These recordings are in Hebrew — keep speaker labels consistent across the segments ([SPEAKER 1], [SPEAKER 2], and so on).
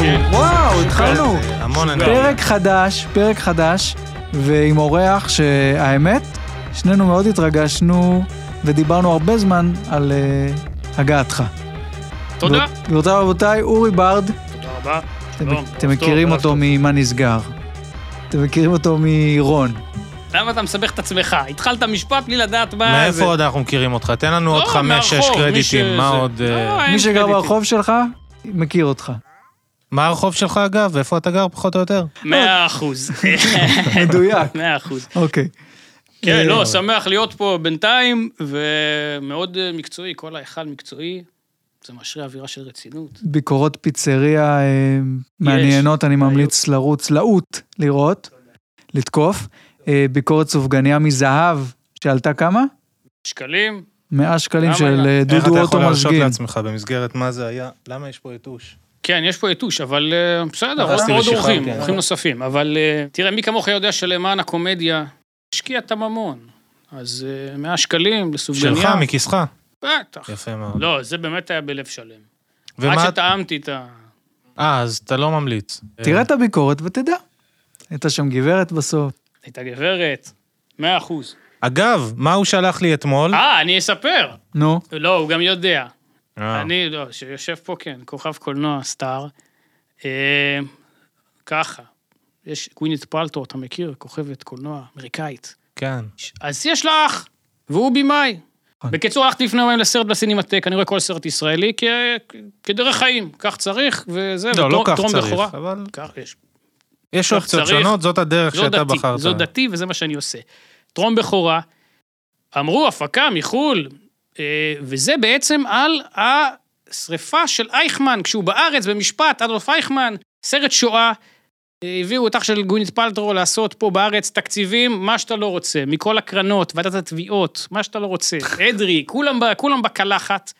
[SPEAKER 1] כן.
[SPEAKER 2] התחלנו.
[SPEAKER 3] המון אנרגיה.
[SPEAKER 2] פרק חדש, פרק חדש, ועם אורח שהאמת, שנינו מאוד התרגשנו ודיברנו הרבה זמן על אה, הגעתך.
[SPEAKER 1] תודה.
[SPEAKER 2] גבירותיי ורבותיי, אורי ברד,
[SPEAKER 1] תודה רבה.
[SPEAKER 2] אתם-
[SPEAKER 1] שלום,
[SPEAKER 2] אתם
[SPEAKER 1] ערב טוב,
[SPEAKER 2] מכירים
[SPEAKER 1] ערב
[SPEAKER 2] אותו
[SPEAKER 1] טוב.
[SPEAKER 2] ממה נסגר. אתם מכירים אותו מרון.
[SPEAKER 1] למה אתה מסבך את עצמך? התחלת משפט בלי לדעת מה זה.
[SPEAKER 3] מאיפה עוד אנחנו מכירים אותך? תן לנו עוד
[SPEAKER 1] לא,
[SPEAKER 3] חמש-שש
[SPEAKER 1] מהרחוב, מי
[SPEAKER 3] קרדיטים,
[SPEAKER 1] שזה-
[SPEAKER 3] מה עוד... אה,
[SPEAKER 1] לא, אין
[SPEAKER 2] מי שגר
[SPEAKER 1] קרדיטים.
[SPEAKER 2] ברחוב שלך, מכיר אותך.
[SPEAKER 3] מה הרחוב שלך אגב? ואיפה אתה גר פחות או יותר?
[SPEAKER 1] מאה אחוז.
[SPEAKER 2] מדויק.
[SPEAKER 1] מאה אחוז.
[SPEAKER 2] אוקיי.
[SPEAKER 1] כן,
[SPEAKER 2] אה,
[SPEAKER 1] לא, שמח להיות פה בינתיים, ומאוד אה, מקצועי, כל ההיכל מקצועי. זה משרה אווירה של רצינות.
[SPEAKER 2] ביקורות פיצריה אה, מעניינות, אני ממליץ לרוץ, לעוט, לראות, לתקוף. אה, ביקורת סופגניה מזהב, שעלתה כמה?
[SPEAKER 1] שקלים,
[SPEAKER 2] 100 שקלים
[SPEAKER 1] למה
[SPEAKER 2] של
[SPEAKER 1] לא?
[SPEAKER 2] אה,
[SPEAKER 3] איך
[SPEAKER 2] דודו
[SPEAKER 3] אתה יכול
[SPEAKER 2] אוטו
[SPEAKER 3] להרשות
[SPEAKER 2] משגין.
[SPEAKER 3] לעצמך במסגרת מה זה היה? למה יש פה יתוש?
[SPEAKER 1] כן, יש פה יתוש, אבל אה, בסדר, עוד
[SPEAKER 3] הרסתי
[SPEAKER 1] עוד
[SPEAKER 3] בשיחה,
[SPEAKER 1] אורחים,
[SPEAKER 3] כן.
[SPEAKER 1] אורחים נוספים. אבל אה, תראה, מי כמוך יודע שלמען הקומדיה, השקיע את הממון. אז אה, 100 שקלים לסופגניה.
[SPEAKER 3] שלך, מכיסך.
[SPEAKER 1] בטח.
[SPEAKER 3] יפה מאוד.
[SPEAKER 1] לא, זה באמת היה בלב שלם. עד
[SPEAKER 3] נכון. ומה...
[SPEAKER 1] שטעמתי את ה...
[SPEAKER 3] אה, אז אתה לא ממליץ.
[SPEAKER 2] תראה את הביקורת ותדע. הייתה שם גברת בסוף.
[SPEAKER 1] הייתה גברת, מאה אחוז.
[SPEAKER 3] אה, אגב, מה הוא שלח לי אתמול?
[SPEAKER 1] אה, אני אספר.
[SPEAKER 2] נו,
[SPEAKER 1] לא, הוא גם יודע.
[SPEAKER 3] אה,
[SPEAKER 1] אני, לא, שיושב פה, כן, כוכב קולנוע, סטאר. אה, ככה, יש קווינית פלטו, אתה מכיר? כוכבת קולנוע אמריקאית.
[SPEAKER 3] כן.
[SPEAKER 1] אז יש לה אח, והוא במאי.
[SPEAKER 2] נכון.
[SPEAKER 1] בקיצור, הלכתי לפני יומיים לסרט בסינמטק, אני רואה כל סרט ישראלי כ... כדרך חיים, כך צריך, וזה,
[SPEAKER 3] לא, לא
[SPEAKER 1] וטרום-
[SPEAKER 3] כך
[SPEAKER 1] טרום
[SPEAKER 3] צריך,
[SPEAKER 1] בכורה.
[SPEAKER 3] אבל
[SPEAKER 1] כך יש.
[SPEAKER 3] יש
[SPEAKER 1] כך
[SPEAKER 3] אופציות
[SPEAKER 1] לא, צריך.
[SPEAKER 3] שונות, זאת הדרך
[SPEAKER 1] זו
[SPEAKER 3] שאתה
[SPEAKER 1] דתי,
[SPEAKER 3] בחרת.
[SPEAKER 1] זו דתי וזה מה שאני עושה. טרום בכורה, אמרו הפקה מחו"ל, אה, וזה בעצם על השריפה של אייכמן, כשהוא בארץ במשפט, אדולף אייכמן, סרט שואה, אה, הביאו אותך של גוינית פלטרו לעשות פה בארץ תקציבים, מה שאתה לא רוצה, מכל הקרנות, ועדת התביעות, מה שאתה לא רוצה, אדרי, כולם, ב- כולם בקלחת.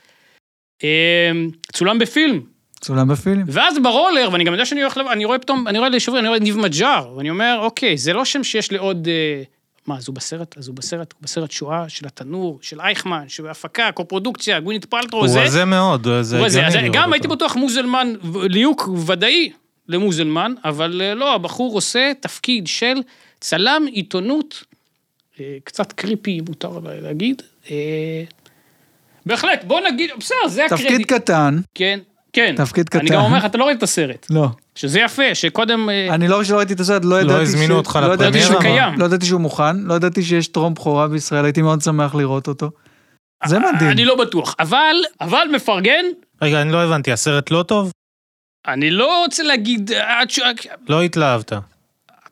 [SPEAKER 1] אה, צולם בפילם,
[SPEAKER 2] צולם בפילם.
[SPEAKER 1] ואז ברולר, ואני גם יודע שאני הולך, לב- אני רואה פתאום, אני רואה לשבוע, אני רואה את ניב מג'אר, ואני אומר, אוקיי, זה לא שם שיש לי עוד... אה, מה, אז הוא בסרט? אז הוא בסרט, הוא בסרט שואה של התנור, של אייכמן, של הפקה, קופרודוקציה, גווינית פלטרו,
[SPEAKER 3] הוא
[SPEAKER 1] זה.
[SPEAKER 3] רזה מאוד, זה
[SPEAKER 1] הוא רזה.
[SPEAKER 3] הגיוני
[SPEAKER 1] אז
[SPEAKER 3] לראות
[SPEAKER 1] גם
[SPEAKER 3] אותו.
[SPEAKER 1] הייתי בטוח מוזלמן, ו- ליהוק ודאי למוזלמן, אבל אה, לא, הבחור עושה תפקיד של צלם עיתונות, אה, קצת קריפי, אם מותר לה- להגיד. אה, בהחלט, בוא נגיד, בסדר, זה
[SPEAKER 2] תפקיד
[SPEAKER 1] הקרדיט.
[SPEAKER 2] קטן.
[SPEAKER 1] כן, כן.
[SPEAKER 2] תפקיד
[SPEAKER 1] אני
[SPEAKER 2] קטן.
[SPEAKER 1] גם אומר לך, אתה לא ראית את הסרט.
[SPEAKER 2] לא.
[SPEAKER 1] שזה יפה, שקודם... אה,
[SPEAKER 2] אני לא רק שלא ראיתי את הסרט, לא ידעתי
[SPEAKER 3] כן. הזמינו
[SPEAKER 2] ש-
[SPEAKER 3] אותך
[SPEAKER 2] לא ידעתי
[SPEAKER 1] לפרמיירה,
[SPEAKER 2] שהוא
[SPEAKER 1] אבל-
[SPEAKER 2] קיים. לא ידעתי שהוא מוכן, לא ידעתי שיש טרום בכורה בישראל, הייתי מאוד שמח לראות אותו. זה
[SPEAKER 3] אה,
[SPEAKER 1] אני
[SPEAKER 2] מדהים.
[SPEAKER 1] לא בטוח. אבל, אבל מפרגן,
[SPEAKER 3] רגע, אני לא הבנתי, הסרט לא טוב?
[SPEAKER 1] אני לא רוצה להגיד... אה, ש-
[SPEAKER 3] לא התלהבת.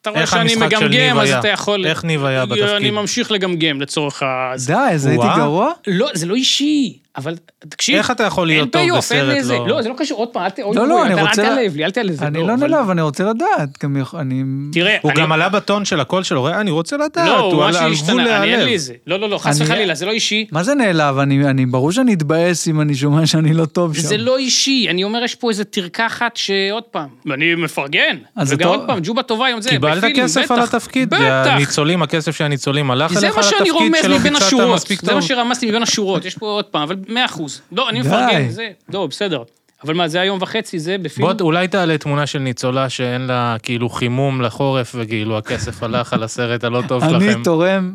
[SPEAKER 1] אתה רואה
[SPEAKER 3] איך
[SPEAKER 1] שאני
[SPEAKER 3] המשחק של ניב
[SPEAKER 1] מגמגם, אז
[SPEAKER 3] היה?
[SPEAKER 1] אתה יכול...
[SPEAKER 3] איך ניב היה
[SPEAKER 1] אני
[SPEAKER 3] בתפקיד?
[SPEAKER 1] ממשיך לגמגם לצורך ה... זה-
[SPEAKER 2] די, אז הייתי
[SPEAKER 3] וואה.
[SPEAKER 2] גרוע?
[SPEAKER 1] לא, זה לא אישי, אבל תקשיב,
[SPEAKER 3] איך אתה יכול
[SPEAKER 1] אין
[SPEAKER 3] להיות טוב
[SPEAKER 1] פי-אוף, אין
[SPEAKER 3] בסרט?
[SPEAKER 1] איזה... לא, זה לא קשור, עוד פעם, אל ת- אוי
[SPEAKER 2] לא,
[SPEAKER 1] ואבוי,
[SPEAKER 2] לא, אני
[SPEAKER 1] אתה-
[SPEAKER 2] רוצה-
[SPEAKER 1] אל תעלב לי, אל תעלב לי.
[SPEAKER 2] אני לא
[SPEAKER 1] אבל-
[SPEAKER 2] נעלב, אני רוצה לדעת. גם יכול- אני...
[SPEAKER 1] תראה,
[SPEAKER 3] הוא
[SPEAKER 1] אני-
[SPEAKER 3] גם עלה בטון של הקול שלו, "ראה, אני רוצה לדעת,
[SPEAKER 1] לא,
[SPEAKER 3] הוא
[SPEAKER 1] הוא
[SPEAKER 3] על על
[SPEAKER 1] משהו
[SPEAKER 3] גבול
[SPEAKER 1] השתנה, אני אין לי
[SPEAKER 3] להיעלב.
[SPEAKER 1] את זה. לא, לא, לא, חס
[SPEAKER 2] אני-
[SPEAKER 1] וחלילה, זה לא אישי.
[SPEAKER 2] מה זה נעלב? אני, אני, ברור שאני אתבאס אם אני שומע שאני לא טוב שם.
[SPEAKER 1] זה לא אישי, אני אומר, יש פה איזה תרקחת שעוד פעם, ואני מפרגן.
[SPEAKER 2] אז
[SPEAKER 1] וגם
[SPEAKER 2] אתה-
[SPEAKER 1] עוד פעם, ג'ובה טובה עם זה,
[SPEAKER 3] קיבלת
[SPEAKER 1] בפילם,
[SPEAKER 3] כסף
[SPEAKER 1] בטח,
[SPEAKER 3] על התפקיד?
[SPEAKER 1] בטח.
[SPEAKER 3] הניצולים, הכסף של הניצולים הלך
[SPEAKER 1] זה
[SPEAKER 3] אליך
[SPEAKER 1] מה
[SPEAKER 3] על
[SPEAKER 1] שאני
[SPEAKER 3] התפקיד
[SPEAKER 1] רומז
[SPEAKER 3] שלא
[SPEAKER 1] מבין
[SPEAKER 3] ביצעת
[SPEAKER 1] השורות,
[SPEAKER 3] מספיק
[SPEAKER 1] זה מה
[SPEAKER 3] טוב?
[SPEAKER 1] שרמזתי מבין השורות, יש פה עוד פעם, אבל מאה אחוז. לא, אני מפרגן,
[SPEAKER 2] די.
[SPEAKER 1] זה, לא, בסדר. אבל מה, זה היום וחצי, זה בפילם?
[SPEAKER 3] בוא, אולי תעלה תמונה של ניצולה שאין לה כאילו חימום לחורף, וכאילו הכסף הלך על הסרט הלא טוב שלכם.
[SPEAKER 2] אני תורם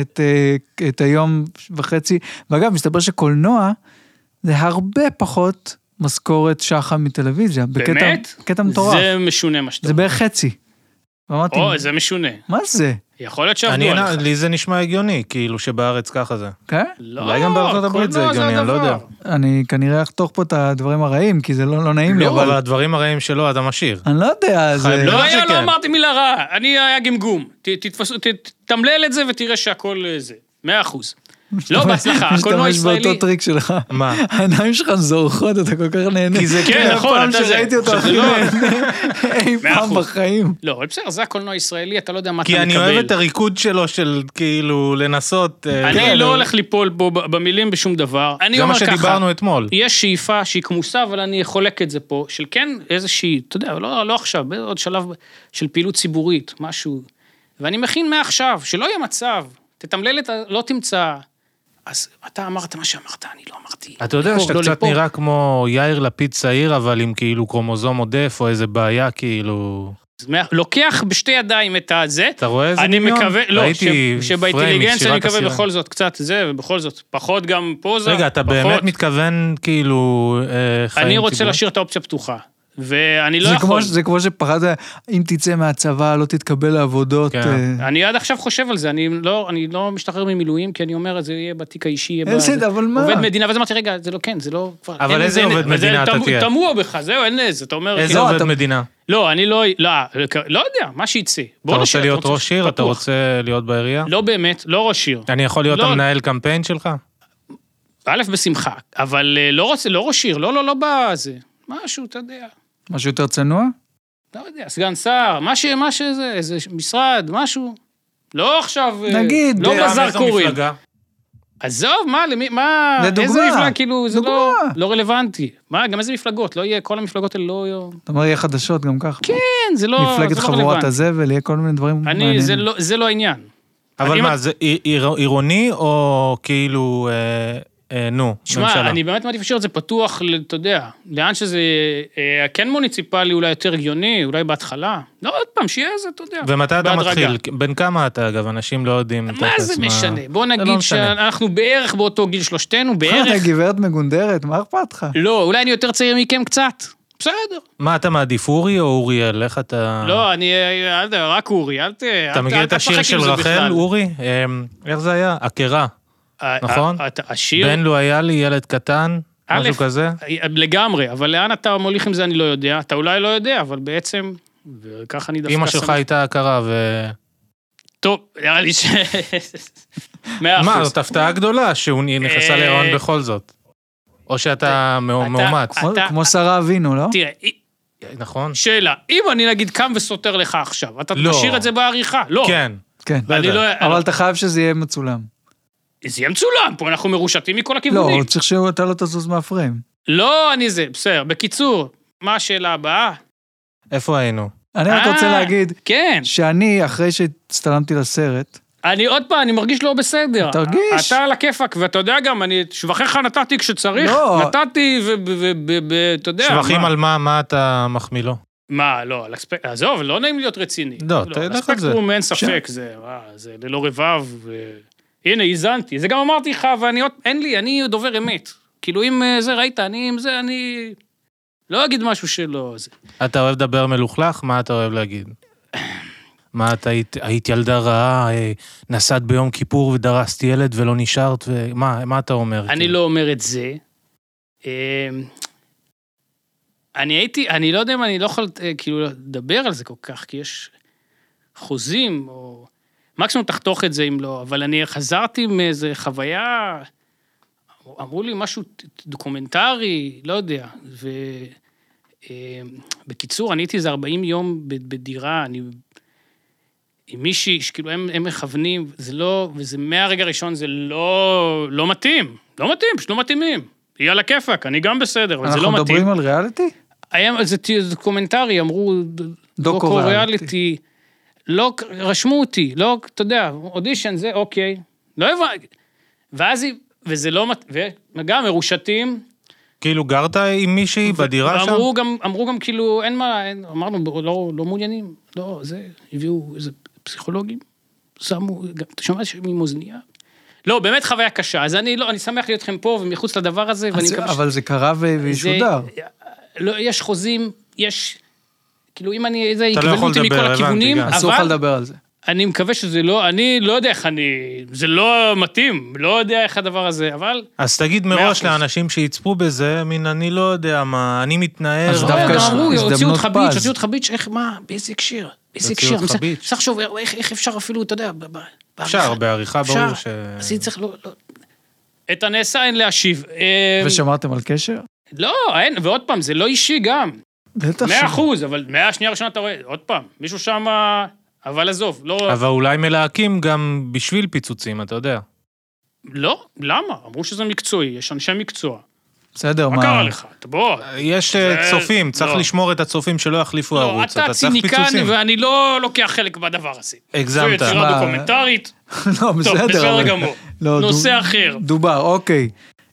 [SPEAKER 2] את, אה, את היום וחצי. ואגב, מסתבר שקולנוע זה הרבה פחות משכורת שח"ם מטלוויזיה. בקטע,
[SPEAKER 1] באמת?
[SPEAKER 2] בקטע מטורף. זה,
[SPEAKER 1] זה משונה מה שאתה
[SPEAKER 2] זה
[SPEAKER 1] אומר.
[SPEAKER 2] בערך חצי. ואמרתי,
[SPEAKER 1] או, זה משונה.
[SPEAKER 2] מה זה?
[SPEAKER 1] יכול להיות
[SPEAKER 3] אני-
[SPEAKER 1] שעבדו עליך.
[SPEAKER 3] לי זה נשמע הגיוני, כאילו שבארץ ככה זה.
[SPEAKER 2] כן?
[SPEAKER 1] לא,
[SPEAKER 3] אולי גם בארצות הברית זה
[SPEAKER 1] קולנוע
[SPEAKER 3] הגיוני, אני לא
[SPEAKER 1] הדבר.
[SPEAKER 3] יודע.
[SPEAKER 2] אני כנראה אחתוך פה את הדברים הרעים, כי זה לא, לא נעים לי,
[SPEAKER 3] לא, אבל
[SPEAKER 2] אבל...
[SPEAKER 3] הדברים הרעים שלו אתה משאיר.
[SPEAKER 2] אני לא יודע, זה...
[SPEAKER 3] חייב-
[SPEAKER 1] לא,
[SPEAKER 3] בטח
[SPEAKER 1] היה,
[SPEAKER 3] אה, שכן.
[SPEAKER 1] לא אמרתי מילה רעה, אני היה גמגום. ת- תתפסו, ת- תתמלל את זה ותראה שהכל אה, זה. מאה אחוז. לא, בהצלחה, הקולנוע
[SPEAKER 2] משתמש
[SPEAKER 1] הישראלי.
[SPEAKER 2] באותו טריק שלך.
[SPEAKER 3] מה?
[SPEAKER 2] העיניים שלך זורחות, אתה כל כך נהנה.
[SPEAKER 3] כי זה
[SPEAKER 1] כן,
[SPEAKER 2] כל
[SPEAKER 1] נכון,
[SPEAKER 2] פעם
[SPEAKER 1] אתה זה.
[SPEAKER 2] שראיתי אותו
[SPEAKER 1] שזה
[SPEAKER 2] הכי
[SPEAKER 1] לא-
[SPEAKER 2] נהנה אי
[SPEAKER 1] מאה
[SPEAKER 2] פעם
[SPEAKER 1] אחוז.
[SPEAKER 2] בחיים.
[SPEAKER 1] לא, אבל בסדר, זה הקולנוע הישראלי, אתה לא יודע מה אתה
[SPEAKER 3] כי
[SPEAKER 1] מקבל.
[SPEAKER 3] אני אוהב את הריקוד שלו של כאילו לנסות... אה,
[SPEAKER 1] אני
[SPEAKER 3] כן,
[SPEAKER 1] לא
[SPEAKER 3] הוא-
[SPEAKER 1] הולך ליפול פה ב- במילים בשום דבר. אני
[SPEAKER 3] זה
[SPEAKER 1] אומר
[SPEAKER 3] מה
[SPEAKER 1] ככה,
[SPEAKER 3] שדיברנו אתמול.
[SPEAKER 1] יש שאיפה שהיא כמוסה, אבל אני חולק את זה פה, של כן איזושהי, אתה יודע, לא, לא עכשיו, בעוד שלב של פעילות ציבורית, משהו. ואני מכין מעכשיו, שלא יהיה מצב, תתמלל את ה... לא תמצא. אז אתה אמרת מה שאמרת, אני לא אמרתי.
[SPEAKER 3] אתה יודע
[SPEAKER 1] לבחור,
[SPEAKER 3] שאתה
[SPEAKER 1] לא
[SPEAKER 3] קצת
[SPEAKER 1] לבחור.
[SPEAKER 3] נראה כמו יאיר לפיד צעיר, אבל עם כאילו קרומוזום עודף או איזה בעיה, כאילו...
[SPEAKER 1] אז מה- לוקח בשתי ידיים את הזה,
[SPEAKER 3] אתה רואה איזה
[SPEAKER 1] אני
[SPEAKER 3] דמיון?
[SPEAKER 1] מקווה, לא, ש-
[SPEAKER 3] ראיתי פריים
[SPEAKER 1] שבאינטליגנציה אני
[SPEAKER 3] משירת
[SPEAKER 1] מקווה
[SPEAKER 3] הסירה.
[SPEAKER 1] בכל זאת קצת זה, ובכל זאת, פחות גם פוזה,
[SPEAKER 3] רגע, אתה
[SPEAKER 1] לא, פחות.
[SPEAKER 3] באמת מתכוון כאילו אה, חיים
[SPEAKER 1] אני רוצה
[SPEAKER 3] ציבוריים?
[SPEAKER 1] להשאיר את האופציה פתוחה, ואני לא
[SPEAKER 2] זה
[SPEAKER 1] יכול.
[SPEAKER 2] כמו, זה כמו שפחדת, אם תצא מהצבא, לא תתקבל לעבודות.
[SPEAKER 3] כן.
[SPEAKER 2] אה,
[SPEAKER 1] אני עד עכשיו חושב על זה, אני לא, אני לא משתחרר ממילואים, כי אני אומר, זה יהיה בתיק האישי, יהיה בזה."
[SPEAKER 2] אה, בסדר, אבל מה?
[SPEAKER 1] עובד מדינה, ואז אמרתי, רגע, זה לא כן, זה לא... כבר-
[SPEAKER 3] אבל
[SPEAKER 1] אין-
[SPEAKER 3] איזה
[SPEAKER 1] אין-
[SPEAKER 3] עובד
[SPEAKER 1] אבל זה
[SPEAKER 3] מדינה אתה
[SPEAKER 1] תמוה-
[SPEAKER 3] תהיה?
[SPEAKER 1] תמוה בך, זהו, אין איזה, אתה אומר...
[SPEAKER 3] איזה
[SPEAKER 1] כאילו,
[SPEAKER 2] לא,
[SPEAKER 3] עובד
[SPEAKER 2] אתה-
[SPEAKER 3] מדינה?
[SPEAKER 1] לא, אני לא... לא, לא יודע, מה שיצא. בוא
[SPEAKER 3] אתה
[SPEAKER 1] נשאר,
[SPEAKER 3] רוצה להיות ראש עיר? אתה
[SPEAKER 1] פתוח.
[SPEAKER 3] רוצה להיות בעירייה?
[SPEAKER 1] לא באמת, לא ראש עיר.
[SPEAKER 3] אני יכול להיות
[SPEAKER 1] לא.
[SPEAKER 3] המנהל קמפיין שלך?
[SPEAKER 1] א', בשמחה, אבל אה, לא רוצה, לא ראש עיר, לא, לא, לא בזה. משהו, אתה יודע.
[SPEAKER 2] משהו יותר צנוע?
[SPEAKER 1] לא יודע, סגן שר, מה ש... מה שזה, איזה משרד, משהו. לא עכשיו... אה,
[SPEAKER 2] נגיד,
[SPEAKER 1] לא
[SPEAKER 2] אה,
[SPEAKER 3] איזו
[SPEAKER 1] בזרקורים.
[SPEAKER 3] מפלגה?
[SPEAKER 1] עזוב, מה, למי, מה...
[SPEAKER 2] זה דוגמה.
[SPEAKER 1] איזה מפלגה, כאילו, זה לא,
[SPEAKER 2] דוגמה.
[SPEAKER 1] לא רלוונטי. מה, גם איזה מפלגות, לא יהיה, כל המפלגות האלה לא...
[SPEAKER 2] אתה אומר, יהיה חדשות גם ככה.
[SPEAKER 1] כן, זה לא...
[SPEAKER 2] מפלגת
[SPEAKER 1] זה לא
[SPEAKER 2] חבורת
[SPEAKER 1] רלוונטי.
[SPEAKER 2] הזבל, יהיה כל מיני דברים
[SPEAKER 1] אני,
[SPEAKER 2] מעניינים.
[SPEAKER 1] זה לא, זה לא העניין.
[SPEAKER 3] אבל
[SPEAKER 1] אני-
[SPEAKER 3] מה, זה עיר- עיר- עירוני או כאילו, אה, אה, נו,
[SPEAKER 1] שמע,
[SPEAKER 3] ממשלה?
[SPEAKER 1] אני באמת מעדיף להשאיר את זה פתוח, ל- אתה יודע, לאן שזה... אה, כן מוניציפלי אולי יותר הגיוני, אולי בהתחלה. לא, עוד פעם, שיהיה איזה, אתה יודע.
[SPEAKER 3] ומתי אתה
[SPEAKER 1] בהדרגה.
[SPEAKER 3] מתחיל? בן כמה אתה, אגב? אנשים לא יודעים. את
[SPEAKER 1] מה זה
[SPEAKER 3] עצמם.
[SPEAKER 1] משנה? בוא
[SPEAKER 3] לא
[SPEAKER 1] נגיד
[SPEAKER 3] משנה.
[SPEAKER 1] שאנחנו בערך באותו גיל שלושתנו,
[SPEAKER 2] אתה
[SPEAKER 1] בערך.
[SPEAKER 2] אה, גברת מגונדרת, מה אכפת לך?
[SPEAKER 1] לא, אולי אני יותר צעיר מכם קצת. בסדר.
[SPEAKER 3] מה, אתה מעדיף אורי או אוריאל? איך אתה...
[SPEAKER 1] לא, אני... אה, אל ת... רק אורי, אל ת... אל ת-
[SPEAKER 3] אתה מכיר
[SPEAKER 1] אל
[SPEAKER 3] את השיר
[SPEAKER 1] תשחק
[SPEAKER 3] של
[SPEAKER 1] עם זה
[SPEAKER 3] רחל,
[SPEAKER 1] בכלל.
[SPEAKER 3] אורי? אה, איך זה היה? עקרה.
[SPEAKER 1] אה,
[SPEAKER 3] נכון?
[SPEAKER 1] אה, אתה- השיר...
[SPEAKER 3] בן לו היה לי ילד קטן,
[SPEAKER 1] א',
[SPEAKER 3] משהו כזה.
[SPEAKER 1] לגמרי, אבל לאן אתה מוליך עם זה אני לא יודע. אתה אולי לא יודע, אבל בעצם... וככה אני דווקא...
[SPEAKER 3] אמא שלך
[SPEAKER 1] שמח-
[SPEAKER 3] הייתה עקרה, ו...
[SPEAKER 1] טוב, נראה לי ש... מאה
[SPEAKER 3] מה,
[SPEAKER 1] אה, אחוז.
[SPEAKER 3] זאת הפתעה גדולה שהוא נכנסה
[SPEAKER 1] אה,
[SPEAKER 3] להיריון בכל זאת. או שאתה מאו-
[SPEAKER 1] אתה- אה,
[SPEAKER 3] מאומץ,
[SPEAKER 2] כמו-
[SPEAKER 1] אתה-
[SPEAKER 2] כמו שרה אבינו, לא?
[SPEAKER 1] תראה, אי-
[SPEAKER 3] נכון?
[SPEAKER 1] שאלה, אם אני נגיד קם וסותר לך עכשיו, אתה
[SPEAKER 3] לא.
[SPEAKER 1] תשאיר את זה בעריכה? לא.
[SPEAKER 3] כן.
[SPEAKER 2] כן.
[SPEAKER 3] לא
[SPEAKER 1] אני
[SPEAKER 3] יודע.
[SPEAKER 1] לא...
[SPEAKER 2] אבל אתה חייב שזה יהיה מצולם.
[SPEAKER 1] זה יהיה מצולם, פה אנחנו מרושתים מכל
[SPEAKER 2] לא,
[SPEAKER 1] הכיוונים.
[SPEAKER 2] צריך שאתה לא תזוז מהפריים.
[SPEAKER 1] לא, אני זה, בסדר. בקיצור, מה השאלה הבאה?
[SPEAKER 3] איפה היינו?
[SPEAKER 2] אני רק רוצה
[SPEAKER 1] אה,
[SPEAKER 2] להגיד
[SPEAKER 1] כן.
[SPEAKER 2] שאני, אחרי שהצטלמתי לסרט,
[SPEAKER 1] אני עוד פעם, אני מרגיש לא בסדר.
[SPEAKER 2] תרגיש.
[SPEAKER 1] אתה על הכיפאק, ואתה יודע גם, אני שבחיך נתתי כשצריך,
[SPEAKER 2] לא.
[SPEAKER 1] נתתי, ואתה יודע.
[SPEAKER 3] שבחים
[SPEAKER 1] לא, מה?
[SPEAKER 3] על מה, מה אתה מחמיא לו?
[SPEAKER 1] מה, לא, על הספק... עזוב, לא נעים להיות רציני.
[SPEAKER 3] לא, אתה יודע איך זה.
[SPEAKER 1] הספקטרום אין ספק, זה אה, זה ללא רבב. ו- הנה, איזנתי. זה גם אמרתי לך, ואני עוד... אין לי, אני דובר אמת. כאילו, אם אה, זה, ראית, אני עם זה, אני... לא אגיד משהו שלא... זה.
[SPEAKER 3] אתה אוהב לדבר מלוכלך? מה אתה אוהב להגיד? מה, את היית, היית ילדה רעה, אה, נסעת ביום כיפור ודרסת ילד ולא נשארת? ו- מה, מה אתה אומר?
[SPEAKER 1] אני
[SPEAKER 3] כאילו?
[SPEAKER 1] לא אומר את זה. אמ, אני הייתי, אני לא יודע אם אני לא יכול אה, כאילו לדבר על זה כל כך, כי יש חוזים, או... מקסימום תחתוך את זה אם לא, אבל אני חזרתי מאיזה חוויה, אמרו לי משהו ט- ט- דוקומנטרי, לא יודע, ו... אמ, בקיצור, אני הייתי איזה 40 יום ב- בדירה, אני עם מישהי, שכאילו הם, הם מכוונים, זה לא, וזה מהרגע הראשון זה לא, לא מתאים, לא מתאים, פשוט לא מתאימים. היא על הכיפאק, אני גם בסדר, אבל זה
[SPEAKER 2] אנחנו
[SPEAKER 1] לא מתאים.
[SPEAKER 2] מדברים על ריאליטי?
[SPEAKER 1] היה, זה ת- זה דוקומנטרי, אמרו, ד-
[SPEAKER 2] דוקו-ריאליטי.
[SPEAKER 1] דוקו-ריאליטי. לא, ק- רשמו אותי, לא, אתה יודע, אודישן זה, אוקיי. לא הבנתי. ואז היא, וזה לא, מת- וגם מרושתים.
[SPEAKER 3] כאילו, גרת עם מישהי בדירה שם?
[SPEAKER 1] ואמרו גם, אמרו גם כאילו, אין מה, אין, אמרנו, "ב- לא, לא מעוניינים, לא, זה, הביאו איזה פסיכולוגים, שמו, גם, אתה שומע שהם עם אוזנייה? לא, באמת חוויה קשה, אז אני, לא, אני שמח להיות איתכם פה ומחוץ לדבר הזה, ואני
[SPEAKER 2] אז-
[SPEAKER 1] מקווה ש...
[SPEAKER 2] אבל זה קרה ו- וישודר.
[SPEAKER 1] זה- לא, יש חוזים, יש... כאילו, אם אני... זה
[SPEAKER 3] אתה לא
[SPEAKER 1] יקבלו
[SPEAKER 3] יכול
[SPEAKER 1] אותי
[SPEAKER 3] לדבר,
[SPEAKER 1] מכל
[SPEAKER 3] הבנתי,
[SPEAKER 1] הכיוונים,
[SPEAKER 3] גם.
[SPEAKER 2] אסור לך
[SPEAKER 1] אבל
[SPEAKER 2] לדבר על זה.
[SPEAKER 1] אני מקווה שזה לא... אני לא יודע איך אני... זה לא מתאים, לא יודע איך הדבר הזה, אבל...
[SPEAKER 3] אז תגיד
[SPEAKER 1] מאה
[SPEAKER 3] מראש
[SPEAKER 1] אחוז.
[SPEAKER 3] לאנשים שיצפו בזה, מין אני לא יודע מה, אני מתנער.
[SPEAKER 2] אז
[SPEAKER 1] לא,
[SPEAKER 2] דווקא
[SPEAKER 1] גם
[SPEAKER 2] יש
[SPEAKER 1] אמרו,
[SPEAKER 2] הזדמנות
[SPEAKER 1] הוציאו אותך ביץ',
[SPEAKER 2] פז.
[SPEAKER 1] הוציאו אותך ביץ', איך, מה, באיזה הקשר? באיזה
[SPEAKER 3] הוציאו
[SPEAKER 1] הקשר?
[SPEAKER 3] אותך
[SPEAKER 1] אני צריך-
[SPEAKER 3] ביץ'.
[SPEAKER 1] צריך לחשוב, איך איך אפשר אפילו, אתה יודע, ב- ב-
[SPEAKER 3] אפשר,
[SPEAKER 1] בעריכה.
[SPEAKER 3] בעריכה
[SPEAKER 1] אפשר.
[SPEAKER 3] ברור ש...
[SPEAKER 1] אז אני צריך לא... לא- את הנעשה אין להשיב. אה,
[SPEAKER 2] ושמרתם על קשר?
[SPEAKER 1] לא, אין, ועוד פעם, זה לא אישי גם.
[SPEAKER 2] בטח.
[SPEAKER 1] מאה
[SPEAKER 2] ש-
[SPEAKER 1] אחוז, אבל מהשנייה הראשונה אתה רואה, עוד פעם, מישהו שם... אה, אבל עזוב, לא...
[SPEAKER 3] אבל אולי מלהקים גם בשביל פיצוצים, אתה יודע.
[SPEAKER 1] לא, למה? אמרו שזה מקצועי, יש אנשי מקצוע.
[SPEAKER 2] בסדר,
[SPEAKER 1] מה
[SPEAKER 2] מה?
[SPEAKER 1] קרה לך? אתה בוא.
[SPEAKER 3] יש אה,
[SPEAKER 1] זה-
[SPEAKER 3] צופים, צריך
[SPEAKER 1] לא.
[SPEAKER 3] לשמור את הצופים שלא יחליפו
[SPEAKER 1] לא,
[SPEAKER 3] ערוץ,
[SPEAKER 1] אתה
[SPEAKER 3] אתה צריך
[SPEAKER 1] ציניקן
[SPEAKER 3] פיצוצים.
[SPEAKER 1] ואני לא לוקח חלק בדבר הזה. זו
[SPEAKER 3] הגזמת.
[SPEAKER 1] יצירה
[SPEAKER 2] מה?
[SPEAKER 1] דוקומנטרית.
[SPEAKER 2] לא,
[SPEAKER 1] טוב,
[SPEAKER 2] בסדר.
[SPEAKER 1] בסדר
[SPEAKER 2] אבל-
[SPEAKER 1] גמור.
[SPEAKER 2] לא,
[SPEAKER 1] נושא
[SPEAKER 2] דו-
[SPEAKER 1] אחר.
[SPEAKER 2] דובר, אוקיי.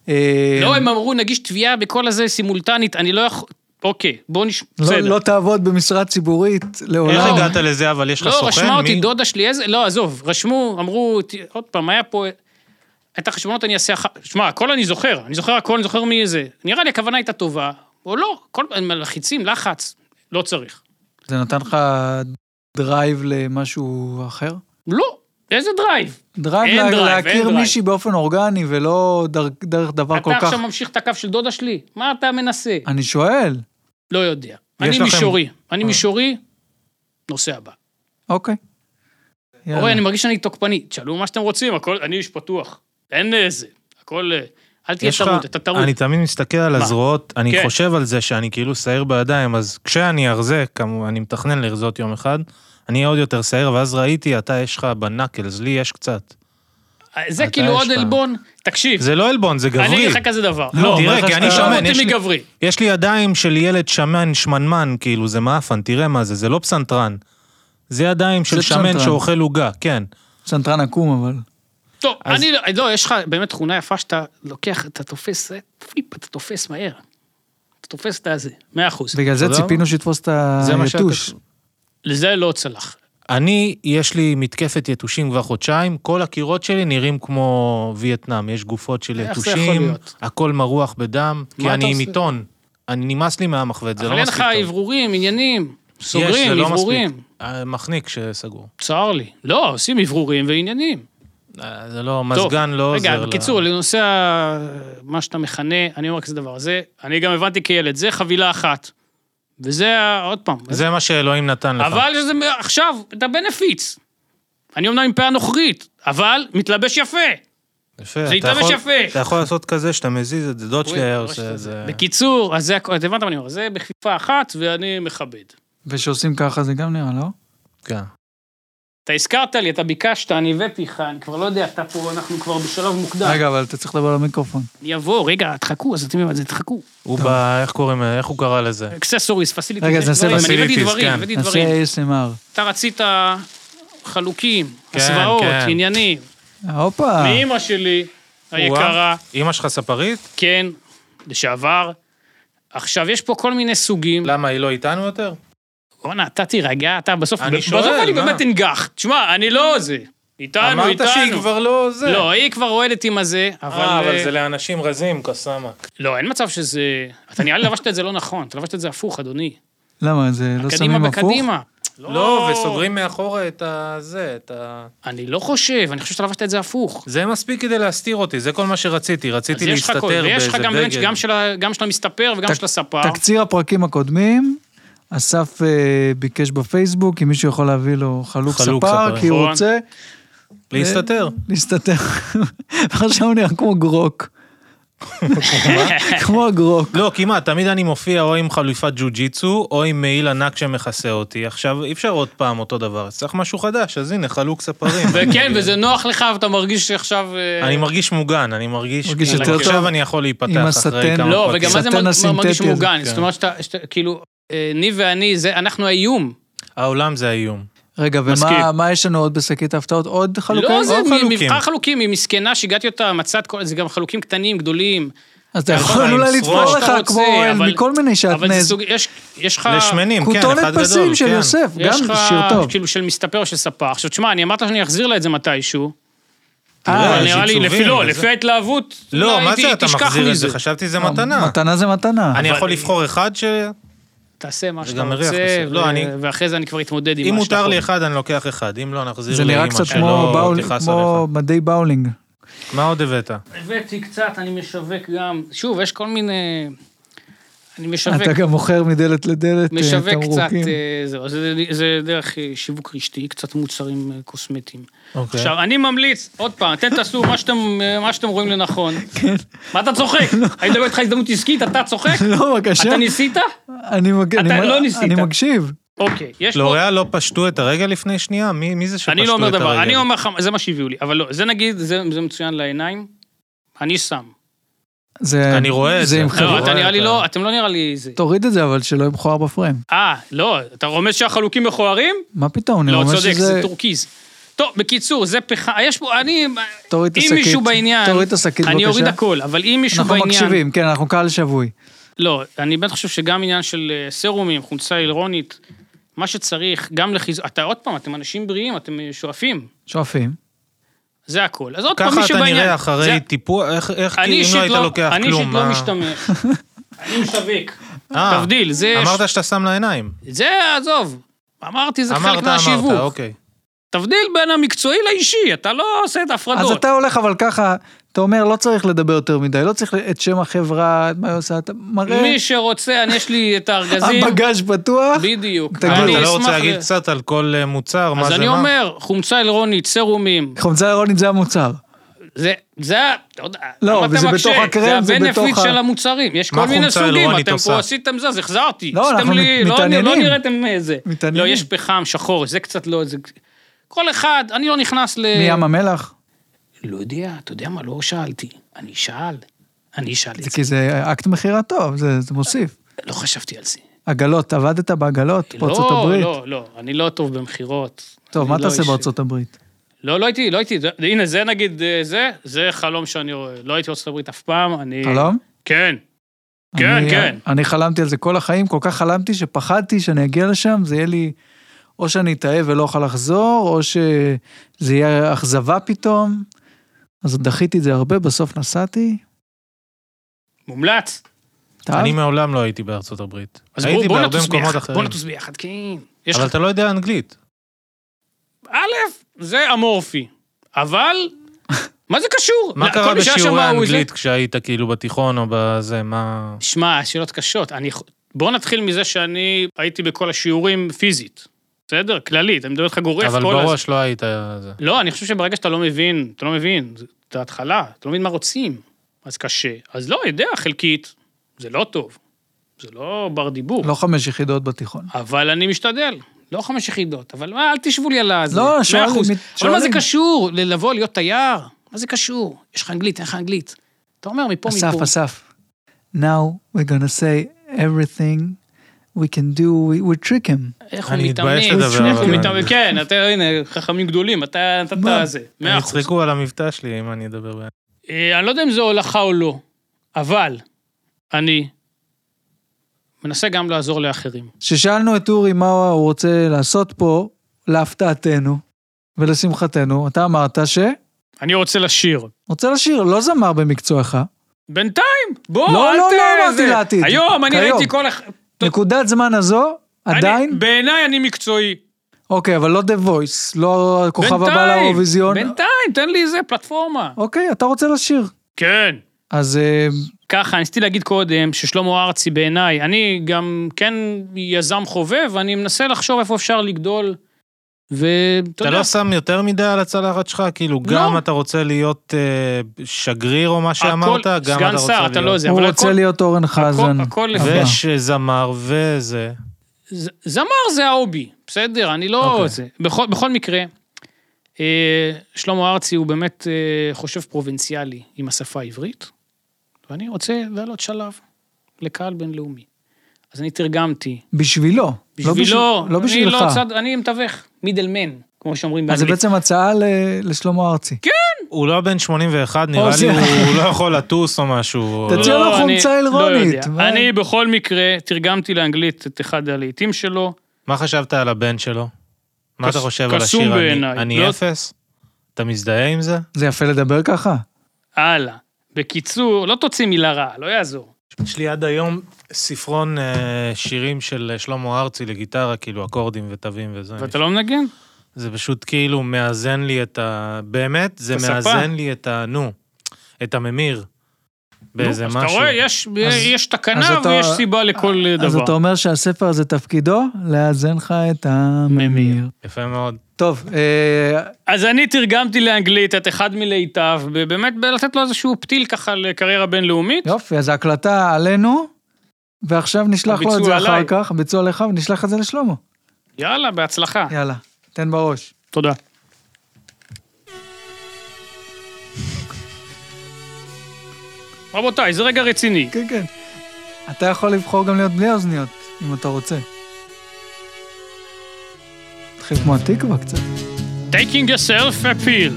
[SPEAKER 2] אה,
[SPEAKER 3] כן.
[SPEAKER 1] לא, הם אמרו, נגיש תביעה בכל הזה סימולטנית, אני לא יכול... אוקיי, בואו נשמע.
[SPEAKER 2] לא-
[SPEAKER 1] בסדר.
[SPEAKER 2] לא תעבוד במשרה ציבורית
[SPEAKER 3] איך
[SPEAKER 2] לעולם.
[SPEAKER 3] הגעת לזה, אבל יש לך סוכן?
[SPEAKER 1] לא, רשמה אותי
[SPEAKER 3] מי?
[SPEAKER 1] דודה שלי, איזה... לא, עזוב, רשמו, אמרו, ת- עוד פעם, היה פה... את החשבונות אני אעשה אחר... שמע, הכל אני זוכר, אני זוכר הכל, אני זוכר מי זה. נראה לי הכוונה הייתה טובה, או לא, כל פעם מלחיצים, לחץ, לא צריך.
[SPEAKER 2] זה נתן לך דרייב למשהו אחר?
[SPEAKER 1] לא, איזה דרייב.
[SPEAKER 2] דרייב
[SPEAKER 1] אין
[SPEAKER 2] לה-
[SPEAKER 1] דרייב, אין
[SPEAKER 2] להכיר
[SPEAKER 1] דרייב.
[SPEAKER 2] מישהי באופן אורגני ולא דר- דרך דבר כל
[SPEAKER 1] אתה
[SPEAKER 2] כך...
[SPEAKER 1] עכשיו ממשיך את הקו של דודה שלי, מה אתה מנסה?
[SPEAKER 2] אני שואל.
[SPEAKER 1] לא יודע.
[SPEAKER 3] יש
[SPEAKER 1] אני
[SPEAKER 3] לכם- אה.
[SPEAKER 1] מישורי, אני מישורי, נושא הבא.
[SPEAKER 2] אוקיי. יאללה.
[SPEAKER 1] אורי, אני מרגיש שאני תוקפני, תשאלו מה שאתם רוצים, הכל, אני איש פתוח. אין איזה, הכל... אה, אל תהיה
[SPEAKER 3] יש לך-
[SPEAKER 1] טרוד, אתה טרוד.
[SPEAKER 3] אני תמיד מסתכל על
[SPEAKER 1] מה?
[SPEAKER 3] הזרועות, אני
[SPEAKER 1] כן.
[SPEAKER 3] חושב על זה שאני כאילו שעיר בידיים, אז כשאני ארזה, כמובן, אני מתכנן להרזות יום אחד, אני אהיה עוד יותר שעיר, ואז ראיתי, אתה יש לך בנקלס, לי יש קצת.
[SPEAKER 1] זה
[SPEAKER 3] אתה
[SPEAKER 1] כאילו
[SPEAKER 3] יש
[SPEAKER 1] עוד
[SPEAKER 3] לך.
[SPEAKER 1] עלבון, תקשיב,
[SPEAKER 3] זה לא עלבון, זה
[SPEAKER 1] אני
[SPEAKER 3] גברי.
[SPEAKER 1] אגיד לך כזה דבר.
[SPEAKER 3] לא,
[SPEAKER 2] אומר
[SPEAKER 3] תראה,
[SPEAKER 2] לך
[SPEAKER 3] כי אני
[SPEAKER 2] שאתה-
[SPEAKER 3] שמן,
[SPEAKER 1] אותי
[SPEAKER 3] יש לי-
[SPEAKER 1] מגברי.
[SPEAKER 3] יש לי ידיים של ילד שמן, שמנמן, כאילו, זה מאפן, תראה מה זה, זה לא פסנתרן. זה ידיים של
[SPEAKER 2] זה
[SPEAKER 3] שמן
[SPEAKER 2] פסנתרן.
[SPEAKER 3] שאוכל עוגה, כן.
[SPEAKER 2] פסנתרן עקום, אבל...
[SPEAKER 1] טוב,
[SPEAKER 3] אז-
[SPEAKER 1] אני לא, לא, יש לך באמת תכונה יפה שאתה לוקח, אתה תופס, זה, פליפ, אתה תופס מהר. אתה תופס את הזה, מאה אחוז.
[SPEAKER 2] בגלל זה
[SPEAKER 3] אתה יודע?
[SPEAKER 2] ציפינו שיתפוס את
[SPEAKER 3] זה מה שאתה-
[SPEAKER 2] היתוש.
[SPEAKER 1] לזה לא צלח.
[SPEAKER 3] אני, יש לי מתקפת יתושים כבר חודשיים, כל הקירות שלי נראים כמו וייטנאם, יש גופות של
[SPEAKER 1] איך זה יכול
[SPEAKER 3] יתושים,
[SPEAKER 1] להיות?
[SPEAKER 3] הכל מרוח בדם, כי
[SPEAKER 1] אתה
[SPEAKER 3] אני עם
[SPEAKER 1] עושה?
[SPEAKER 3] עיתון. אני נמאס לי מהמחבט, זה
[SPEAKER 1] אבל
[SPEAKER 3] לא
[SPEAKER 1] אין
[SPEAKER 3] מספיק
[SPEAKER 1] לך
[SPEAKER 3] טוב.
[SPEAKER 1] אוורורים, עניינים,
[SPEAKER 3] יש, זה
[SPEAKER 1] סוגרים,
[SPEAKER 3] לא
[SPEAKER 1] אוורורים.
[SPEAKER 3] מספיק. אה, מחניק שסגור.
[SPEAKER 1] צר לי. לא, עושים אוורורים ועניינים.
[SPEAKER 3] אה, זה לא, מזגן לא עוזר.
[SPEAKER 1] רגע,
[SPEAKER 3] ל-
[SPEAKER 1] בקיצור, לנושא ה- מה שאתה מכנה, אני אומר כזה דבר, זה, אני גם הבנתי כילד, זה חבילה אחת. וזה, ה- עוד פעם,
[SPEAKER 3] זה מה שאלוהים נתן לך.
[SPEAKER 1] אבל שזה עכשיו, אתה בנפיץ. אני אומנם עם פאה נוכרית, אבל מתלבש יפה.
[SPEAKER 3] יפה,
[SPEAKER 1] זה
[SPEAKER 3] אתה
[SPEAKER 1] התלבש
[SPEAKER 3] יכול-
[SPEAKER 1] יפה.
[SPEAKER 3] אתה יכול לעשות כזה שאתה מזיז את זה, דוד שלי
[SPEAKER 1] אוי,
[SPEAKER 3] היה
[SPEAKER 1] ממש
[SPEAKER 3] עושה את זה.
[SPEAKER 1] בקיצור, אז זה הכול, אתה הבנת מה אני אומר, זה בכפיפה אחת ואני מכבד.
[SPEAKER 2] ושעושים ככה זה גם נראה, לא?
[SPEAKER 3] כן.
[SPEAKER 1] אתה הזכרת לי, אתה ביקשת, אני הבאתיך, אני כבר לא יודע, אתה פה, אנחנו כבר בשלב מוקדם.
[SPEAKER 2] רגע, אבל אתה צריך לדבר למיקרופון.
[SPEAKER 1] אני אבוא, רגע, תחכו, אז אתם יודעים מה זה, תחכו.
[SPEAKER 3] הוא בא, איך קוראים, איך הוא קרא לזה?
[SPEAKER 1] אקססוריס, פסיליטיז,
[SPEAKER 2] רגע,
[SPEAKER 1] יש
[SPEAKER 2] זה עושה
[SPEAKER 1] דברים, לא, אני הבאתי
[SPEAKER 3] facilities,
[SPEAKER 1] דברים,
[SPEAKER 3] כן.
[SPEAKER 1] הבאתי
[SPEAKER 2] נעשה
[SPEAKER 1] דברים.
[SPEAKER 2] ASMR.
[SPEAKER 1] אתה רצית חלוקים,
[SPEAKER 3] כן,
[SPEAKER 1] הסוואות,
[SPEAKER 3] כן. אה.
[SPEAKER 1] עניינים.
[SPEAKER 2] הופה.
[SPEAKER 1] מאימא שלי היקרה,
[SPEAKER 3] אמא שלך ספרית?
[SPEAKER 1] כן, לשעבר. עכשיו, יש פה כל מיני סוגים.
[SPEAKER 3] למה, היא לא איתנו יותר?
[SPEAKER 1] בואנה, אתה תירגע, אתה בסוף...
[SPEAKER 3] אני
[SPEAKER 1] ב-
[SPEAKER 3] שואל,
[SPEAKER 1] בסוף אני
[SPEAKER 3] מה?
[SPEAKER 1] באמת אנגח. תשמע, אני לא זה. איתנו,
[SPEAKER 3] אמרת
[SPEAKER 1] איתנו.
[SPEAKER 3] שהיא כבר לא זה.
[SPEAKER 1] לא, היא כבר אוהדת עם הזה, אבל...
[SPEAKER 3] אה, אבל זה
[SPEAKER 1] לא...
[SPEAKER 3] לאנשים רזים, קסאמק.
[SPEAKER 1] לא, אין מצב שזה... אתה נראה לי לבשת את זה לא נכון, אתה לבשת את זה הפוך, אדוני.
[SPEAKER 2] למה, זה לא
[SPEAKER 1] קדימה
[SPEAKER 2] שמים הפוך?
[SPEAKER 1] בקדימה.
[SPEAKER 3] לא, וסוגרים מאחורה את הזה, את ה...
[SPEAKER 1] אני לא חושב, אני חושב שאתה לבשת את זה הפוך.
[SPEAKER 3] זה מספיק כדי להסתיר אותי, זה כל מה שרציתי,
[SPEAKER 1] אז
[SPEAKER 3] רציתי
[SPEAKER 1] יש לך
[SPEAKER 3] להסתתר
[SPEAKER 1] כל...
[SPEAKER 3] באיזה בגד.
[SPEAKER 1] ויש לך גם באמת גם של ה- גם של המסתפר וגם
[SPEAKER 2] תק-
[SPEAKER 1] של הספר.
[SPEAKER 2] תקציר הפרקים הקודמים, אסף אה, ביקש בפייסבוק, אם מישהו יכול להביא לו חלוק
[SPEAKER 3] חלוק
[SPEAKER 2] ספר,
[SPEAKER 3] ספר,
[SPEAKER 2] כי הוא
[SPEAKER 1] נכון.
[SPEAKER 2] רוצה
[SPEAKER 3] להסתתר.
[SPEAKER 2] להסתתר. עכשיו הוא נראה כמו גרוק. כמו הגרוק.
[SPEAKER 3] לא, כמעט, תמיד אני מופיע או עם חליפת ג'ו-ג'יצו, או עם מעיל ענק שמכסה אותי. עכשיו, אי אפשר עוד פעם אותו דבר, אז צריך משהו חדש, אז הנה, חלוק ספרים.
[SPEAKER 1] וכן, וזה נוח לך, ואתה מרגיש שעכשיו... אה,
[SPEAKER 3] אני מרגיש מוגן, אני מרגיש...
[SPEAKER 2] מרגיש
[SPEAKER 3] כאילו,
[SPEAKER 1] יותר טוב.
[SPEAKER 3] עכשיו אני יכול
[SPEAKER 2] עם
[SPEAKER 3] להיפתח
[SPEAKER 2] הסטן.
[SPEAKER 3] אחרי כמה...
[SPEAKER 1] לא,
[SPEAKER 3] פרקים.
[SPEAKER 1] וגם מה זה
[SPEAKER 2] הסטן
[SPEAKER 1] מרג- מרגיש
[SPEAKER 2] הסינתטי הזה,
[SPEAKER 1] מוגן?
[SPEAKER 3] כן.
[SPEAKER 1] זאת אומרת שאתה, שאתה- כאילו, אה, אני ואני, זה, אנחנו האיום.
[SPEAKER 3] העולם זה האיום.
[SPEAKER 2] רגע, ומה
[SPEAKER 1] מסכים.
[SPEAKER 2] מה יש לנו עוד בשקית ההפתעות? עוד חלוקה?
[SPEAKER 1] לא, זה
[SPEAKER 3] או
[SPEAKER 1] מ-
[SPEAKER 3] חלוקים.
[SPEAKER 1] מבחר חלוקים, היא מסכנה, שיגעתי אותה, מצאת כל... זה גם חלוקים קטנים, גדולים.
[SPEAKER 2] אז אתה
[SPEAKER 3] אתה
[SPEAKER 2] יכול
[SPEAKER 3] יכול
[SPEAKER 2] אולי
[SPEAKER 3] למסרון
[SPEAKER 2] לתפור לך
[SPEAKER 1] שאתה
[SPEAKER 2] כמו
[SPEAKER 1] רוצה,
[SPEAKER 2] אוהל
[SPEAKER 1] אבל-
[SPEAKER 2] מכל מיני
[SPEAKER 1] אבל זה
[SPEAKER 2] שעטנז.
[SPEAKER 1] סוג... יש יש לך...
[SPEAKER 3] לשמנים, כן, אחד גדול.
[SPEAKER 2] כותונת פסים של
[SPEAKER 3] כן.
[SPEAKER 2] יוסף,
[SPEAKER 1] יש
[SPEAKER 2] גם
[SPEAKER 1] לך,
[SPEAKER 2] שיר טוב.
[SPEAKER 1] כאילו, של מסתפר או של ספר. עכשיו, תשמע, אני אמרת שאני אחזיר לה את זה
[SPEAKER 2] אה,
[SPEAKER 1] מתישהו.
[SPEAKER 3] תראה,
[SPEAKER 1] אבל
[SPEAKER 3] יש
[SPEAKER 1] נראה לי,
[SPEAKER 3] אה, עיצובים
[SPEAKER 1] לפי לא,
[SPEAKER 3] וזה.
[SPEAKER 1] לפי ההתלהבות,
[SPEAKER 3] לא,
[SPEAKER 1] אולי
[SPEAKER 3] מה
[SPEAKER 1] היא-
[SPEAKER 3] זה
[SPEAKER 1] היא
[SPEAKER 3] אתה
[SPEAKER 1] תשכח
[SPEAKER 3] מחזיר את
[SPEAKER 1] מזה.
[SPEAKER 3] זה? חשבתי זה מתנה.
[SPEAKER 2] מתנה זה מתנה.
[SPEAKER 3] אני
[SPEAKER 1] אבל-
[SPEAKER 3] יכול לבחור אחד ש...
[SPEAKER 1] תעשה מה
[SPEAKER 3] זה
[SPEAKER 1] שאתה
[SPEAKER 3] גם מריח
[SPEAKER 1] רוצה,
[SPEAKER 3] בסוף.
[SPEAKER 1] ו-
[SPEAKER 3] לא, אני-
[SPEAKER 1] ואחרי זה אני כבר אתמודד עם
[SPEAKER 3] אם
[SPEAKER 1] מה שאתה
[SPEAKER 3] מותר לי
[SPEAKER 1] יכול.
[SPEAKER 3] אחד, אני לוקח אחד. אם לא, נחזיר
[SPEAKER 2] זה נראה
[SPEAKER 3] לאימא
[SPEAKER 2] קצת כמו
[SPEAKER 3] שלא
[SPEAKER 2] באול-
[SPEAKER 3] תכעס
[SPEAKER 2] כמו
[SPEAKER 3] עליך.
[SPEAKER 2] מדי באולינג.
[SPEAKER 3] מה עוד הבאת?
[SPEAKER 1] הבאתי קצת, אני משווק גם, שוב, יש כל מיני... אני משווק,
[SPEAKER 2] אתה גם מוכר מדלת לדלת אה,
[SPEAKER 1] משווק קצת,
[SPEAKER 2] תמרוקים.
[SPEAKER 1] אה, זהו, זה, זה דרך אה, שיווק רשתי, קצת מוצרים אה, קוסמטיים.
[SPEAKER 2] כן.
[SPEAKER 3] אוקיי.
[SPEAKER 1] עכשיו, אני ממליץ, עוד פעם, אתם תעשו מה שאתם, אה, מה שאתם רואים לנכון.
[SPEAKER 2] כן.
[SPEAKER 1] מה אתה צוחק? אני מדבר איתך הזדמנות עסקית, אתה צוחק?
[SPEAKER 2] לא, בבקשה.
[SPEAKER 1] אתה ניסית?
[SPEAKER 2] אני מג-
[SPEAKER 1] אתה
[SPEAKER 2] אני-
[SPEAKER 1] לא ניסית.
[SPEAKER 2] אני מקשיב.
[SPEAKER 1] אוקיי, יש פה...
[SPEAKER 3] לוריאל לא פשטו את הרגל לפני שנייה? מי מי זה שפשטו את
[SPEAKER 1] אני
[SPEAKER 3] הרגל?
[SPEAKER 1] לא אומר דבר, אני אומר לך, זה מה שהביאו לי, אבל לא, זה נגיד, זה זה מצוין לעיניים, אני שם.
[SPEAKER 2] זה-
[SPEAKER 3] אני רואה את זה.
[SPEAKER 2] עם
[SPEAKER 3] לא,
[SPEAKER 2] חברה.
[SPEAKER 1] לא, אתה
[SPEAKER 3] רואה
[SPEAKER 1] נראה לי
[SPEAKER 3] את
[SPEAKER 1] לא,
[SPEAKER 3] ה-
[SPEAKER 1] אתם לא נראה לי זה.
[SPEAKER 2] תוריד את זה, אבל שלא יהיה מכוער בפריים.
[SPEAKER 1] אה, לא, אתה רומז שהחלוקים מכוערים?
[SPEAKER 2] מה פתאום, אני
[SPEAKER 1] לא,
[SPEAKER 2] אומר
[SPEAKER 1] צודק,
[SPEAKER 2] שזה...
[SPEAKER 1] זה טורקיז. טוב, בקיצור, זה פח... יש פה, אני...
[SPEAKER 2] תוריד את
[SPEAKER 1] אם
[SPEAKER 2] השקית.
[SPEAKER 1] מישהו בעניין...
[SPEAKER 2] תוריד את השקית,
[SPEAKER 1] אני
[SPEAKER 2] בבקשה.
[SPEAKER 1] אוריד הכל, אבל אם מישהו
[SPEAKER 2] אנחנו
[SPEAKER 1] בעניין...
[SPEAKER 2] מקשיבים, כן, אנחנו קהל שבוי.
[SPEAKER 1] לא, אני באמת חושב שגם עניין של אה, סרומים, חומצה הילרונית, מה שצריך, גם לחיזוק... אתה עוד פעם, אתם אנשים בריאים, אתם אה, שואפים.
[SPEAKER 2] שואפים.
[SPEAKER 1] זה הכל. אז עוד פעם,
[SPEAKER 3] ככה
[SPEAKER 1] מי
[SPEAKER 3] אתה
[SPEAKER 1] שבעניין...
[SPEAKER 3] נראה אחרי
[SPEAKER 1] זה-
[SPEAKER 3] טיפוח, איך, איך
[SPEAKER 1] אני
[SPEAKER 3] כאילו, אם לא
[SPEAKER 1] אישית
[SPEAKER 3] היית
[SPEAKER 1] לא,
[SPEAKER 3] לוקח
[SPEAKER 1] אני
[SPEAKER 3] כלום.
[SPEAKER 1] אישית לא
[SPEAKER 3] מה-
[SPEAKER 1] משתמש. אני משווק.
[SPEAKER 3] אה,
[SPEAKER 1] תבדיל, זה...
[SPEAKER 3] אמרת שאתה שם לעיניים.
[SPEAKER 1] זה, עזוב. אמרתי, זה
[SPEAKER 3] אמרת,
[SPEAKER 1] חלק מהשיווק.
[SPEAKER 3] אמרת, אוקיי.
[SPEAKER 1] תבדיל בין המקצועי לאישי, אתה לא עושה את
[SPEAKER 2] אז
[SPEAKER 1] ההפרדות.
[SPEAKER 2] אתה הולך אבל ככה, אתה אומר, לא צריך לדבר יותר מדי, לא צריך את שם החברה, את מה היא עושה, אתה מראה,
[SPEAKER 1] מי שרוצה, אני יש לי את הארגזים.
[SPEAKER 2] הבגאז' פתוח,
[SPEAKER 1] בדיוק.
[SPEAKER 2] תגיד,
[SPEAKER 3] אבל
[SPEAKER 1] אני
[SPEAKER 3] אתה לא
[SPEAKER 1] אשמח
[SPEAKER 3] רוצה
[SPEAKER 1] ל-
[SPEAKER 3] להגיד קצת על כל אה, מוצר, מה
[SPEAKER 1] אז
[SPEAKER 3] זה
[SPEAKER 1] אני
[SPEAKER 3] מה?
[SPEAKER 1] אומר, חומצה הילרונית, סרומים,
[SPEAKER 2] חומצה אירונית זה המוצר.
[SPEAKER 1] זה, זה, ה- אתה יודע,
[SPEAKER 2] לא,
[SPEAKER 1] למה אתה
[SPEAKER 2] וזה
[SPEAKER 1] מקשה?
[SPEAKER 2] בתוך הקרם, זה
[SPEAKER 1] הבנפיט
[SPEAKER 2] בתוך ה-
[SPEAKER 1] של המוצרים, יש
[SPEAKER 3] מה
[SPEAKER 1] כל מיני
[SPEAKER 3] חומצה
[SPEAKER 1] סוגים,
[SPEAKER 3] הילרונית
[SPEAKER 1] אתם
[SPEAKER 3] עושה?
[SPEAKER 1] פה עשיתם זה, אז החזרתי.
[SPEAKER 2] לא,
[SPEAKER 1] עשיתם
[SPEAKER 2] אנחנו מת-
[SPEAKER 1] לי- לא- לא
[SPEAKER 2] מתעניינים.
[SPEAKER 1] נראיתם איזה.
[SPEAKER 2] מתעניינים.
[SPEAKER 1] לא, יש פחם, שחור, זה קצת לא, זה... כל אחד, אני לא נכנס ל...
[SPEAKER 2] מים המלח?
[SPEAKER 1] לא יודע, אתה יודע מה, לא שאלתי. אני אשאל. אני אשאל את
[SPEAKER 2] זה
[SPEAKER 1] זה.
[SPEAKER 2] כי זה אקט מכירה טוב, זה זה מוסיף.
[SPEAKER 1] לא חשבתי על זה.
[SPEAKER 2] עגלות, עבדת בעגלות בארצות
[SPEAKER 1] לא,
[SPEAKER 2] הברית?
[SPEAKER 1] לא, לא, אני לא טוב במכירות.
[SPEAKER 2] טוב,
[SPEAKER 1] אני
[SPEAKER 2] מה
[SPEAKER 1] לא
[SPEAKER 2] תעשה
[SPEAKER 1] איש-
[SPEAKER 2] בארצות הברית?
[SPEAKER 1] לא, לא הייתי, לא הייתי, זה- הנה, זה נגיד, אה, זה, זה חלום שאני רואה. לא הייתי בארצות הברית אף פעם, אני...
[SPEAKER 3] לא?
[SPEAKER 2] חלום?
[SPEAKER 1] כן. כן,
[SPEAKER 2] אני-
[SPEAKER 1] כן.
[SPEAKER 2] אני חלמתי על זה כל החיים, כל כך חלמתי שפחדתי שאני אגיע לשם, זה יהיה לי... או שאני אתאהב ולא אוכל לחזור, או שזה יהיה אכזבה פתאום. אז דחיתי את זה הרבה, בסוף נסעתי.
[SPEAKER 1] מומלץ.
[SPEAKER 2] אתה
[SPEAKER 3] אני
[SPEAKER 2] אהב?
[SPEAKER 3] מעולם לא הייתי בארצות הברית.
[SPEAKER 1] אז
[SPEAKER 3] הייתי
[SPEAKER 1] בוא, בוא
[SPEAKER 3] בהרבה
[SPEAKER 1] נטוס
[SPEAKER 3] מקומות
[SPEAKER 1] ביחד, בוא
[SPEAKER 3] אחרים.
[SPEAKER 1] נטוס ביחד, כן. יש
[SPEAKER 3] אבל
[SPEAKER 1] לך,
[SPEAKER 3] אתה לא יודע אנגלית.
[SPEAKER 1] א', זה אמורפי, אבל, מה זה קשור?
[SPEAKER 3] מה
[SPEAKER 1] לא,
[SPEAKER 3] קרה
[SPEAKER 1] כל מי שהיה שם
[SPEAKER 3] בשיעורי
[SPEAKER 1] הוא זה-
[SPEAKER 3] האנגלית כשהיית כאילו בתיכון או בזה, מה...
[SPEAKER 1] שמע, שאלות קשות. אני... בוא נתחיל מזה שאני הייתי בכל השיעורים פיזית, בסדר? כללית, אני מדבר איתך גורף.
[SPEAKER 3] אבל
[SPEAKER 1] כל הז-
[SPEAKER 3] בראש לא היית... זה.
[SPEAKER 1] לא, אני חושב שברגע שאתה לא מבין, אתה לא מבין, זה- את ההתחלה, אתה לא מבין מה רוצים, אז קשה. אז לא, יודע, חלקית, זה לא טוב, זה לא בר דיבור.
[SPEAKER 2] לא חמש יחידות בתיכון.
[SPEAKER 1] אבל אני משתדל. לא חמש יחידות, אבל מה, אל תשבו לי על הזה.
[SPEAKER 2] לא,
[SPEAKER 1] מאה
[SPEAKER 2] שואלים,
[SPEAKER 1] אחוז.
[SPEAKER 2] מת-
[SPEAKER 1] אבל מה זה
[SPEAKER 2] שואלים.
[SPEAKER 1] קשור? לבוא, להיות תייר? מה זה קשור? יש לך אנגלית, אין לך אנגלית. אתה אומר מפה,
[SPEAKER 2] אסף,
[SPEAKER 1] מפה.
[SPEAKER 2] אסף. Now we're gonna say everything we can do, we, we trick him.
[SPEAKER 1] איך הוא
[SPEAKER 3] אני
[SPEAKER 1] מתאמן,
[SPEAKER 3] מתבייש
[SPEAKER 2] לדבר,
[SPEAKER 1] איך הוא
[SPEAKER 2] אבל-
[SPEAKER 1] מתאמן, כן, אתה, הנה, חכמים גדולים, אתה, אתה,
[SPEAKER 2] מה?
[SPEAKER 1] אתה זה, מאה
[SPEAKER 3] הם
[SPEAKER 1] אחוז.
[SPEAKER 3] יצחקו על המבטא שלי אם אני אדבר בהם.
[SPEAKER 1] אה, אני לא יודע אם זו הולכה או לא, אבל אני מנסה גם לעזור לאחרים.
[SPEAKER 2] כששאלנו את אורי מה הוא רוצה לעשות פה, להפתעתנו ולשמחתנו, אתה אמרת ש...
[SPEAKER 1] אני רוצה לשיר.
[SPEAKER 2] רוצה לשיר, לא זמר במקצועך.
[SPEAKER 1] בינתיים, בוא,
[SPEAKER 2] לא,
[SPEAKER 1] אל
[SPEAKER 2] לא,
[SPEAKER 1] ת-
[SPEAKER 2] לא אמרתי
[SPEAKER 1] זה.
[SPEAKER 2] לעתיד.
[SPEAKER 1] היום, אני
[SPEAKER 2] כיום.
[SPEAKER 1] ראיתי כל... הח-
[SPEAKER 2] נקודת זמן הזו,
[SPEAKER 1] אני-
[SPEAKER 2] עדיין?
[SPEAKER 1] בעיניי אני מקצועי.
[SPEAKER 2] אוקיי, אבל לא The Voice, לא הכוכב הבא
[SPEAKER 1] בינתיים,
[SPEAKER 2] לאירוויזיון.
[SPEAKER 1] בינתיים, תן לי איזה פלטפורמה.
[SPEAKER 2] אוקיי, אתה רוצה לשיר.
[SPEAKER 1] כן.
[SPEAKER 2] אז אה,
[SPEAKER 1] ככה, ניסיתי להגיד קודם ששלמה ארצי בעיניי, אני גם כן יזם חובב, ואני מנסה לחשוב איפה אפשר לגדול, ואתה
[SPEAKER 3] אתה
[SPEAKER 1] יודע, לא.
[SPEAKER 3] לא שם יותר מדי על הצלחת שלך? כאילו, גם אתה רוצה להיות אה, שגריר או מה שאמרת,
[SPEAKER 1] הכל-
[SPEAKER 3] גם אתה
[SPEAKER 1] סגן
[SPEAKER 3] רוצה להיות...
[SPEAKER 1] שר, אתה לא זה,
[SPEAKER 2] הוא
[SPEAKER 1] אבל
[SPEAKER 2] רוצה
[SPEAKER 1] הכל-
[SPEAKER 2] להיות אורן חזן.
[SPEAKER 1] הכל
[SPEAKER 2] הבא.
[SPEAKER 1] לפי-
[SPEAKER 3] ויש אה, זמר וזה.
[SPEAKER 1] ז- זמר זה ההובי, בסדר? אני לא...
[SPEAKER 3] אוקיי.
[SPEAKER 1] זה. בכל, בכל מקרה, אה, שלמה ארצי הוא באמת אה, חושב פרובינציאלי עם השפה העברית, ואני רוצה לעלות שלב לקהל בינלאומי. אז אני תרגמתי
[SPEAKER 2] בשבילו. לא בשביל-
[SPEAKER 1] בשבילו,
[SPEAKER 2] לא בשבילך.
[SPEAKER 1] אני לא צד, אני מתווך, מידלמן, כמו שאומרים
[SPEAKER 2] אז זה
[SPEAKER 1] באנגלית.
[SPEAKER 2] בעצם הצעה ל- לשלמה ארצי.
[SPEAKER 1] כן.
[SPEAKER 3] הוא לא בן 81,
[SPEAKER 2] או
[SPEAKER 3] נראה
[SPEAKER 2] זה.
[SPEAKER 3] לי הוא לא יכול לטוס או משהו.
[SPEAKER 2] תציע לו
[SPEAKER 1] אני-
[SPEAKER 2] חומצה
[SPEAKER 1] לא
[SPEAKER 2] אלרונית,
[SPEAKER 1] יודע.
[SPEAKER 2] מה?
[SPEAKER 1] אני בכל מקרה תרגמתי לאנגלית את אחד הלהיטים שלו.
[SPEAKER 3] מה חשבת על הבן שלו? מה
[SPEAKER 1] קס-
[SPEAKER 3] אתה חושב על
[SPEAKER 1] קסום
[SPEAKER 3] השיר אני-
[SPEAKER 1] בעיניי.
[SPEAKER 3] אני
[SPEAKER 1] לא-
[SPEAKER 3] אפס? אתה מזדהה עם זה?
[SPEAKER 2] זה יפה לדבר ככה.
[SPEAKER 1] הלאה. בקיצור, לא תוציא מילה רעה, לא יעזור.
[SPEAKER 3] יש לי עד היום ספרון אה, שירים של שלמה ארצי לגיטרה, כאילו אקורדים ותווים וזה.
[SPEAKER 1] ואתה לא מנגן?
[SPEAKER 3] זה פשוט כאילו מאזן לי את ה... באמת, זה
[SPEAKER 1] את השפה.
[SPEAKER 3] מאזן לי את ה... נו, את הממיר. באיזה
[SPEAKER 1] נו,
[SPEAKER 3] משהו.
[SPEAKER 1] אז אתה רואה, יש,
[SPEAKER 2] אז-
[SPEAKER 1] יש
[SPEAKER 2] אז
[SPEAKER 1] תקנה
[SPEAKER 2] אתה-
[SPEAKER 1] ויש סיבה לכל דבר.
[SPEAKER 2] אז אתה אומר שהספר הזה תפקידו? לאזן לך את הממיר.
[SPEAKER 3] יפה מאוד.
[SPEAKER 2] טוב, אה,
[SPEAKER 1] אז אני תרגמתי לאנגלית את אחד מלהיטיו, באמת לתת לו איזשהו פתיל ככה לקריירה בינלאומית.
[SPEAKER 2] יופי, אז ההקלטה עלינו, ועכשיו נשלח לו את
[SPEAKER 1] הביצוע
[SPEAKER 2] זה אחר
[SPEAKER 1] עליי.
[SPEAKER 2] כך, ביצוע לך, ונשלח את זה לשלמה.
[SPEAKER 1] יאללה, בהצלחה.
[SPEAKER 2] יאללה, תן בראש.
[SPEAKER 1] תודה. רבותיי, זה רגע רציני.
[SPEAKER 2] כן, כן. אתה יכול לבחור גם להיות בלי אוזניות, אם אתה רוצה. התחיל כמו התקווה קצת.
[SPEAKER 1] taking yourself a pill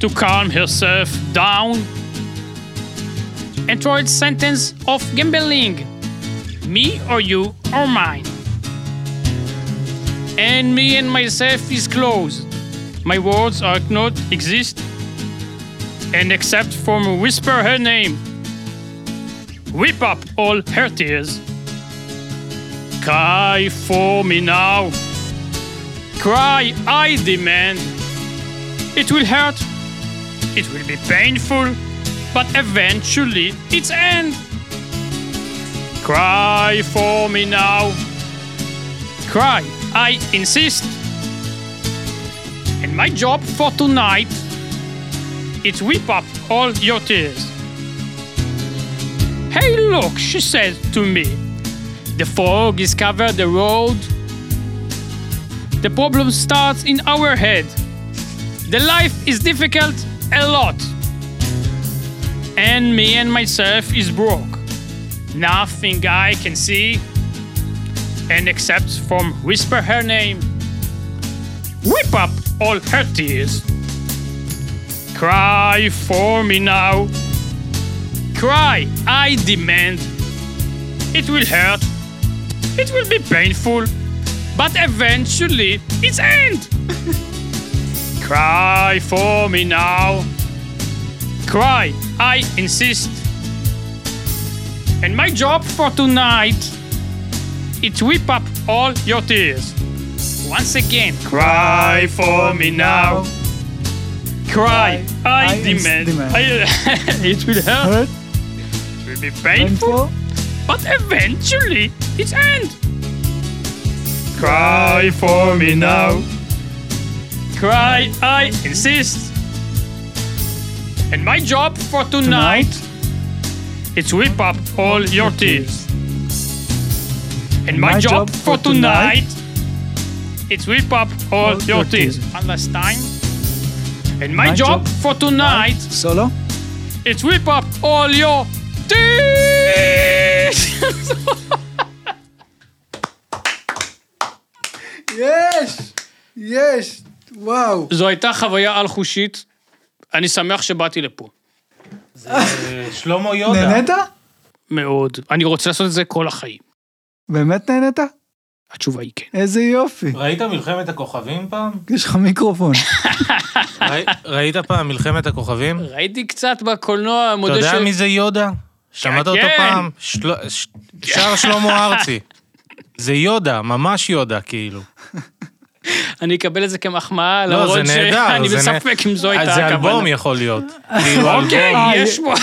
[SPEAKER 1] to calm herself down. Android sentence of gambling. Me or you or mine. And me and myself is closed. My words are not exist. And except for whisper her name. Whip up all her tears. Cry for me now. Cry, I demand. It will hurt. It will be painful. But eventually it's end. Cry for me now. Cry, I insist. And my job for tonight is whip up all your tears. Hey, look, she says to me. The fog is covered the road. The problem starts in our head. The life is difficult a lot. And me and myself is broke. Nothing I can see. And except from whisper her name. Whip up all her tears. Cry for me now. Cry, I demand. It will hurt. It will be painful. But eventually, it's end. Cry for me now. Cry, I insist. And my job for tonight is whip up all your tears. Once again, cry for me now. Cry, I,
[SPEAKER 2] I
[SPEAKER 1] demand.
[SPEAKER 2] demand.
[SPEAKER 1] I- it will hurt.
[SPEAKER 2] hurt,
[SPEAKER 1] It will be painful
[SPEAKER 2] painful,
[SPEAKER 1] but eventually it's end. Cry for me now. Cry, I insist. And my job for tonight, it's whip up all your tears. And my, job, for tonight, it's whip up all your tears. One last time. And my,
[SPEAKER 2] My
[SPEAKER 1] job,
[SPEAKER 2] job
[SPEAKER 1] for tonight,
[SPEAKER 2] סולו.
[SPEAKER 1] it's whip up all your teeth!
[SPEAKER 2] יש! יש! וואו.
[SPEAKER 1] זו הייתה חוויה על-חושית. אני שמח שבאתי לפה.
[SPEAKER 3] אה, שלמה יודה.
[SPEAKER 2] נהנית?
[SPEAKER 1] מאוד. אני רוצה לעשות את זה כל החיים.
[SPEAKER 2] באמת נהנית?
[SPEAKER 1] התשובה היא כן.
[SPEAKER 2] איזה יופי.
[SPEAKER 3] ראית מלחמת הכוכבים פעם?
[SPEAKER 2] יש לך מיקרופון.
[SPEAKER 3] ראי- ראית פעם מלחמת הכוכבים?
[SPEAKER 1] ראיתי קצת בקולנוע,
[SPEAKER 3] אתה
[SPEAKER 1] מודה ש...
[SPEAKER 3] יודע מי זה יודה? שמעת אותו
[SPEAKER 1] כן.
[SPEAKER 3] פעם? של- ש- שר שלמה ארצי. זה יודה, ממש יודה, כאילו.
[SPEAKER 1] אני אקבל את זה כמחמאה,
[SPEAKER 3] לא,
[SPEAKER 1] למרות
[SPEAKER 3] זה נהדר.
[SPEAKER 1] שאני
[SPEAKER 3] זה נה-
[SPEAKER 1] בספק אם זו לא הייתה
[SPEAKER 3] זה
[SPEAKER 1] הכוונה.
[SPEAKER 3] אלבום יכול להיות. כאילו,
[SPEAKER 1] אוקיי,
[SPEAKER 3] אלבום.
[SPEAKER 1] יש פה...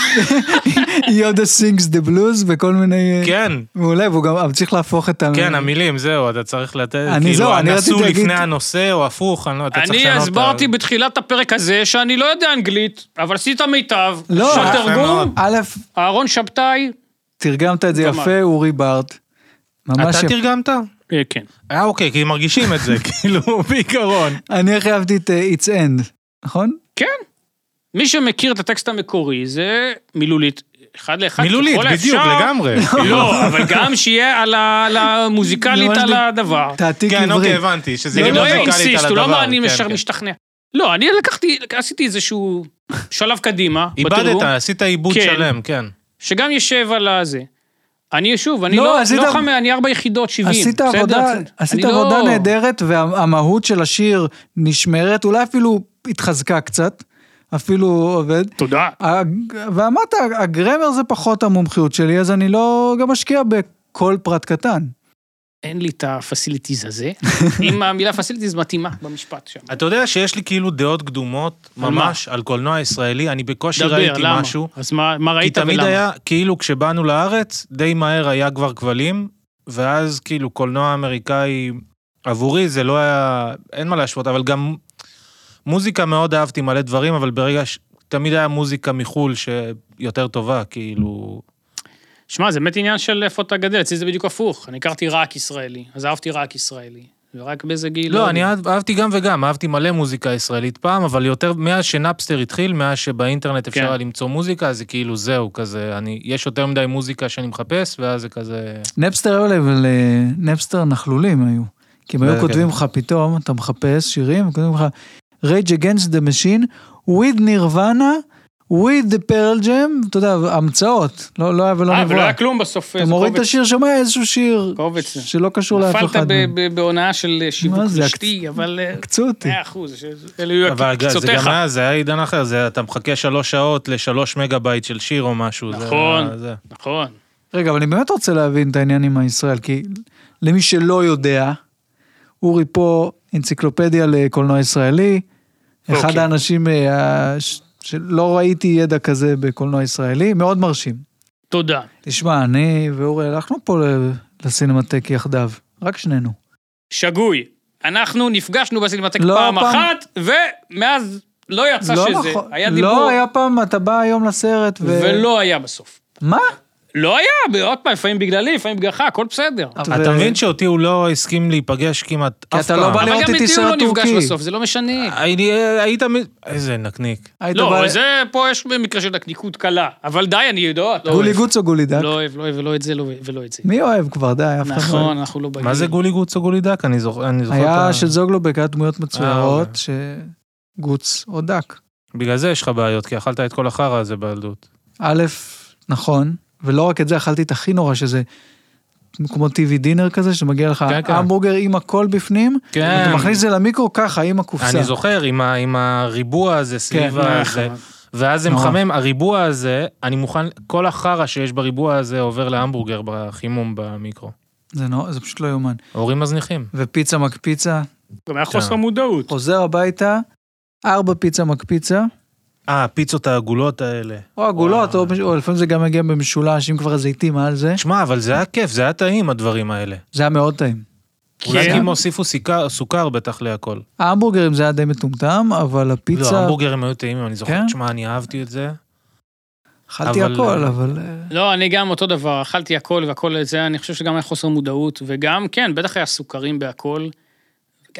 [SPEAKER 3] אה,
[SPEAKER 2] יודה סינגס דה בלוז וכל מיני... אה,
[SPEAKER 3] כן,
[SPEAKER 2] מעולה, והוא גם אבל צריך להפוך את ה...
[SPEAKER 3] כן, המילים, זהו, אתה צריך לתת,
[SPEAKER 2] אני זהו,
[SPEAKER 3] כאילו,
[SPEAKER 2] אני רציתי
[SPEAKER 3] הנסו
[SPEAKER 2] להגיד-
[SPEAKER 3] לפני הנושא, או הפוך, אני לא, אתה צריך לשנות.
[SPEAKER 1] אני
[SPEAKER 3] את ה-
[SPEAKER 1] הסברתי בתחילת הפרק הזה שאני לא יודע אנגלית, אבל עשית מיטב.
[SPEAKER 2] לא,
[SPEAKER 1] של
[SPEAKER 2] יפה
[SPEAKER 1] תרגום,
[SPEAKER 3] מאוד.
[SPEAKER 2] א',
[SPEAKER 1] אהרון שבתאי.
[SPEAKER 2] תרגמת את זה
[SPEAKER 1] גמר.
[SPEAKER 2] יפה, אורי בארט. ממש
[SPEAKER 3] אתה
[SPEAKER 2] יפה.
[SPEAKER 3] תרגמת?
[SPEAKER 1] אה, כן.
[SPEAKER 3] אה, אוקיי, כי מרגישים את זה, כאילו, בעיקרון.
[SPEAKER 2] אני הכי אהבתי את אה, It's End, נכון?
[SPEAKER 1] כן. מי שמכיר את הטקסט המקורי זה מילולית, אחד לאחד.
[SPEAKER 3] מילולית,
[SPEAKER 1] ככל
[SPEAKER 3] בדיוק,
[SPEAKER 1] האפשר.
[SPEAKER 3] לגמרי. כאילו,
[SPEAKER 1] לא, אבל גם שיהיה על ה- על המוזיקלית,
[SPEAKER 2] ממש
[SPEAKER 1] על
[SPEAKER 2] די-
[SPEAKER 1] הדבר.
[SPEAKER 2] תעתיק
[SPEAKER 3] כן, אוקיי,
[SPEAKER 2] עברי.
[SPEAKER 3] הבנתי, שזה
[SPEAKER 1] זה
[SPEAKER 3] יהיה
[SPEAKER 1] גם לא
[SPEAKER 3] מוזיקלית על
[SPEAKER 1] אינסיסט,
[SPEAKER 3] הדבר.
[SPEAKER 1] הוא לא אמר אני
[SPEAKER 3] כן,
[SPEAKER 1] ישר
[SPEAKER 3] כן.
[SPEAKER 1] משתכנע. לא, אני לקחתי, לקחתי איזשהו שלב קדימה,
[SPEAKER 3] איבדת,
[SPEAKER 1] בתרגום,
[SPEAKER 3] עשית עיבוד
[SPEAKER 1] כן.
[SPEAKER 3] שלם, כן.
[SPEAKER 1] שגם יושב על הזה. אני שוב, אני
[SPEAKER 2] לא,
[SPEAKER 1] לא,
[SPEAKER 2] עשית-
[SPEAKER 1] לא חמא, אני ארבע יחידות, 70.
[SPEAKER 2] עשית
[SPEAKER 1] בסדר?
[SPEAKER 2] עבודה,
[SPEAKER 1] אני
[SPEAKER 2] עשית
[SPEAKER 1] לא-
[SPEAKER 2] עבודה נהדרת, והמהות של השיר נשמרת, אולי אפילו התחזקה קצת, אפילו עובד.
[SPEAKER 1] תודה.
[SPEAKER 2] הג- ואמרת, הגרמר זה פחות המומחיות שלי, אז אני לא גם משקיע בכל פרט קטן.
[SPEAKER 1] אין לי את הפסיליטיז הזה, אם המילה פסיליטיז מתאימה במשפט שם.
[SPEAKER 3] אתה יודע שיש לי כאילו דעות קדומות,
[SPEAKER 1] על
[SPEAKER 3] ממש, על קולנוע ישראלי, אני בקושי
[SPEAKER 1] דבר,
[SPEAKER 3] ראיתי
[SPEAKER 1] למה?
[SPEAKER 3] משהו.
[SPEAKER 1] אז מה מה
[SPEAKER 3] כי
[SPEAKER 1] ראית ולמה?
[SPEAKER 3] תמיד היה, כאילו כשבאנו לארץ, די מהר היה כבר כבלים, ואז כאילו קולנוע אמריקאי, עבורי זה לא היה, אין מה להשוות, אבל גם מוזיקה מאוד אהבתי מלא דברים, אבל ברגע ש... תמיד היה מוזיקה מחו"ל שיותר טובה, כאילו...
[SPEAKER 1] שמע, זה באמת עניין של איפה אתה גדל, אצלי זה בדיוק הפוך. אני הכרתי רק ישראלי, אז אהבתי רק ישראלי. ורק באיזה גיל...
[SPEAKER 3] לא,
[SPEAKER 1] יודע.
[SPEAKER 3] אני אהב- אהבתי גם וגם, אהבתי מלא מוזיקה ישראלית פעם, אבל יותר מאז שנפסטר התחיל, מאז שבאינטרנט אפשר
[SPEAKER 1] כן.
[SPEAKER 3] היה למצוא מוזיקה, אז זה כאילו זהו, כזה, אני, יש יותר מדי מוזיקה שאני מחפש, ואז זה כזה...
[SPEAKER 2] נפסטר היו להם, אבל אה, נפסטר נכלולים היו. כי הם
[SPEAKER 3] כן.
[SPEAKER 2] היו כותבים לך פתאום, אתה מחפש שירים, הם כותבים לך, Rage Against the Machine, with נירוונה, with the פרל ג'ם, אתה יודע, המצאות, לא לא היה ולא
[SPEAKER 1] אה,
[SPEAKER 2] נברא.
[SPEAKER 1] ולא היה כלום בסוף.
[SPEAKER 2] אתה
[SPEAKER 1] איזה
[SPEAKER 2] מוריד את
[SPEAKER 1] קובץ.
[SPEAKER 2] השיר שם, היה איזשהו שיר
[SPEAKER 1] קובץ.
[SPEAKER 2] שלא קשור לאף אחד.
[SPEAKER 1] נפלת ב-
[SPEAKER 2] מהם.
[SPEAKER 1] ב- בהונאה של אה, שיווק
[SPEAKER 2] מה זה,
[SPEAKER 1] רשתי, אבל... אה,
[SPEAKER 2] עקצו אותי.
[SPEAKER 1] מאה אחוז, ש- אלה יהיו
[SPEAKER 3] אבל זה
[SPEAKER 1] הקצותיך.
[SPEAKER 3] גם היה, זה היה עידן אחר, זה אתה מחכה שלוש שעות לשלוש מגה בייט של שיר או משהו. זה
[SPEAKER 1] נכון.
[SPEAKER 3] היה- זה.
[SPEAKER 1] נכון.
[SPEAKER 2] רגע, אבל אני באמת רוצה להבין את העניין עם הישראל, כי למי שלא יודע, אורי פה אנציקלופדיה לקולנוע ישראלי, אחד
[SPEAKER 1] אוקיי.
[SPEAKER 2] האנשים אה, ש- שלא ראיתי ידע כזה בקולנוע ישראלי, מאוד מרשים.
[SPEAKER 1] תודה.
[SPEAKER 2] תשמע, אני ואורי הלכנו פה ל- לסינמטק יחדיו, רק שנינו.
[SPEAKER 1] שגוי. אנחנו נפגשנו בסינמטק
[SPEAKER 2] לא
[SPEAKER 1] פעם
[SPEAKER 2] פעם.
[SPEAKER 1] אחת, ומאז לא יצא
[SPEAKER 2] לא
[SPEAKER 1] שזה.
[SPEAKER 2] נכון-
[SPEAKER 1] היה
[SPEAKER 2] לא
[SPEAKER 1] דיבור,
[SPEAKER 2] היה פעם, אתה בא היום לסרט ו...
[SPEAKER 1] ולא היה בסוף.
[SPEAKER 2] מה?
[SPEAKER 1] לא היה, עוד פעם, לפעמים בגללי, לפעמים בגללך, הכל בסדר.
[SPEAKER 2] ו-
[SPEAKER 3] אתה מבין שאותי הוא לא הסכים להיפגש כמעט אף
[SPEAKER 2] כי
[SPEAKER 3] פעם.
[SPEAKER 2] אתה לא בא
[SPEAKER 1] אבל
[SPEAKER 2] לראות
[SPEAKER 1] גם
[SPEAKER 2] איתי
[SPEAKER 1] איתי הוא לא
[SPEAKER 2] סרט
[SPEAKER 1] נפגש
[SPEAKER 2] טורקי. אה,
[SPEAKER 1] בסוף, זה לא משנה.
[SPEAKER 3] אני- היית מ... איזה נקניק.
[SPEAKER 2] היית
[SPEAKER 1] לא,
[SPEAKER 2] בא-
[SPEAKER 1] אבל זה, פה יש מקרה של נקניקות קלה. אבל די, אני יודע, לא
[SPEAKER 2] גולי
[SPEAKER 1] אוהב.
[SPEAKER 2] גוץ או גולי דק?
[SPEAKER 1] לא אוהב, לא אוהב, ולא את זה, לא- ולא את זה.
[SPEAKER 2] מי אוהב כבר, די, אף אחד לא אוהב.
[SPEAKER 1] נכון, אנחנו לא בגיל.
[SPEAKER 3] מה זה גולי גוץ או גולי דק? אני זוכר. אני זוכר את
[SPEAKER 2] היה
[SPEAKER 3] ה-
[SPEAKER 2] של זוגלובק, היה דמויות מצוירות,
[SPEAKER 3] אוקיי.
[SPEAKER 2] שגוץ או דק.
[SPEAKER 3] בגלל זה יש לך בעיות, כי אכלת את כל החרא הזה בילדות.
[SPEAKER 2] א', נכון, ולא רק את זה, אכלתי את הכי נורא, שזה כמו TV דינר כזה, שמגיע לך
[SPEAKER 3] כן, כן.
[SPEAKER 2] המבורגר עם הכל בפנים,
[SPEAKER 3] כן.
[SPEAKER 2] אתה מכניס את זה למיקרו ככה, עם הקופסה.
[SPEAKER 3] אני זוכר, עם ה- עם הריבוע הזה סביב
[SPEAKER 2] נכון.
[SPEAKER 3] הזה. ואז אה, זה
[SPEAKER 2] נורא.
[SPEAKER 3] מחמם, הריבוע הזה, אני מוכן, כל החרא שיש בריבוע הזה עובר להמבורגר בחימום במיקרו.
[SPEAKER 2] זה נורא- זה פשוט לא יאומן.
[SPEAKER 3] הורים מזניחים.
[SPEAKER 2] ופיצה מקפיצה,
[SPEAKER 1] גם היה חוסר מודעות.
[SPEAKER 2] חוזר הביתה, ארבע פיצה מקפיצה,
[SPEAKER 3] אה, הפיצות העגולות האלה.
[SPEAKER 2] או עגולות, או, או לפעמים זה גם מגיע במשולש, אם כבר זיתים על זה.
[SPEAKER 3] שמע, אבל זה היה כיף, זה היה טעים, הדברים האלה.
[SPEAKER 2] זה היה מאוד טעים.
[SPEAKER 3] אולי
[SPEAKER 1] כן.
[SPEAKER 3] כי הם הוסיפו סוכר- סוכר בטח להכל.
[SPEAKER 2] ההמבורגרים זה היה די מטומטם, אבל
[SPEAKER 3] לא,
[SPEAKER 2] הפיצה,
[SPEAKER 3] המבורגרים היו טעימים, אני זוכר.
[SPEAKER 2] כן?
[SPEAKER 3] שמע, אני אהבתי את זה.
[SPEAKER 2] אכלתי
[SPEAKER 3] אבל-
[SPEAKER 2] הכל, אבל... אה,
[SPEAKER 1] לא, אני גם אותו דבר, אכלתי הכל והכל זה, אני חושב שגם היה חוסר מודעות, וגם, כן, בטח היה סוכרים בהכל.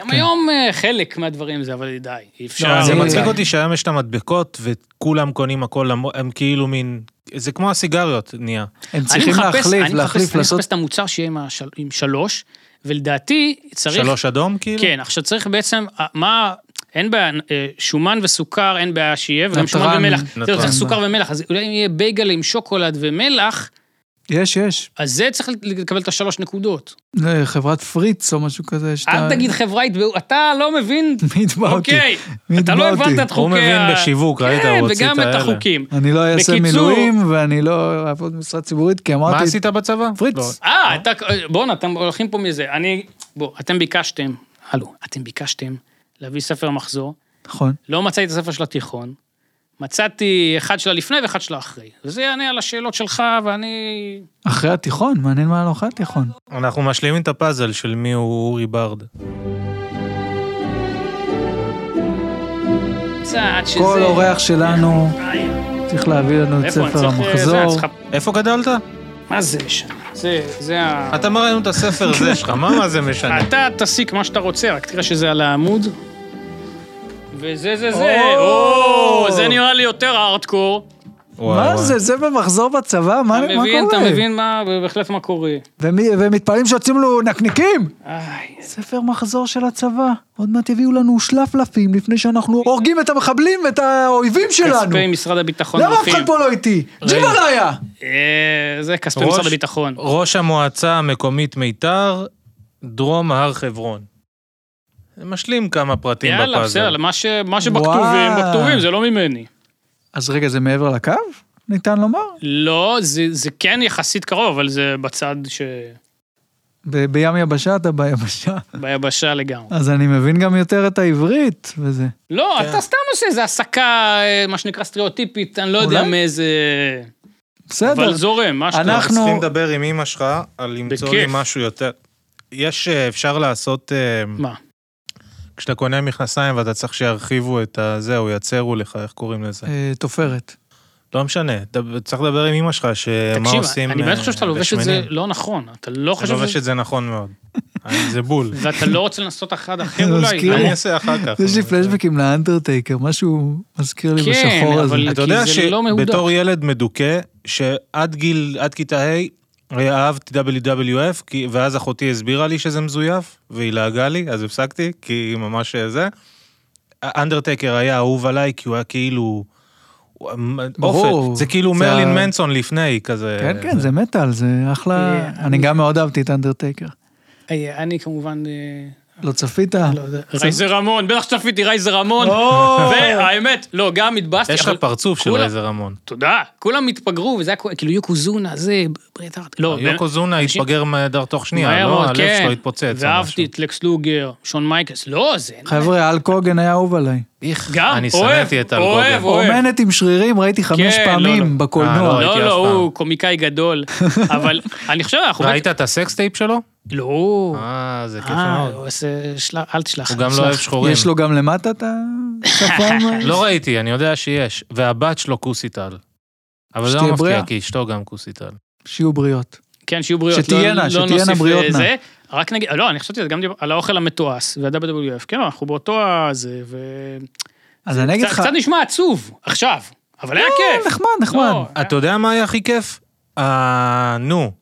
[SPEAKER 1] גם היום אה, חלק מהדברים זה, אבל די, אי אפשר.
[SPEAKER 2] אה,
[SPEAKER 3] כן. לא, זה
[SPEAKER 2] אני-
[SPEAKER 3] מצחיק אותי שהיום יש את המדבקות וכולם קונים הכל, למ- הם כאילו מין... זה כמו הסיגריות נהיה.
[SPEAKER 2] הם
[SPEAKER 1] אני
[SPEAKER 2] צריכים
[SPEAKER 1] מחפש-
[SPEAKER 2] להחליף,
[SPEAKER 1] אני מחפש-
[SPEAKER 2] להחליף,
[SPEAKER 1] אני מחפש
[SPEAKER 2] לעשות...
[SPEAKER 1] את המוצר שיהיה עם השל- עם שלוש, ולדעתי צריך...
[SPEAKER 3] שלוש אדום כאילו?
[SPEAKER 1] כן, עכשיו צריך בעצם, אה, מה, אין בעיה, אה, שומן וסוכר, אין בעיה שיהיה, וגם שומן
[SPEAKER 2] נתרן,
[SPEAKER 1] ומלח.
[SPEAKER 3] נתרן.
[SPEAKER 1] זהו, צריך סוכר ומלח, אז אולי אם יהיה בייגל עם שוקולד ומלח,
[SPEAKER 2] יש, יש.
[SPEAKER 1] אז זה צריך לקבל את השלוש נקודות.
[SPEAKER 2] אה, חברת פריץ או משהו כזה, שאתה...
[SPEAKER 1] אל תגיד חברה, יתבעו- אתה לא מבין,
[SPEAKER 2] מי יתבע אותי?
[SPEAKER 1] אוקיי,
[SPEAKER 2] מי
[SPEAKER 1] אתה לא
[SPEAKER 2] יתבע אותי?
[SPEAKER 1] הבנת את
[SPEAKER 3] הוא
[SPEAKER 1] חוקי
[SPEAKER 3] מבין
[SPEAKER 1] ה-
[SPEAKER 3] בשיווק, ראית?
[SPEAKER 1] כן,
[SPEAKER 3] הוא הוציא
[SPEAKER 1] וגם
[SPEAKER 3] את
[SPEAKER 1] את
[SPEAKER 3] האלה.
[SPEAKER 1] החוקים.
[SPEAKER 2] אני לא אעשה
[SPEAKER 1] בקיצור-
[SPEAKER 2] מילואים, ואני לא אעבוד במשרד ציבורית, כי
[SPEAKER 3] מה
[SPEAKER 2] אמרתי...
[SPEAKER 3] עשית בצבא?
[SPEAKER 2] פריץ.
[SPEAKER 3] לא.
[SPEAKER 1] אה, אתה, בואנה, אתם הולכים פה מזה. אני, בוא, אתם ביקשתם, הלו, אתם ביקשתם להביא ספר מחזור,
[SPEAKER 2] נכון.
[SPEAKER 1] לא מצאתי את הספר של התיכון, מצאתי אחד שלה לפני ואחד שלה אחרי. וזה יענה על השאלות שלך, ואני...
[SPEAKER 2] אחרי התיכון, מעניין מה לא אחרי התיכון.
[SPEAKER 3] אנחנו משלימים את הפאזל של מי הוא אורי ברד.
[SPEAKER 1] קצת שזה...
[SPEAKER 2] כל אורח שלנו
[SPEAKER 1] איי,
[SPEAKER 2] צריך להביא לנו את
[SPEAKER 1] איפה, אני
[SPEAKER 2] ספר
[SPEAKER 1] צריך- אה, זה, אני
[SPEAKER 2] המחזור.
[SPEAKER 1] צריך-
[SPEAKER 3] איפה גדלת?
[SPEAKER 1] מה זה משנה? זה, זה ה...
[SPEAKER 3] אתה מראה לנו את הספר
[SPEAKER 2] כן.
[SPEAKER 3] הזה שלך, מה מה זה משנה?
[SPEAKER 1] אתה תסיק מה שאתה רוצה, רק תראה שזה על העמוד. וזה, זה, זה,
[SPEAKER 2] או!
[SPEAKER 1] או, זה נראה לי יותר הארדקור.
[SPEAKER 2] מה זה, זה במחזור בצבא? מה
[SPEAKER 1] אתה
[SPEAKER 2] מה
[SPEAKER 1] מבין, אתה
[SPEAKER 2] קורה?
[SPEAKER 1] מבין מה, בהחלט מה קורה.
[SPEAKER 2] ומי- והם מתפללים שיוצאים לו נקניקים!
[SPEAKER 1] איי,
[SPEAKER 2] ספר מחזור של הצבא. עוד מעט יביאו לנו שלפלפים לפני שאנחנו הורגים את המחבלים ואת האויבים שלנו.
[SPEAKER 1] כספי משרד הביטחון
[SPEAKER 2] למה אף
[SPEAKER 1] הולכים.
[SPEAKER 2] אחד פה לא איתי? ג'יבל היה!
[SPEAKER 1] אה, זה כספי
[SPEAKER 3] ראש-
[SPEAKER 1] משרד הביטחון.
[SPEAKER 3] ראש המועצה המקומית מיתר, דרום הר חברון. משלים כמה פרטים בפאזל.
[SPEAKER 1] יאללה, בסדר, מה ש- מה שבכתובים,
[SPEAKER 2] וואו.
[SPEAKER 1] בכתובים, זה לא ממני.
[SPEAKER 2] אז רגע, זה מעבר לקו? ניתן לומר?
[SPEAKER 1] לא, זה- זה כן יחסית קרוב, אבל זה בצד ש...
[SPEAKER 2] ב- בים יבשה אתה ביבשה.
[SPEAKER 1] ביבשה לגמרי.
[SPEAKER 2] אז אני מבין גם יותר את העברית וזה.
[SPEAKER 1] לא,
[SPEAKER 2] כן.
[SPEAKER 1] אתה סתם עושה איזה הסקה, אה, מה שנקרא סטריאוטיפית, אני לא יודע
[SPEAKER 2] אולי?
[SPEAKER 1] מאיזה...
[SPEAKER 2] בסדר.
[SPEAKER 1] אבל זורם, מה שאתה...
[SPEAKER 2] אנחנו-
[SPEAKER 3] אנחנו צריכים לדבר עם אמא שלך על למצוא לי
[SPEAKER 1] בכיף.
[SPEAKER 3] משהו יותר. יש, אה, אפשר לעשות, אה,
[SPEAKER 1] מה?
[SPEAKER 3] כשאתה קונה מכנסיים ואתה צריך שירחיבו את הזה, או יצרו לך, איך קוראים לזה?
[SPEAKER 2] אה, תופרת.
[SPEAKER 3] לא משנה, ת- צריך לדבר עם אמא שלך, שמה
[SPEAKER 1] תקשיב,
[SPEAKER 3] עושים
[SPEAKER 1] אני באמת
[SPEAKER 3] אה,
[SPEAKER 1] חושב שאתה לובש את זה
[SPEAKER 3] בשמנים.
[SPEAKER 1] לא נכון. אתה לא
[SPEAKER 3] אני
[SPEAKER 1] חושב
[SPEAKER 3] לובש
[SPEAKER 1] שזה...
[SPEAKER 3] את זה נכון מאוד. אני- זה בול.
[SPEAKER 1] ואתה לא רוצה לנסות אחד אחר
[SPEAKER 2] זה
[SPEAKER 1] אולי. לא?
[SPEAKER 2] מזכיר
[SPEAKER 3] אני
[SPEAKER 2] לי.
[SPEAKER 3] אעשה אחר כך.
[SPEAKER 2] יש לי פלשבקים לאנדרטייקר, משהו מזכיר לי
[SPEAKER 1] כן,
[SPEAKER 2] בשחור הזה.
[SPEAKER 1] אבל-
[SPEAKER 3] אתה
[SPEAKER 1] כי
[SPEAKER 3] יודע
[SPEAKER 1] זה לא מהודק.
[SPEAKER 3] שבתור ילד מדוכא, שעד גיל, עד כיתה ה', אה, אהבתי WWF, כי- ואז אחותי הסבירה לי שזה מזויף, והיא לעגה לי, אז הפסקתי, כי היא ממש אה, זה. אנדרטקר היה אהוב עליי, כי הוא היה כאילו... הוא-
[SPEAKER 2] ברור.
[SPEAKER 3] אופן, זה כאילו
[SPEAKER 2] זה
[SPEAKER 3] מרלין
[SPEAKER 2] ה-
[SPEAKER 3] מנסון לפני, כזה.
[SPEAKER 2] כן, כן, זה מטאל, זה אחלה...
[SPEAKER 1] אה,
[SPEAKER 2] אני גם מאוד אהבתי את אנדרטייקר.
[SPEAKER 1] אה, אני כמובן... אה,
[SPEAKER 2] לא צפית?
[SPEAKER 1] לא, זה- רייזר רמון, בטח שצפיתי רייזר רמון,
[SPEAKER 2] או!
[SPEAKER 1] והאמת, לא, גם התבאסתי,
[SPEAKER 3] יש לך
[SPEAKER 1] אבל-
[SPEAKER 3] פרצוף של
[SPEAKER 1] כולם-
[SPEAKER 3] רייזר רמון.
[SPEAKER 1] תודה, כולם התפגרו, וזה היה כו- כאילו יוקוזונה, זה, ברית הארט, לא,
[SPEAKER 3] יוקו זונה
[SPEAKER 1] אנשים-
[SPEAKER 3] התפגר מהדר תוך שנייה,
[SPEAKER 1] מהר
[SPEAKER 3] לא?
[SPEAKER 1] מאוד,
[SPEAKER 3] הלב
[SPEAKER 1] כן.
[SPEAKER 3] שלו התפוצץ. או משהו.
[SPEAKER 1] ואהבתי את לקס לוגר, שון מייקלס, לא, זה,
[SPEAKER 2] חבר'ה, אל קוגן היה אהוב עליי.
[SPEAKER 3] איך,
[SPEAKER 1] גם,
[SPEAKER 3] אני
[SPEAKER 1] אוהב,
[SPEAKER 3] שנאתי את אלגוגל.
[SPEAKER 1] אוהב, אוהב.
[SPEAKER 2] אומנת עם שרירים ראיתי חמש
[SPEAKER 1] כן, לא,
[SPEAKER 2] פעמים
[SPEAKER 1] לא.
[SPEAKER 3] אה,
[SPEAKER 2] בקולנוע.
[SPEAKER 3] לא,
[SPEAKER 1] לא,
[SPEAKER 3] ראיתי
[SPEAKER 1] לא,
[SPEAKER 3] אף פעם.
[SPEAKER 1] הוא קומיקאי גדול, אבל אני חושב, אנחנו...
[SPEAKER 3] ראית את הסקסטייפ שלו?
[SPEAKER 1] לא.
[SPEAKER 3] אה, זה כיף
[SPEAKER 1] אה,
[SPEAKER 3] מאוד.
[SPEAKER 1] הוא עושה, שלח- אל תשלח.
[SPEAKER 3] הוא גם לא
[SPEAKER 1] תשלח.
[SPEAKER 3] אוהב שחורים.
[SPEAKER 2] יש לו גם למטה את השפם?
[SPEAKER 3] לא ראיתי, אני יודע שיש. והבת שלו כוסיטל. אבל זה לא
[SPEAKER 2] שתהיה
[SPEAKER 3] מפתיע,
[SPEAKER 2] בריאה.
[SPEAKER 3] כי אשתו גם כוסיטל.
[SPEAKER 2] שיהיו בריאות.
[SPEAKER 1] כן, שיהיו בריאות.
[SPEAKER 2] שתהיינה,
[SPEAKER 1] לא- לא
[SPEAKER 2] שתהיינה
[SPEAKER 1] נוסיף,
[SPEAKER 2] בריאות
[SPEAKER 1] אה,
[SPEAKER 2] נא.
[SPEAKER 1] זה. רק נגיד, לא, אני חשבתי על זה גם דיבר- על האוכל המתועש וה-WF, כן, אנחנו באותו הזה, ו...
[SPEAKER 2] אז אני אגיד
[SPEAKER 1] קצת-
[SPEAKER 2] לך... כן,
[SPEAKER 1] קצת נשמע עצוב, עכשיו, אבל היה כיף.
[SPEAKER 2] נחמד, נחמד.
[SPEAKER 1] לא,
[SPEAKER 3] אתה יודע מה היה הכי כיף? אה, נו,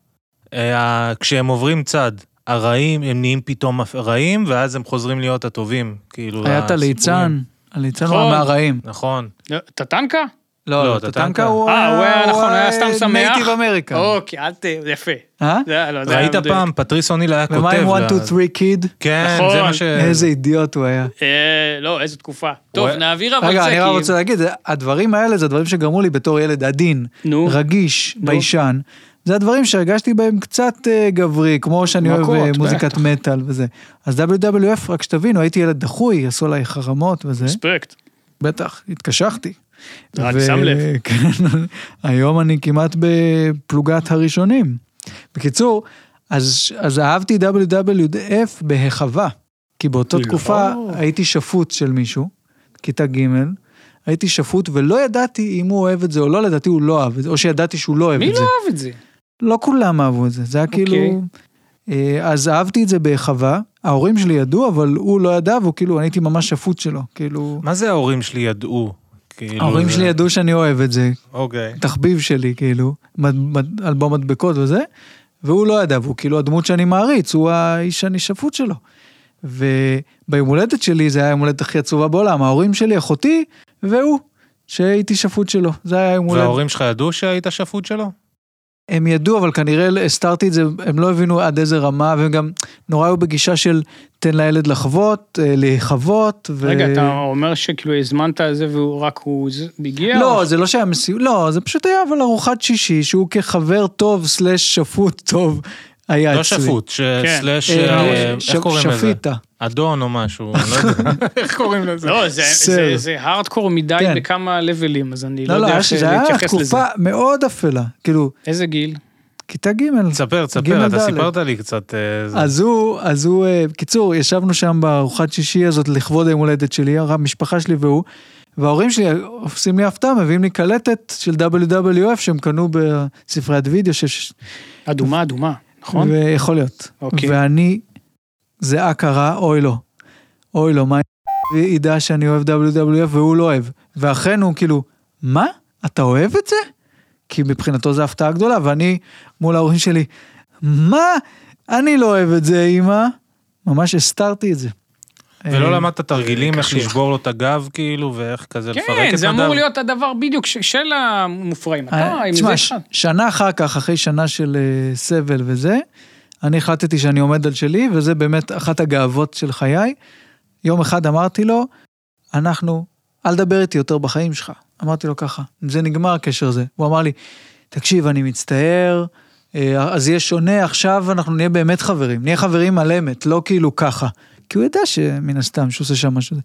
[SPEAKER 3] אה, כשהם עוברים צד, הרעים, הם נהיים פתאום רעים, ואז הם חוזרים להיות הטובים. כאילו,
[SPEAKER 2] היה את
[SPEAKER 3] הסיפורים.
[SPEAKER 2] הליצן, הליצן הוא
[SPEAKER 1] לא, אה, נכון.
[SPEAKER 2] המהרעים.
[SPEAKER 3] נכון.
[SPEAKER 1] טטנקה?
[SPEAKER 2] לא,
[SPEAKER 3] לא,
[SPEAKER 2] לא,
[SPEAKER 3] את
[SPEAKER 2] טטנקה
[SPEAKER 3] הטנקה.
[SPEAKER 2] הוא
[SPEAKER 1] אה, הוא היה, נכון, הוא היה סתם שמח.
[SPEAKER 2] נייטיב אמריקה.
[SPEAKER 1] אוקיי, אל ת... יפה.
[SPEAKER 2] אה?
[SPEAKER 1] זה היה- לא, זה היה
[SPEAKER 3] ראית
[SPEAKER 1] מדויק.
[SPEAKER 3] פעם, פטריס אוניל היה כותב.
[SPEAKER 2] ומה עם 1,
[SPEAKER 3] ל-
[SPEAKER 2] 2, 3 קיד?
[SPEAKER 3] כן,
[SPEAKER 1] נכון.
[SPEAKER 3] זה מה ש...
[SPEAKER 2] איזה אידיוט הוא היה.
[SPEAKER 1] אה, לא, איזו תקופה. טוב,
[SPEAKER 3] היה-
[SPEAKER 1] נעביר אבל
[SPEAKER 2] רגע,
[SPEAKER 1] זה,
[SPEAKER 2] אני רק
[SPEAKER 1] כי-
[SPEAKER 2] רוצה להגיד, זה- הדברים האלה זה הדברים שגרמו לי בתור ילד עדין,
[SPEAKER 1] נו.
[SPEAKER 2] רגיש, ביישן. זה הדברים שהרגשתי בהם קצת אה, גברי, כמו שאני אוהב
[SPEAKER 1] מכות,
[SPEAKER 2] אה, מוזיקת
[SPEAKER 1] בטח.
[SPEAKER 2] מטאל וזה. אז WWF, רק שתבינו, הייתי ילד דחוי, עשו עליי חרמות וזה.
[SPEAKER 1] רספקט.
[SPEAKER 2] בטח, התקשחתי.
[SPEAKER 1] אני
[SPEAKER 2] ו-
[SPEAKER 1] שם לב.
[SPEAKER 2] כן, היום אני כמעט בפלוגת הראשונים. בקיצור, אז, אז אהבתי WWF בהיחווה, כי באותה
[SPEAKER 1] לא.
[SPEAKER 2] תקופה הייתי שפוט של מישהו, כיתה ג', הייתי שפוט ולא ידעתי אם הוא אוהב את זה או לא, לדעתי הוא לא אהב את זה, או שידעתי שהוא לא אוהב
[SPEAKER 1] מי
[SPEAKER 2] את
[SPEAKER 1] לא
[SPEAKER 2] זה.
[SPEAKER 1] אהב את זה?
[SPEAKER 2] לא כולם אהבו את זה, זה היה
[SPEAKER 1] אוקיי.
[SPEAKER 2] כאילו... אה, אז אהבתי את זה בהיחווה, ההורים שלי ידעו, אבל הוא לא ידע, והוא כאילו, אני הייתי ממש שפוט שלו, כאילו...
[SPEAKER 3] מה זה ההורים שלי ידעו? כאילו,
[SPEAKER 2] ההורים
[SPEAKER 3] זה-
[SPEAKER 2] שלי ידעו שאני אוהב את זה,
[SPEAKER 3] אוקיי.
[SPEAKER 2] תחביב שלי, כאילו, מד, מד, אלבום מדבקות וזה, והוא לא ידע, והוא כאילו הדמות שאני מעריץ, הוא האיש הנשאפות שלו. וביום הולדת שלי, זה היה יום הולדת הכי עצובה בעולם, ההורים שלי, אחותי, והוא, שהייתי שפוט שלו, זה היה יום הולדת.
[SPEAKER 3] וההורים שלך ידעו שהיית שפוט שלו?
[SPEAKER 2] הם ידעו, אבל כנראה הסתרתי את זה, הם לא הבינו עד איזה רמה, והם גם נורא היו בגישה של תן לילד לחוות, אה, להיחוות, ו...
[SPEAKER 1] רגע, אתה אומר שכאילו הזמנת את זה והוא רק הוא זה- הגיע?
[SPEAKER 2] לא,
[SPEAKER 3] אוקיי.
[SPEAKER 1] או-
[SPEAKER 2] זה לא שהיה מסיבות, לא, זה פשוט היה אבל ארוחת שישי, שהוא כחבר טוב סלאש שפוט טוב היה
[SPEAKER 3] לא
[SPEAKER 2] אה, אצלי.
[SPEAKER 3] שפוט, ש-
[SPEAKER 1] כן.
[SPEAKER 3] סלאש,
[SPEAKER 2] אה,
[SPEAKER 3] אה,
[SPEAKER 2] ש-
[SPEAKER 3] איך קוראים לזה?
[SPEAKER 2] שפיטה.
[SPEAKER 3] אדון או משהו, אני לא יודע.
[SPEAKER 1] איך קוראים לזה? לא, זה-
[SPEAKER 2] סר.
[SPEAKER 1] זה- זה הארדקור מדי
[SPEAKER 2] כן.
[SPEAKER 1] בכמה לבלים, אז אני לא
[SPEAKER 2] לא, לא,
[SPEAKER 1] יודע
[SPEAKER 2] היה
[SPEAKER 1] איך
[SPEAKER 2] ש- זה היה
[SPEAKER 1] להתייחס לזה.
[SPEAKER 2] תקופה מאוד אפלה, כאילו,
[SPEAKER 1] איזה גיל?
[SPEAKER 2] כיתה ג',
[SPEAKER 3] תספר, תספר,
[SPEAKER 2] ג'
[SPEAKER 3] אתה
[SPEAKER 2] ד'.
[SPEAKER 3] סיפרת לי קצת. אה, זה.
[SPEAKER 2] אז הוא, אז הוא, אה, בקיצור, ישבנו שם בארוחת שישי הזאת לכבוד היום הולדת שלי, המשפחה שלי והוא, וההורים שלי עושים לי הפתעה, מביאים לי קלטת של WWF שהם קנו בספריית וידאו, ש-
[SPEAKER 1] אדומה, אדומה, נכון?
[SPEAKER 2] ויכול להיות.
[SPEAKER 1] אוקיי.
[SPEAKER 2] ואני, זיעה קרה, אוי לו. אוי לו, מה ידע שאני אוהב WWF והוא לא אוהב. ואכן הוא כאילו, מה? אתה אוהב את זה? כי מבחינתו זו הפתעה גדולה, ואני מול ההורים שלי, מה? אני לא אוהב את זה, אמא. ממש הסתרתי את זה.
[SPEAKER 3] ולא
[SPEAKER 2] אה,
[SPEAKER 3] למדת תרגילים איך
[SPEAKER 1] קשוח.
[SPEAKER 3] לשבור לו את הגב, כאילו, ואיך כזה לפרק את הגב?
[SPEAKER 1] כן, זה אמור להיות הדבר בדיוק ש- של המופרעים. אתה,
[SPEAKER 2] אה,
[SPEAKER 1] עם
[SPEAKER 2] תשמע,
[SPEAKER 1] זה
[SPEAKER 2] ש-
[SPEAKER 1] אחד.
[SPEAKER 2] שנה אחר כך, אחרי שנה של אה, סבל וזה, אני החלטתי שאני עומד על שלי, וזה באמת אחת הגאוות של חיי. יום אחד אמרתי לו, אנחנו, אל תדבר איתי יותר בחיים שלך. אמרתי לו ככה, זה נגמר הקשר הזה. הוא אמר לי, תקשיב, אני מצטער, אה, אז יהיה שונה, עכשיו אנחנו נהיה באמת חברים, נהיה חברים על אמת, לא כאילו ככה. כי הוא ידע שמן הסתם שהוא עושה שם משהו.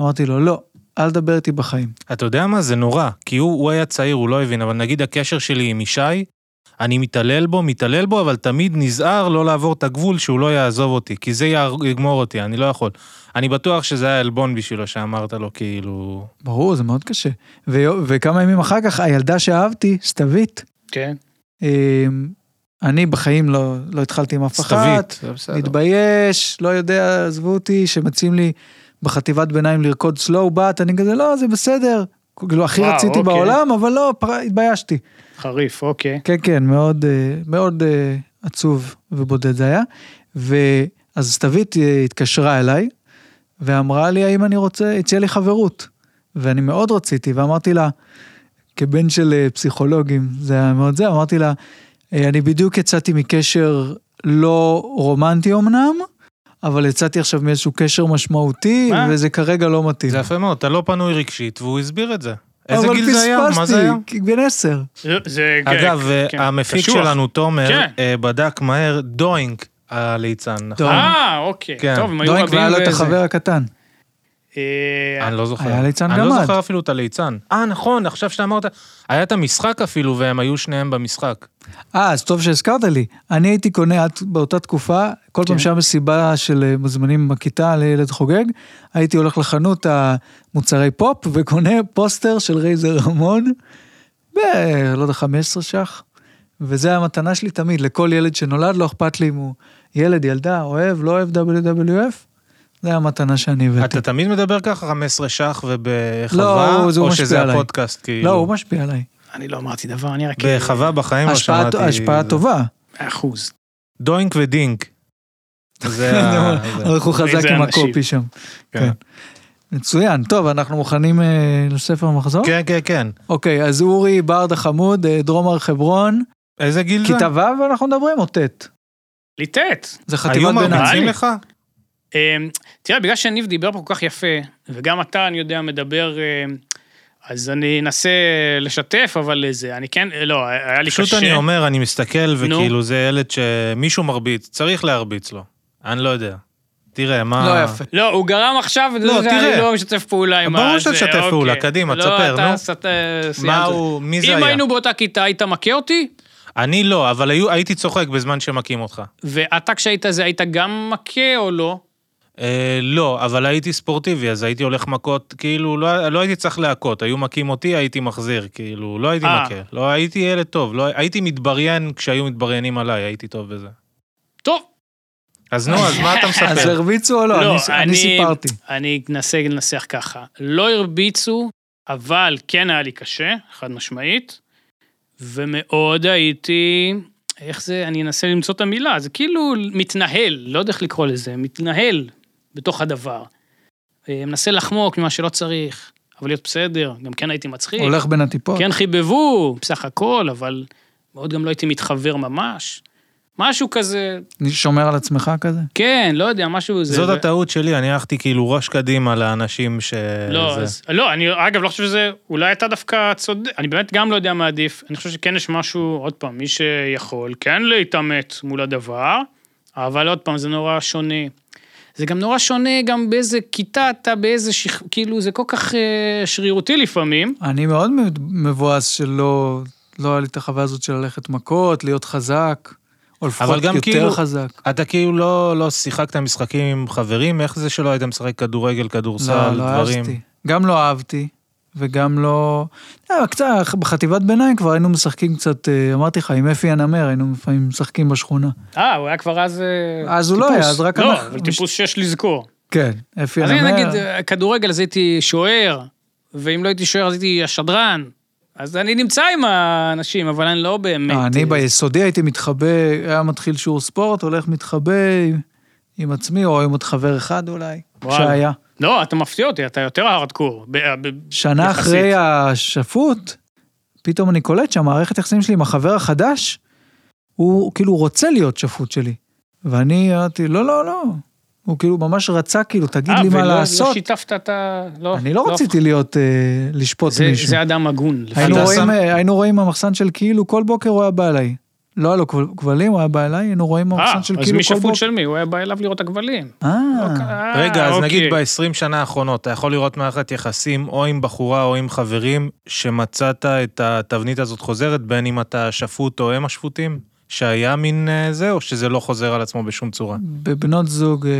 [SPEAKER 2] אמרתי לו, לא, אל תדבר איתי בחיים.
[SPEAKER 3] אתה יודע מה? זה נורא. כי הוא הוא היה צעיר, הוא לא הבין, אבל נגיד הקשר שלי עם ישי, אני מתעלל בו, מתעלל בו, אבל תמיד נזהר לא לעבור את הגבול שהוא לא יעזוב אותי, כי זה יהר- יגמור אותי, אני לא יכול. אני בטוח שזה היה עלבון בשבילו שאמרת לו, כאילו...
[SPEAKER 2] ברור, זה מאוד קשה. ו- וכמה ימים אחר כך, הילדה שאהבתי, סתווית,
[SPEAKER 1] כן.
[SPEAKER 2] אמ, אני בחיים לא, לא התחלתי עם אף אחת,
[SPEAKER 3] סתווית. זה בסדר.
[SPEAKER 2] מתבייש, לא יודע, עזבו אותי, שמציעים לי בחטיבת ביניים לרקוד סלואו בת, אני כזה, לא, זה בסדר. כאילו, הכי
[SPEAKER 1] וואו,
[SPEAKER 2] רציתי
[SPEAKER 1] אוקיי.
[SPEAKER 2] בעולם, אבל לא, פר... התביישתי.
[SPEAKER 1] חריף, אוקיי.
[SPEAKER 2] כן, כן, מאוד, אה, מאוד אה, עצוב ובודד זה היה. ואז סתווית אה, התקשרה אליי, ואמרה לי האם אני רוצה, הציעה לי חברות. ואני מאוד רציתי, ואמרתי לה, כבן של אה, פסיכולוגים, זה היה מאוד זה, אמרתי לה, "אה, אני בדיוק יצאתי מקשר לא רומנטי אמנם, אבל יצאתי עכשיו מאיזשהו קשר משמעותי,
[SPEAKER 1] מה?
[SPEAKER 2] וזה כרגע לא מתאים.
[SPEAKER 3] זה יפה מאוד, אתה לא פנוי רגשית, והוא הסביר את זה. איזה גיל זה היה? מה זה היה?
[SPEAKER 2] אבל פספסתי, בן עשר.
[SPEAKER 1] זה...
[SPEAKER 3] אגב, אה,
[SPEAKER 1] כן,
[SPEAKER 3] המפיק
[SPEAKER 1] קשוח.
[SPEAKER 3] שלנו, תומר,
[SPEAKER 1] כן.
[SPEAKER 3] אה, בדק מהר דוינג הליצן. נכון?
[SPEAKER 1] אה, אוקיי.
[SPEAKER 3] כן.
[SPEAKER 1] טוב, הם היו
[SPEAKER 2] דוינג
[SPEAKER 1] רבים
[SPEAKER 2] והיה לו את
[SPEAKER 1] וזה.
[SPEAKER 2] החבר הקטן.
[SPEAKER 1] אה,
[SPEAKER 3] אני לא זוכר.
[SPEAKER 2] היה ליצן
[SPEAKER 3] אני
[SPEAKER 2] גמד.
[SPEAKER 3] לא זוכר אפילו את הליצן. אה, נכון, עכשיו שאתה אמרת, היה את המשחק אפילו, והם היו שניהם במשחק.
[SPEAKER 2] אה, אז טוב שהזכרת לי. אני הייתי קונה עד באותה תקופה, כל
[SPEAKER 3] כן.
[SPEAKER 2] פעם שהיה מסיבה של אה, מוזמנים בכיתה לילד חוגג, הייתי הולך לחנות המוצרי פופ וקונה פוסטר של רייזר רמון, ב... לא יודע, 15 ש"ח. וזה המתנה שלי תמיד, לכל ילד שנולד, לא אכפת לי אם הוא ילד, ילדה, אוהב, לא אוהב WWF, זה המתנה שאני הבאתי.
[SPEAKER 3] אתה תמיד מדבר ככה 15 ש"ח
[SPEAKER 2] לא,
[SPEAKER 3] ובחווה,
[SPEAKER 2] הוא- זה הוא
[SPEAKER 3] או
[SPEAKER 2] משפיע
[SPEAKER 3] שזה
[SPEAKER 2] עליי.
[SPEAKER 3] הפודקאסט, כאילו?
[SPEAKER 2] לא, הוא משפיע עליי.
[SPEAKER 1] אני לא אמרתי דבר, אני רק...
[SPEAKER 3] בחווה בחיים לא
[SPEAKER 2] השפעה-
[SPEAKER 3] שמעתי.
[SPEAKER 2] השפעה
[SPEAKER 3] זה.
[SPEAKER 2] טובה.
[SPEAKER 1] אחוז.
[SPEAKER 3] דוינק ודינק. זה ה... זה.
[SPEAKER 2] הלכו אה, חזק
[SPEAKER 1] איזה
[SPEAKER 2] עם
[SPEAKER 1] אנשים.
[SPEAKER 2] הקופי שם.
[SPEAKER 3] כן.
[SPEAKER 2] מצוין, טוב, אנחנו מוכנים אה, לספר המחזור?
[SPEAKER 3] כן, כן, כן.
[SPEAKER 2] אוקיי, אז אורי ברד החמוד, אה, דרום הר חברון,
[SPEAKER 3] איזה גיל זה?
[SPEAKER 2] כיתה ו' אנחנו מדברים, או ט'?
[SPEAKER 1] ליטט.
[SPEAKER 2] זה
[SPEAKER 3] היו
[SPEAKER 2] חטיבת ביניים.
[SPEAKER 3] מרביצים
[SPEAKER 1] ביניים.
[SPEAKER 3] לך?
[SPEAKER 1] אמ, תראה, בגלל שניב דיבר פה כל כך יפה, וגם אתה, אני יודע, מדבר, אמ, אז אני אנסה לשתף, אבל זה, אני כן, לא, היה לי קשה.
[SPEAKER 3] פשוט אני אומר, אני מסתכל,
[SPEAKER 1] נו.
[SPEAKER 3] וכאילו זה ילד שמישהו מרביץ, צריך להרביץ לו. אני לא יודע. תראה, מה...
[SPEAKER 2] לא יפה.
[SPEAKER 1] לא, הוא גרם עכשיו,
[SPEAKER 3] לא,
[SPEAKER 1] זה,
[SPEAKER 3] תראה.
[SPEAKER 1] אני לא משתף פעולה עם
[SPEAKER 3] ברור
[SPEAKER 1] ה-
[SPEAKER 3] שאתה
[SPEAKER 1] זה,
[SPEAKER 3] תשתף
[SPEAKER 1] אוקיי.
[SPEAKER 3] פעולה, קדימה, תספר,
[SPEAKER 1] לא,
[SPEAKER 3] נו.
[SPEAKER 1] אתה סת- סיימת.
[SPEAKER 3] מה הוא, מי זה
[SPEAKER 1] אם
[SPEAKER 3] היה?
[SPEAKER 1] היינו באותה כיתה, היית מכה אותי,
[SPEAKER 3] אני לא, אבל היו- הייתי צוחק בזמן שמכים אותך.
[SPEAKER 1] ואתה כשהיית זה, היית גם מכה או לא?
[SPEAKER 3] אה, לא, אבל הייתי ספורטיבי, אז הייתי הולך מכות, כאילו, לא, לא הייתי צריך להכות, היו מכים אותי, הייתי מחזיר, כאילו, לא הייתי
[SPEAKER 1] אה.
[SPEAKER 3] מכה. לא, הייתי ילד טוב, לא, הייתי מתבריין כשהיו מתבריינים עליי, הייתי טוב בזה.
[SPEAKER 1] טוב.
[SPEAKER 3] אז נו, אז מה אתה
[SPEAKER 2] אז
[SPEAKER 3] מספר?
[SPEAKER 2] הרביצו או לא? אני- אני סיפרתי.
[SPEAKER 1] אני אנסה לנסח ככה. לא הרביצו, אבל כן היה לי קשה, חד משמעית, ומאוד הייתי... איך זה, אני אנסה למצוא את המילה, זה כאילו מתנהל, לא יודע איך לקרוא לזה, מתנהל בתוך הדבר. אה, מנסה לחמוק ממה שלא צריך, אבל להיות בסדר, גם כן הייתי מצחיק.
[SPEAKER 2] הולך בין הטיפות.
[SPEAKER 1] כן חיבבו, בסך הכל, אבל מאוד גם לא הייתי מתחבר ממש. משהו כזה,
[SPEAKER 2] אני שומר על עצמך כזה?
[SPEAKER 1] כן, לא יודע, משהו... זה-
[SPEAKER 3] זאת
[SPEAKER 1] ו-
[SPEAKER 3] הטעות שלי, אני הלכתי כאילו ראש קדימה לאנשים ש...
[SPEAKER 1] לא,
[SPEAKER 3] זה.
[SPEAKER 1] אז, לא, אני אגב לא חושב שזה, אולי אתה דווקא צודק, אני באמת גם לא יודע מה עדיף, אני חושב שכן יש משהו, עוד פעם, מי שיכול כן להתעמת מול הדבר, אבל עוד פעם, זה נורא שונה. זה גם נורא שונה גם באיזה כיתה אתה, באיזה שכ... כאילו, זה כל כך אה, שרירותי לפעמים.
[SPEAKER 2] אני מאוד מבואס שלא לא היה לי את החוויה הזאת של ללכת מכות, להיות חזק, או לפחות
[SPEAKER 3] גם
[SPEAKER 2] יותר
[SPEAKER 3] כאילו-
[SPEAKER 2] חזק.
[SPEAKER 3] אתה כאילו לא, לא שיחקת משחקים עם חברים, איך זה שלא היית משחק כדורגל, כדורסל,
[SPEAKER 2] לא, לא
[SPEAKER 3] דברים?
[SPEAKER 2] אהבתי. גם לא אהבתי, וגם לא... לא, קצת, בחטיבת ביניים כבר היינו משחקים קצת, אה, אמרתי לך, עם אפי הנמר, היינו לפעמים משחקים בשכונה.
[SPEAKER 1] אה, הוא היה כבר אז... אה,
[SPEAKER 2] אז הוא לא
[SPEAKER 1] טיפוס.
[SPEAKER 2] היה, אז רק
[SPEAKER 1] לא,
[SPEAKER 2] אנחנו-
[SPEAKER 1] אבל טיפוס שיש לזכור.
[SPEAKER 2] כן, אפי
[SPEAKER 1] אז
[SPEAKER 2] הנמר.
[SPEAKER 1] אני נגיד, אה, כדורגל אז הייתי שוער, ואם לא הייתי שוער אז הייתי השדרן. אז אני נמצא עם האנשים, אבל אני לא באמת...
[SPEAKER 2] אה,
[SPEAKER 1] אה,
[SPEAKER 2] אני ביסודי הייתי מתחבא, היה מתחיל שיעור ספורט, הולך מתחבא עם- עם עצמי, או עם עוד חבר אחד אולי,
[SPEAKER 1] וואלה.
[SPEAKER 2] שהיה.
[SPEAKER 1] לא, אתה מפתיע אותי, אתה יותר הארדקור. ב- אה, ב-
[SPEAKER 2] שנה
[SPEAKER 1] יחסית.
[SPEAKER 2] אחרי השפוט, פתאום אני קולט שהמערכת יחסים שלי עם החבר החדש, הוא כאילו רוצה להיות שפוט שלי. ואני אמרתי, לא, לא, לא. הוא כאילו ממש רצה, כאילו, תגיד
[SPEAKER 1] אה,
[SPEAKER 2] לי מה
[SPEAKER 1] ולא- לא
[SPEAKER 2] לעשות.
[SPEAKER 1] שיתפת את ה...
[SPEAKER 2] אני לא רציתי להיות, אה, לשפוט
[SPEAKER 1] זה-
[SPEAKER 2] מישהו.
[SPEAKER 1] זה אדם הגון. לפעמים.
[SPEAKER 2] היינו
[SPEAKER 3] אתה
[SPEAKER 2] רואים,
[SPEAKER 3] שם-
[SPEAKER 2] אה, היינו רואים במחסן של כאילו כל בוקר הוא היה בא אליי. לא היה לו כבל- כבלים, הוא היה בא אליי, היינו רואים במחסן של
[SPEAKER 1] אה, אז
[SPEAKER 2] כאילו
[SPEAKER 1] מי
[SPEAKER 2] כל
[SPEAKER 1] שפוט
[SPEAKER 2] בוקר.
[SPEAKER 1] של מי? הוא היה בא אליו לראות את הכבלים.
[SPEAKER 2] אה,
[SPEAKER 1] אה,
[SPEAKER 3] רגע, אז
[SPEAKER 1] אוקיי.
[SPEAKER 3] נגיד ב-20 שנה האחרונות, אתה יכול לראות מערכת יחסים או עם בחורה או עם חברים, שמצאת את התבנית הזאת חוזרת, בין אם אתה שפוט או הם השפוטים, שהיה מין אה, זה, או שזה לא חוזר על עצמו בשום צורה.
[SPEAKER 2] בבנות זוג אה,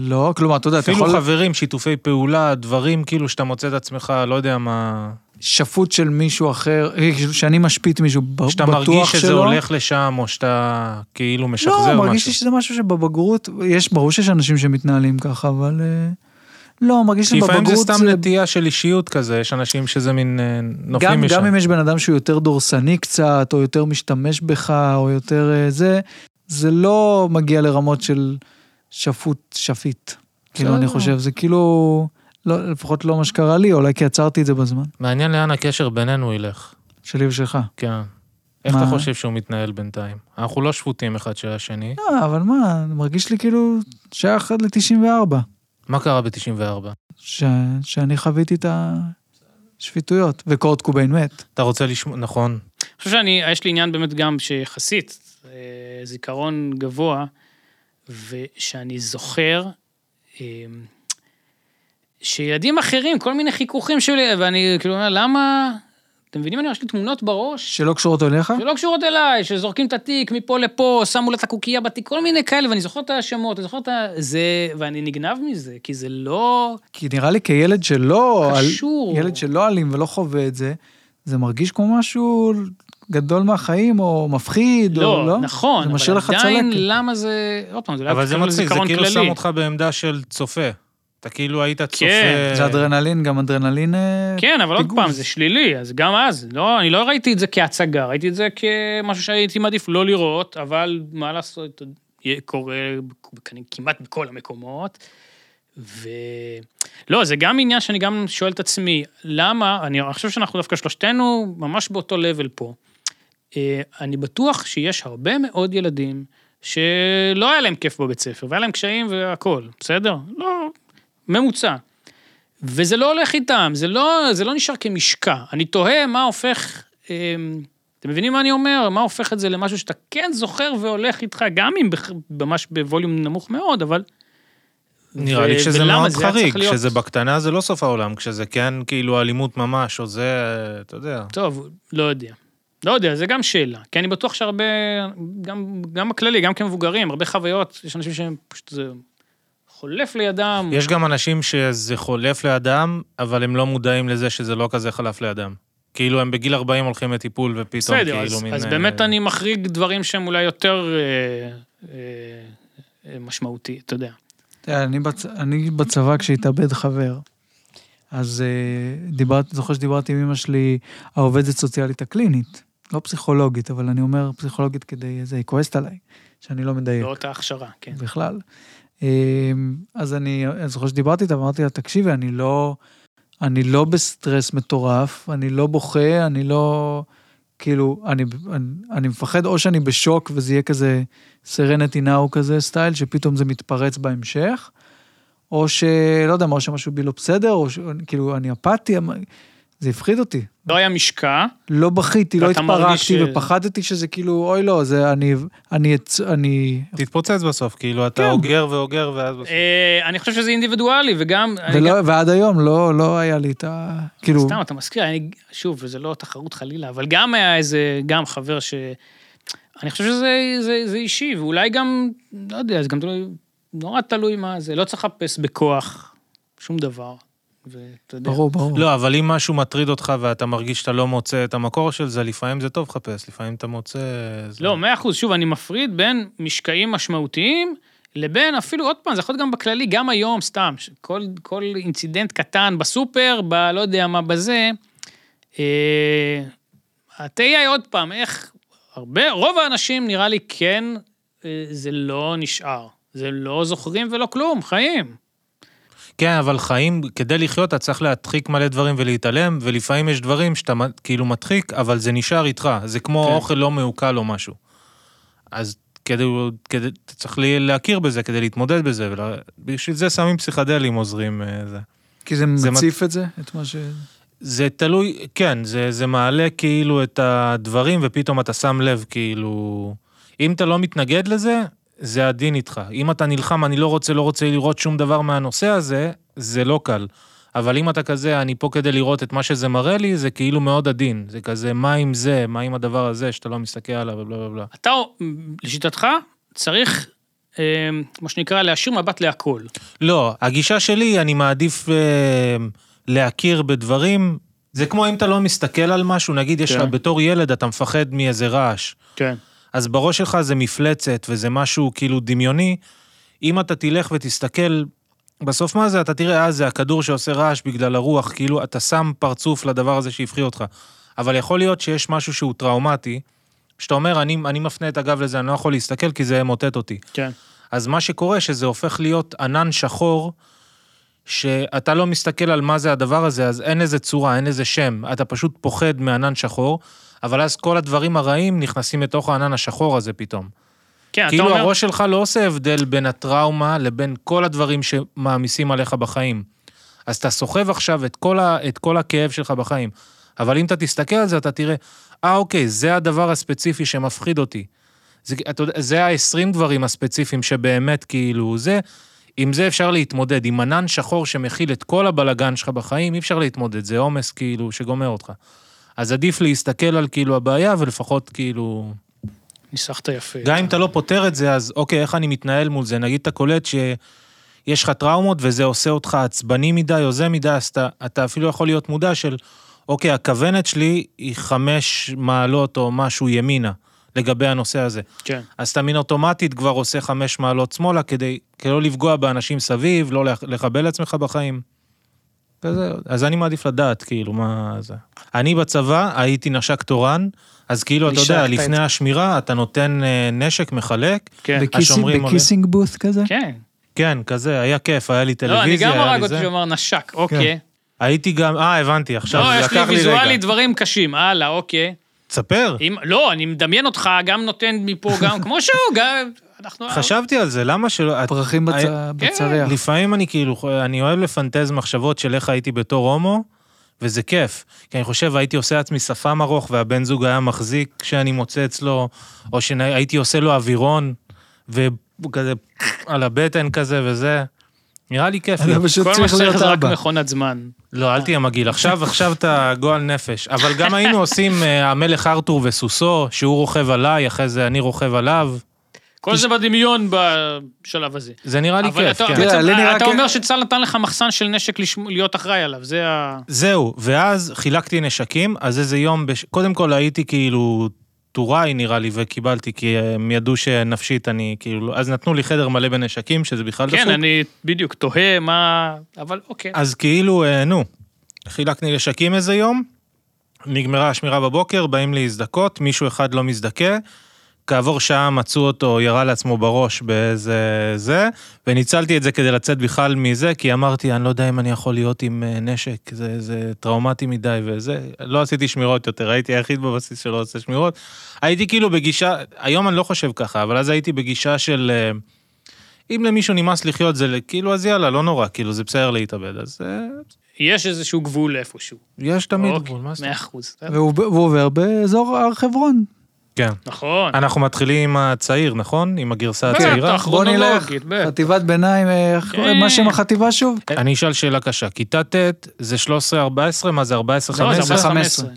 [SPEAKER 2] לא, כלומר, אתה יודע, אתה
[SPEAKER 3] אפילו
[SPEAKER 2] יכול...
[SPEAKER 3] חברים, שיתופי פעולה, דברים כאילו שאתה מוצא את עצמך, לא יודע מה...
[SPEAKER 2] שפוט של מישהו אחר, אה, שאני משפיט מישהו, ב- לא בטוח שלו.
[SPEAKER 3] שאתה מרגיש שזה הולך לשם, או שאתה כאילו משחזר משהו.
[SPEAKER 2] לא, מרגיש לי שזה משהו שבבגרות, יש, ברור שיש אנשים שמתנהלים ככה, אבל... אה, לא, מרגיש
[SPEAKER 3] כי
[SPEAKER 2] לי
[SPEAKER 3] לפעמים זה
[SPEAKER 2] בבגרות
[SPEAKER 3] סתם נטייה של אישיות כזה, יש אנשים שזה מין אה, נופלים
[SPEAKER 2] גם,
[SPEAKER 3] משם.
[SPEAKER 2] גם אם יש בן אדם שהוא יותר דורסני קצת, או יותר משתמש בך, או יותר אה, זה, זה לא מגיע לרמות של שפוט שפיט. כאילו, אני
[SPEAKER 3] בסדר.
[SPEAKER 2] חושב, זה כאילו, לא, לפחות לא מה שקרה לי, אולי כי עצרתי את זה בזמן,
[SPEAKER 3] מעניין לאן הקשר בינינו ילך.
[SPEAKER 2] שלי ושלך.
[SPEAKER 3] כן. איך
[SPEAKER 2] מה?
[SPEAKER 3] אתה חושב שהוא מתנהל בינתיים? אנחנו לא שפוטים אחד של השני.
[SPEAKER 2] לא, אבל מה, מרגיש לי כאילו שייך עד ל-94,
[SPEAKER 3] מה קרה ב-94?
[SPEAKER 2] ש... שאני חוויתי את השפיטויות, וקורט קוביין מת.
[SPEAKER 3] אתה רוצה לשמוע, נכון.
[SPEAKER 1] אני חושב שאני, יש לי עניין באמת גם שיחסית, אה, זיכרון גבוה, ושאני זוכר אה, שילדים אחרים, כל מיני חיכוכים שלי, ואני כאילו אומר, למה... אתם מבינים, אני יש לי תמונות בראש
[SPEAKER 2] שלא קשורות אליך?
[SPEAKER 1] שלא לא קשורות אליי, שזורקים את התיק מפה לפה, שמו לה את הקוקייה בתיק, כל מיני כאלה, ואני זוכר את השמות, אני זוכר את ה... זה... ואני נגנב מזה, כי זה לא...
[SPEAKER 2] כי נראה לי כילד שלא...
[SPEAKER 1] קשור.
[SPEAKER 2] אל... ילד שלא אלים ולא חווה את זה, זה מרגיש כמו משהו גדול מהחיים, או מפחיד, או לא.
[SPEAKER 1] לא, נכון,
[SPEAKER 2] זה משאיר
[SPEAKER 1] אבל
[SPEAKER 2] לך
[SPEAKER 1] עדיין לא-
[SPEAKER 2] צלקת.
[SPEAKER 1] למה זה... עוד פעם, זה לא
[SPEAKER 3] אבל זה
[SPEAKER 1] התכוון
[SPEAKER 3] מצחיק, זה
[SPEAKER 1] לזיכרון
[SPEAKER 3] כאילו
[SPEAKER 1] כללי.
[SPEAKER 3] שם אותך בעמדה של צופה. אתה כאילו היית צופה...
[SPEAKER 1] כן.
[SPEAKER 2] זה אדרנלין, גם אדרנלין... אה,
[SPEAKER 1] כן, אבל עוד
[SPEAKER 2] פיגוז.
[SPEAKER 1] פעם, זה שלילי, אז גם אז, לא, אני לא ראיתי את זה כהצגה, ראיתי את זה כמשהו שהייתי מעדיף לא לראות, אבל מה לעשות, יהיה- קורה כ- כמעט בכל המקומות. ו... לא, זה גם עניין שאני גם שואל את עצמי, למה, אני חושב שאנחנו דווקא שלושתנו ממש באותו לבל פה. אה, אני בטוח שיש הרבה מאוד ילדים שלא היה להם כיף בבית ספר, והיה להם קשיים והכול, בסדר? לא, ממוצע. וזה לא הולך איתם, זה לא, זה לא נשאר כמשקע. אני תוהה מה הופך, אמ, אתם מבינים מה אני אומר? מה הופך את זה למשהו שאתה כן זוכר והולך איתך, גם אם בח- ממש בווליום נמוך מאוד, אבל...
[SPEAKER 3] נראה
[SPEAKER 1] ו-
[SPEAKER 3] לי שזה
[SPEAKER 1] ולמה
[SPEAKER 3] מאוד
[SPEAKER 1] זה היה צריך
[SPEAKER 3] חריג,
[SPEAKER 1] להיות?
[SPEAKER 3] כשזה בקטנה זה לא סוף העולם, כשזה כן כאילו אלימות ממש, או זה, אתה יודע.
[SPEAKER 1] טוב, לא יודע. לא יודע, זה גם שאלה. כי אני בטוח שהרבה, גם, גם בכללי, גם כמבוגרים, הרבה חוויות, יש אנשים שהם פשוט, זה חולף לידם.
[SPEAKER 3] יש גם אנשים שזה חולף לידם, אבל הם לא מודעים לזה שזה לא כזה חלף לידם. כאילו הם בגיל 40 הולכים לטיפול ופתאום
[SPEAKER 1] בסדר,
[SPEAKER 3] כאילו
[SPEAKER 1] אז,
[SPEAKER 3] מין...
[SPEAKER 1] אז
[SPEAKER 3] אה,
[SPEAKER 1] באמת אני מחריג דברים שהם אולי יותר אה, אה, אה, משמעותי, אתה יודע.
[SPEAKER 2] תראה, אני, בצ... אני בצבא כשהתאבד חבר, אז אה, דיברת, זוכר שדיברתי עם אמא שלי, העובדת סוציאלית הקלינית, לא פסיכולוגית, אבל אני אומר פסיכולוגית כדי, זה, היא כועסת עליי, שאני לא מדייק.
[SPEAKER 1] לא אותה הכשרה, כן.
[SPEAKER 2] בכלל. אמ, אז אני, אני זוכר שדיברתי איתה ואמרתי לה, תקשיבי, אני לא, אני לא בסטרס מטורף, אני לא בוכה, אני לא, כאילו, אני, אני, אני מפחד או שאני בשוק וזה יהיה כזה סרנטי נאו כזה סטייל, שפתאום זה מתפרץ בהמשך, או שלא יודע מה, או שמשהו בי לא בסדר, או ש- כאילו, אני אפאתי, אמ- זה הפחיד אותי.
[SPEAKER 1] לא היה משקע,
[SPEAKER 3] אוקיי.
[SPEAKER 2] לא בכיתי, לא
[SPEAKER 1] ואתה מרגיש
[SPEAKER 2] התפרקתי,
[SPEAKER 1] ש-
[SPEAKER 2] ופחדתי שזה כאילו, אוי לא, זה אני, אני, אצ- אני,
[SPEAKER 3] תתפוצץ בסוף, כאילו
[SPEAKER 1] כן.
[SPEAKER 3] אתה אוגר ואוגר ואז בסוף.
[SPEAKER 1] אה, אני חושב שזה אינדיבידואלי, וגם... אני
[SPEAKER 2] ולא,
[SPEAKER 1] גם-
[SPEAKER 2] ועד היום לא, לא היה לי את ה... כאילו,
[SPEAKER 1] סתם, אתה מזכיר, אני, שוב, זה לא תחרות חלילה, אבל גם היה איזה, גם חבר ש... אני חושב שזה זה, זה אישי, ואולי גם, לא יודע, זה גם תלוי, נורא תלוי מה זה, לא צריך לחפש בכוח שום דבר, ואתה יודע.
[SPEAKER 2] ברור, ברור.
[SPEAKER 3] לא, אבל אם משהו מטריד אותך ואתה מרגיש שאתה לא מוצא את המקור של זה, לפעמים זה טוב לחפש, לפעמים אתה מוצא... זה-
[SPEAKER 1] לא, מאה אחוז. שוב, אני מפריד בין משקעים משמעותיים לבין אפילו, עוד פעם, זה יכול להיות גם בכללי, גם היום, סתם, ש- כל, כל אינצידנט קטן בסופר, ב... לא יודע מה בזה. אה, התהייה היא עוד פעם, איך הרבה, רוב האנשים נראה לי כן, אה, זה לא נשאר. זה לא זוכרים ולא כלום, חיים.
[SPEAKER 3] כן, אבל חיים, כדי לחיות אתה צריך להדחיק מלא דברים ולהתעלם, ולפעמים יש דברים שאתה מ- כאילו מדחיק, אבל זה נשאר איתך. זה כמו
[SPEAKER 1] כן.
[SPEAKER 3] כן. אוכל לא מעוקל או משהו. אז כדי, כדי, אתה צריך לי- להכיר בזה, כדי להתמודד בזה, ובשביל זה סמים פסיכדלים עוזרים אה, זה.
[SPEAKER 2] כי זה
[SPEAKER 3] זה
[SPEAKER 2] מציף את זה, את מה ש...
[SPEAKER 1] כן.
[SPEAKER 3] זה תלוי, כן, זה, זה מעלה כאילו את הדברים, ופתאום אתה שם לב, כאילו... אם אתה לא מתנגד לזה, זה הדין איתך. אם אתה נלחם, אני לא רוצה, לא רוצה לראות שום דבר מהנושא הזה, זה לא קל. אבל אם אתה כזה, אני פה כדי לראות את מה שזה מראה לי, זה כאילו מאוד עדין. זה כזה, מה עם זה, מה עם הדבר הזה שאתה לא מסתכל עליו, ובלה בלה בלה.
[SPEAKER 1] אתה, לשיטתך, צריך, אה, מה שנקרא, להשאיר מבט להכל.
[SPEAKER 3] לא, הגישה שלי, אני מעדיף אה, להכיר בדברים. זה כמו אם אתה לא מסתכל על משהו, נגיד יש לך,
[SPEAKER 1] כן.
[SPEAKER 3] בתור ילד אתה מפחד מאיזה רעש.
[SPEAKER 1] כן.
[SPEAKER 3] אז בראש שלך זה מפלצת וזה משהו כאילו דמיוני. אם אתה תלך ותסתכל, בסוף מה זה, אתה תראה, אה, זה הכדור שעושה רעש בגלל הרוח, כאילו אתה שם פרצוף לדבר הזה שהפחיד אותך. אבל יכול להיות שיש משהו שהוא טראומטי, שאתה אומר, אני, אני מפנה את הגב לזה, אני לא יכול להסתכל כי זה ימוטט אותי.
[SPEAKER 1] כן.
[SPEAKER 3] אז מה שקורה, שזה הופך להיות ענן שחור, שאתה לא מסתכל על מה זה הדבר הזה, אז אין איזה צורה, אין איזה שם. אתה פשוט פוחד מענן שחור, אבל אז כל הדברים הרעים נכנסים לתוך הענן השחור הזה פתאום.
[SPEAKER 1] כן, אתה
[SPEAKER 3] כאילו
[SPEAKER 1] אומר,
[SPEAKER 3] הראש שלך לא עושה הבדל בין הטראומה לבין כל הדברים שמעמיסים עליך בחיים. אז אתה סוחב עכשיו את כל, ה, את כל הכאב שלך בחיים. אבל אם אתה תסתכל על זה, אתה תראה, אה, אוקיי, זה הדבר הספציפי שמפחיד אותי. זה, אתה, יודע, זה ה-20 דברים הספציפיים שבאמת כאילו זה, עם זה אפשר להתמודד. עם ענן שחור שמכיל את כל הבלגן שלך בחיים, אי אפשר להתמודד, זה עומס כאילו שגומר אותך. אז עדיף להסתכל על כאילו הבעיה ולפחות כאילו...
[SPEAKER 1] ניסחת יפה.
[SPEAKER 3] גם אם אתה לא פותר את זה, אז אוקיי, איך אני מתנהל מול זה? נגיד אתה קולט שיש לך טראומות וזה עושה אותך עצבני מדי או זה מדי, אז אתה, אתה אפילו יכול להיות מודע של, אוקיי, הכוונת שלי היא חמש מעלות או משהו ימינה לגבי הנושא הזה.
[SPEAKER 1] כן.
[SPEAKER 3] אז אתה מין אוטומטית כבר עושה חמש מעלות שמאלה כדי, כדי לא לפגוע באנשים סביב, לא לח- לחבל לעצמך בחיים. כזה, אז אני מעדיף לדעת, כאילו, מה זה. אני בצבא הייתי נשק תורן, אז כאילו, אתה יודע,
[SPEAKER 1] נשקת את-
[SPEAKER 3] לפני השמירה אתה נותן אה, נשק, מחלק.
[SPEAKER 1] כן.
[SPEAKER 2] בקיסינג-
[SPEAKER 3] השומרים עולה.
[SPEAKER 2] בקיסינג בוס כזה?
[SPEAKER 1] כן.
[SPEAKER 3] כן, כזה, היה כיף, היה לי
[SPEAKER 1] לא, אני
[SPEAKER 3] טלוויזיה,
[SPEAKER 1] גם
[SPEAKER 3] היה
[SPEAKER 1] הרג
[SPEAKER 3] לי
[SPEAKER 1] אותי
[SPEAKER 3] זה.
[SPEAKER 1] שהוא אמר נשק, אוקיי.
[SPEAKER 3] הייתי גם, אה, הבנתי, עכשיו,
[SPEAKER 1] לא, יש
[SPEAKER 3] לקח לי רגע.
[SPEAKER 1] לי ויזואלית דברים קשים, הלאה, אוקיי.
[SPEAKER 3] תספר.
[SPEAKER 1] אם, לא, אני מדמיין אותך, גם נותן מפה, גם כמו שהוא, גם... אנחנו...
[SPEAKER 3] חשבתי על זה, למה שלא... את-
[SPEAKER 2] פרחים בצ-
[SPEAKER 3] היה-
[SPEAKER 1] כן,
[SPEAKER 2] בצריח.
[SPEAKER 3] לפעמים אני כאילו, אני אוהב לפנטז מחשבות של איך הייתי בתור הומו, וזה כיף. כי אני חושב, הייתי עושה לעצמי שפם ארוך, והבן זוג היה מחזיק כשאני מוצא אצלו, או שהייתי עושה לו אווירון, וכזה על הבטן כזה וזה. נראה לי כיף. לי.
[SPEAKER 2] אתה פשוט
[SPEAKER 1] כל מה
[SPEAKER 2] צריך
[SPEAKER 1] שצריך
[SPEAKER 2] להיות
[SPEAKER 1] זה רק
[SPEAKER 2] אבא.
[SPEAKER 1] מכונת זמן.
[SPEAKER 3] לא, אל תהיה מגעיל. עכשיו, עכשיו אתה גועל נפש. אבל גם היינו עושים אה, המלך ארתור וסוסו, שהוא רוכב עליי, אחרי זה אני רוכב עליו.
[SPEAKER 1] כל זה בדמיון בשלב הזה.
[SPEAKER 3] זה נראה לי
[SPEAKER 1] אבל
[SPEAKER 3] כיף,
[SPEAKER 1] אתה,
[SPEAKER 3] כן.
[SPEAKER 2] תראה, לי
[SPEAKER 1] בעצם,
[SPEAKER 2] נראה
[SPEAKER 1] אתה
[SPEAKER 2] כ-
[SPEAKER 1] אומר שצה"ל נתן לך מחסן של נשק לשמ- להיות אחראי עליו, זה ה...
[SPEAKER 3] זהו, ואז חילקתי נשקים, אז איזה יום, בש... קודם כל הייתי כאילו טוראי נראה לי, וקיבלתי, כי הם ידעו שנפשית אני כאילו, לא- אז נתנו לי חדר מלא בנשקים, שזה בכלל לא
[SPEAKER 1] כן,
[SPEAKER 3] דפוק.
[SPEAKER 1] אני בדיוק תוהה מה... אבל אוקיי.
[SPEAKER 3] אז כאילו, אה, נו, חילקתי נשקים איזה יום, נגמרה השמירה בבוקר, באים להזדכות, מישהו אחד לא מזדכה, כעבור שעה מצאו אותו, ירה לעצמו בראש באיזה זה, וניצלתי את זה כדי לצאת בכלל מזה, כי אמרתי, אני לא יודע אם אני יכול להיות עם אה, נשק, זה, זה טראומטי מדי וזה. לא עשיתי שמירות יותר, הייתי היחיד בבסיס שלא עושה שמירות. הייתי כאילו בגישה, היום אני לא חושב ככה, אבל אז הייתי בגישה של... אה, אם למישהו נמאס לחיות זה כאילו, אז יאללה, לא נורא, כאילו, זה בסדר להתאבד, אז אה,
[SPEAKER 1] יש איזשהו גבול איפשהו.
[SPEAKER 3] יש תמיד
[SPEAKER 1] אוקיי,
[SPEAKER 3] גבול, מה זה?
[SPEAKER 1] מאה אחוז.
[SPEAKER 2] והוא והוא עובר באזור הר חברון.
[SPEAKER 3] כן.
[SPEAKER 1] נכון.
[SPEAKER 3] אנחנו מתחילים עם הצעיר, נכון? עם הגרסה
[SPEAKER 1] בטח.
[SPEAKER 3] הצעירה?
[SPEAKER 1] אנחנו
[SPEAKER 2] בוא נלך,
[SPEAKER 1] כרונולוגית, בטח.
[SPEAKER 2] חטיבת ביניים, אה, איך
[SPEAKER 1] כן.
[SPEAKER 2] קוראים? מה שם החטיבה שוב?
[SPEAKER 3] אני אשאל שאלה קשה. כיתה ט' זה 13-14, מה זה 14-15?
[SPEAKER 1] לא, זה 15.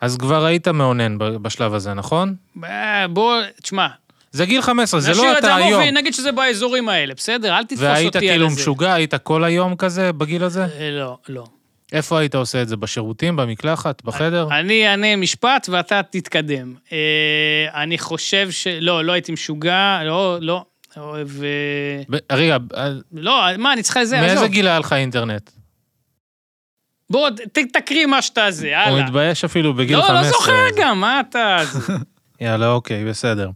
[SPEAKER 3] אז כבר היית מאונן ב- בשלב הזה, נכון?
[SPEAKER 1] אה, בוא, תשמע,
[SPEAKER 3] זה גיל 15, זה
[SPEAKER 1] נשאיר
[SPEAKER 3] לא
[SPEAKER 1] את זה
[SPEAKER 3] אתה היום.
[SPEAKER 1] המוביל, נגיד שזה באזורים האלה, בסדר? אל תתפוס אותי על זה.
[SPEAKER 3] והיית כאילו משוגע, היית כל היום כזה בגיל הזה?
[SPEAKER 1] אה, לא, לא.
[SPEAKER 3] איפה היית עושה את זה? בשירותים, במקלחת, בחדר?
[SPEAKER 1] אני אענה משפט ואתה תתקדם. אה, אני חושב ש... לא, לא הייתי משוגע, לא, לא. ו...
[SPEAKER 3] ב- רגע, אה,
[SPEAKER 1] לא, מה, אני צריכה לזה,
[SPEAKER 3] מאיזה
[SPEAKER 1] עזוב.
[SPEAKER 3] גיל היה לך אינטרנט?
[SPEAKER 1] בוא, ת- תקריא מה שאתה זה,
[SPEAKER 3] הוא
[SPEAKER 1] הלאה.
[SPEAKER 3] מתבייש אפילו בגיל
[SPEAKER 1] לא,
[SPEAKER 3] 15.
[SPEAKER 1] לא זוכר גם, מה אתה... זה?
[SPEAKER 3] יאללה, אוקיי, בסדר.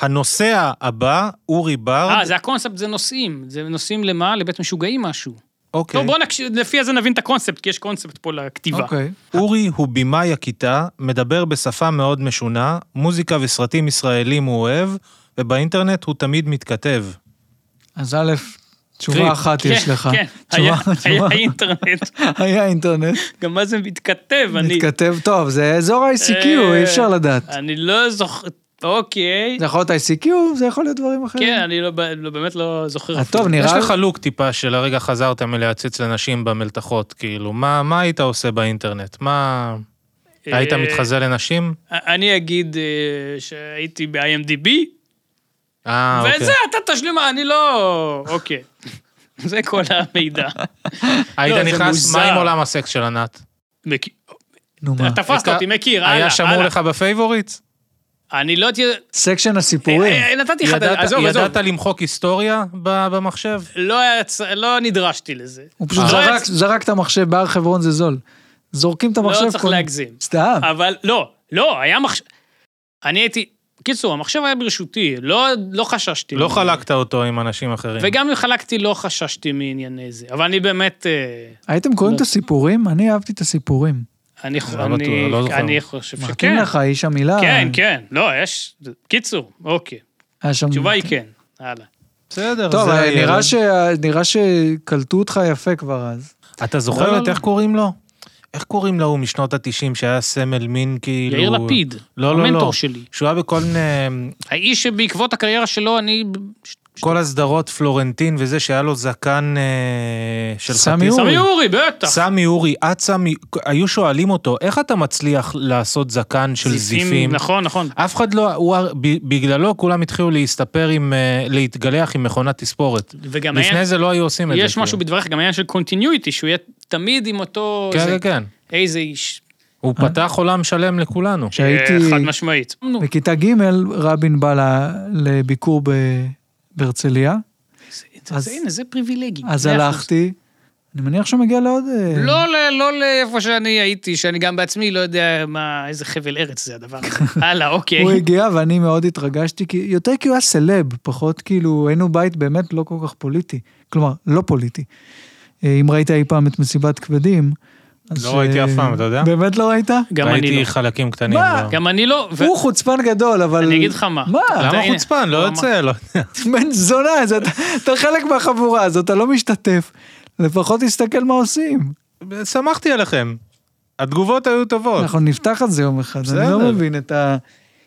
[SPEAKER 3] הנוסע הבא, אורי ברד.
[SPEAKER 1] אה, זה הקונספט, זה נושאים. זה נושאים למה? לבית משוגעים משהו.
[SPEAKER 3] אוקיי.
[SPEAKER 1] טוב, בוא נקשיב, לפי זה נבין את הקונספט, כי יש קונספט פה לכתיבה.
[SPEAKER 2] אוקיי.
[SPEAKER 3] אורי הוא במאי הכיתה, מדבר בשפה מאוד משונה, מוזיקה וסרטים ישראלים הוא אוהב, ובאינטרנט הוא תמיד מתכתב.
[SPEAKER 2] אז א',
[SPEAKER 3] טריפ.
[SPEAKER 2] תשובה אחת
[SPEAKER 1] כן,
[SPEAKER 2] יש לך.
[SPEAKER 1] כן,
[SPEAKER 2] תשובה,
[SPEAKER 1] היה- היה
[SPEAKER 2] תשובה.
[SPEAKER 1] אינטרנט,
[SPEAKER 2] היה אינטרנט,
[SPEAKER 1] גם מה זה מתכתב, אני...
[SPEAKER 2] מתכתב טוב, זה אזור ה-ICQ,
[SPEAKER 1] אה,
[SPEAKER 2] אי אפשר לדעת.
[SPEAKER 1] אני לא זוכר, אוקיי.
[SPEAKER 2] זה יכול להיות ICQ, זה יכול להיות דברים אחרים.
[SPEAKER 1] כן, אני לא- לא- באמת לא זוכר.
[SPEAKER 2] אה,
[SPEAKER 1] אפילו.
[SPEAKER 2] טוב,
[SPEAKER 3] יש
[SPEAKER 2] נראה
[SPEAKER 3] לך לוק טיפה של הרגע חזרת מלהציץ לנשים במלתחות, כאילו, מה, מה היית עושה באינטרנט? מה...
[SPEAKER 1] אה,
[SPEAKER 3] היית מתחזה לנשים?
[SPEAKER 1] אני אגיד אה, שהייתי ב-IMDB,
[SPEAKER 3] אה,
[SPEAKER 1] ואת
[SPEAKER 3] אוקיי.
[SPEAKER 1] זה אתה תשלים, אני לא... אוקיי. זה כל המידע.
[SPEAKER 3] היית
[SPEAKER 1] לא, זה
[SPEAKER 3] נכנס,
[SPEAKER 1] מוזר.
[SPEAKER 3] מה עם עולם הסקס של ענת?
[SPEAKER 1] מכיר-
[SPEAKER 2] נו מה,
[SPEAKER 1] תפסת
[SPEAKER 3] היית-
[SPEAKER 1] אותי, מכיר, הלאה,
[SPEAKER 3] היה שמור
[SPEAKER 1] הלאה.
[SPEAKER 3] לך בפייבוריטס?
[SPEAKER 1] אני לא תהיה...
[SPEAKER 2] סקשן הסיפורים.
[SPEAKER 1] אה, אה, נתתי לך... את ה-
[SPEAKER 3] ידעת-
[SPEAKER 1] עזוב, עזוב.
[SPEAKER 3] ידעת למחוק היסטוריה ב- במחשב?
[SPEAKER 1] לא היה צ- לא נדרשתי לזה.
[SPEAKER 2] הוא פשוט
[SPEAKER 1] לא היה
[SPEAKER 2] זרק-
[SPEAKER 1] צ-
[SPEAKER 2] זרק את המחשב, בהר חברון זה זול. זורקים את המחשב.
[SPEAKER 1] לא צריך
[SPEAKER 2] קונים.
[SPEAKER 1] להגזים. אה,
[SPEAKER 2] סתם.
[SPEAKER 1] אבל לא, לא, היה מחשב... אני הייתי... קיצור, המחשב היה ברשותי, לא, לא חששתי.
[SPEAKER 3] לא
[SPEAKER 1] מזה.
[SPEAKER 3] חלקת אותו עם אנשים אחרים.
[SPEAKER 1] וגם אם חלקתי, לא חששתי מענייני זה. אבל אני באמת... אה,
[SPEAKER 2] הייתם קוראים
[SPEAKER 1] לא.
[SPEAKER 2] את הסיפורים? אני אהבתי את הסיפורים.
[SPEAKER 1] אני,
[SPEAKER 3] לא בטוח,
[SPEAKER 1] אני,
[SPEAKER 3] לא זוכר.
[SPEAKER 1] אני חושב
[SPEAKER 2] מחכים
[SPEAKER 1] שכן.
[SPEAKER 2] לך, איש
[SPEAKER 3] אה.
[SPEAKER 2] המילה.
[SPEAKER 1] כן, כן. לא, יש... קיצור, אוקיי.
[SPEAKER 2] היה שם...
[SPEAKER 1] התשובה היא
[SPEAKER 3] אוקיי.
[SPEAKER 1] כן. הלאה.
[SPEAKER 3] בסדר,
[SPEAKER 2] טוב,
[SPEAKER 3] זה
[SPEAKER 2] אה,
[SPEAKER 3] הילד.
[SPEAKER 2] נראה שה- נראה שקלטו אותך יפה כבר אז.
[SPEAKER 3] אתה
[SPEAKER 1] לא,
[SPEAKER 3] זוכר
[SPEAKER 1] לא,
[SPEAKER 3] את
[SPEAKER 1] לא.
[SPEAKER 3] איך קוראים לו? איך קוראים להוא משנות ה-90 שהיה סמל מין כאילו...
[SPEAKER 1] יאיר לפיד,
[SPEAKER 3] לא, לא,
[SPEAKER 1] המנטור
[SPEAKER 3] לא.
[SPEAKER 1] שלי.
[SPEAKER 3] שהוא היה בכל מיני...
[SPEAKER 1] האיש שבעקבות הקריירה שלו, אני...
[SPEAKER 3] כל הסדרות פלורנטין וזה, שהיה לו זקן אה, של
[SPEAKER 2] סמי
[SPEAKER 3] חתיך.
[SPEAKER 2] אורי.
[SPEAKER 1] סמי אורי, בטח.
[SPEAKER 3] סמי אורי, את סמי, היו שואלים אותו, איך אתה מצליח לעשות זקן של זיפים?
[SPEAKER 1] נכון, נכון.
[SPEAKER 3] אף אחד לא, הוא, ב- בגללו כולם התחילו להסתפר עם, אה, להתגלח עם מכונת תספורת.
[SPEAKER 1] וגם היה...
[SPEAKER 3] לפני זה לא היו עושים את זה.
[SPEAKER 1] יש משהו
[SPEAKER 3] כאילו.
[SPEAKER 1] בדבריך, גם העניין של קונטיניויטי, שהוא יהיה תמיד עם אותו...
[SPEAKER 3] כן,
[SPEAKER 1] זה-
[SPEAKER 3] כן, כן.
[SPEAKER 1] איזה איש.
[SPEAKER 3] הוא
[SPEAKER 2] אה?
[SPEAKER 3] פתח עולם שלם לכולנו.
[SPEAKER 2] כשהייתי
[SPEAKER 1] אה, חד משמעית. נו,
[SPEAKER 2] בכיתה ג', רבין בא ל- לביקור ב- בהרצליה,
[SPEAKER 1] זה-
[SPEAKER 2] אז-
[SPEAKER 1] זה- הנה, זה פריבילגי.
[SPEAKER 2] אז
[SPEAKER 1] מאה אחוז.
[SPEAKER 2] הלכתי. אני מניח שהוא מגיע לעוד...
[SPEAKER 3] כן.
[SPEAKER 2] אה,
[SPEAKER 1] לא, ל- לא לאיפה שאני הייתי, שאני גם בעצמי לא יודע מה, איזה חבל ארץ זה הדבר הזה. הלאה, אוקיי.
[SPEAKER 2] הוא הגיע ואני מאוד התרגשתי, כי יותר כי הוא היה סלב, פחות כאילו, היינו בית באמת לא כל כך פוליטי. כלומר, לא פוליטי. אה, אם ראית אי פעם את מסיבת כבדים, אז...
[SPEAKER 3] לא ראיתי
[SPEAKER 2] אה,
[SPEAKER 3] אף פעם, אתה יודע?
[SPEAKER 2] באמת לא ראית?
[SPEAKER 1] גם אני
[SPEAKER 3] ראיתי
[SPEAKER 1] לא.
[SPEAKER 3] חלקים קטנים.
[SPEAKER 2] מה?
[SPEAKER 3] לא.
[SPEAKER 1] גם אני לא. ו-
[SPEAKER 2] הוא חוצפן גדול, אבל...
[SPEAKER 1] אני אגיד לך מה.
[SPEAKER 2] מה?
[SPEAKER 3] למה
[SPEAKER 1] הנה,
[SPEAKER 3] חוצפן? לא
[SPEAKER 1] הוא
[SPEAKER 3] יוצא, לא
[SPEAKER 2] בן זונה, אז אתה- אתה חלק מהחבורה הזאת, אתה לא משתתף. לפחות תסתכל מה עושים.
[SPEAKER 3] יודע. לא- שמחתי עליכם. התגובות היו טובות.
[SPEAKER 2] אנחנו נפתח את זה יום אחד, אני
[SPEAKER 3] בסדר.
[SPEAKER 2] לא מבין את ה...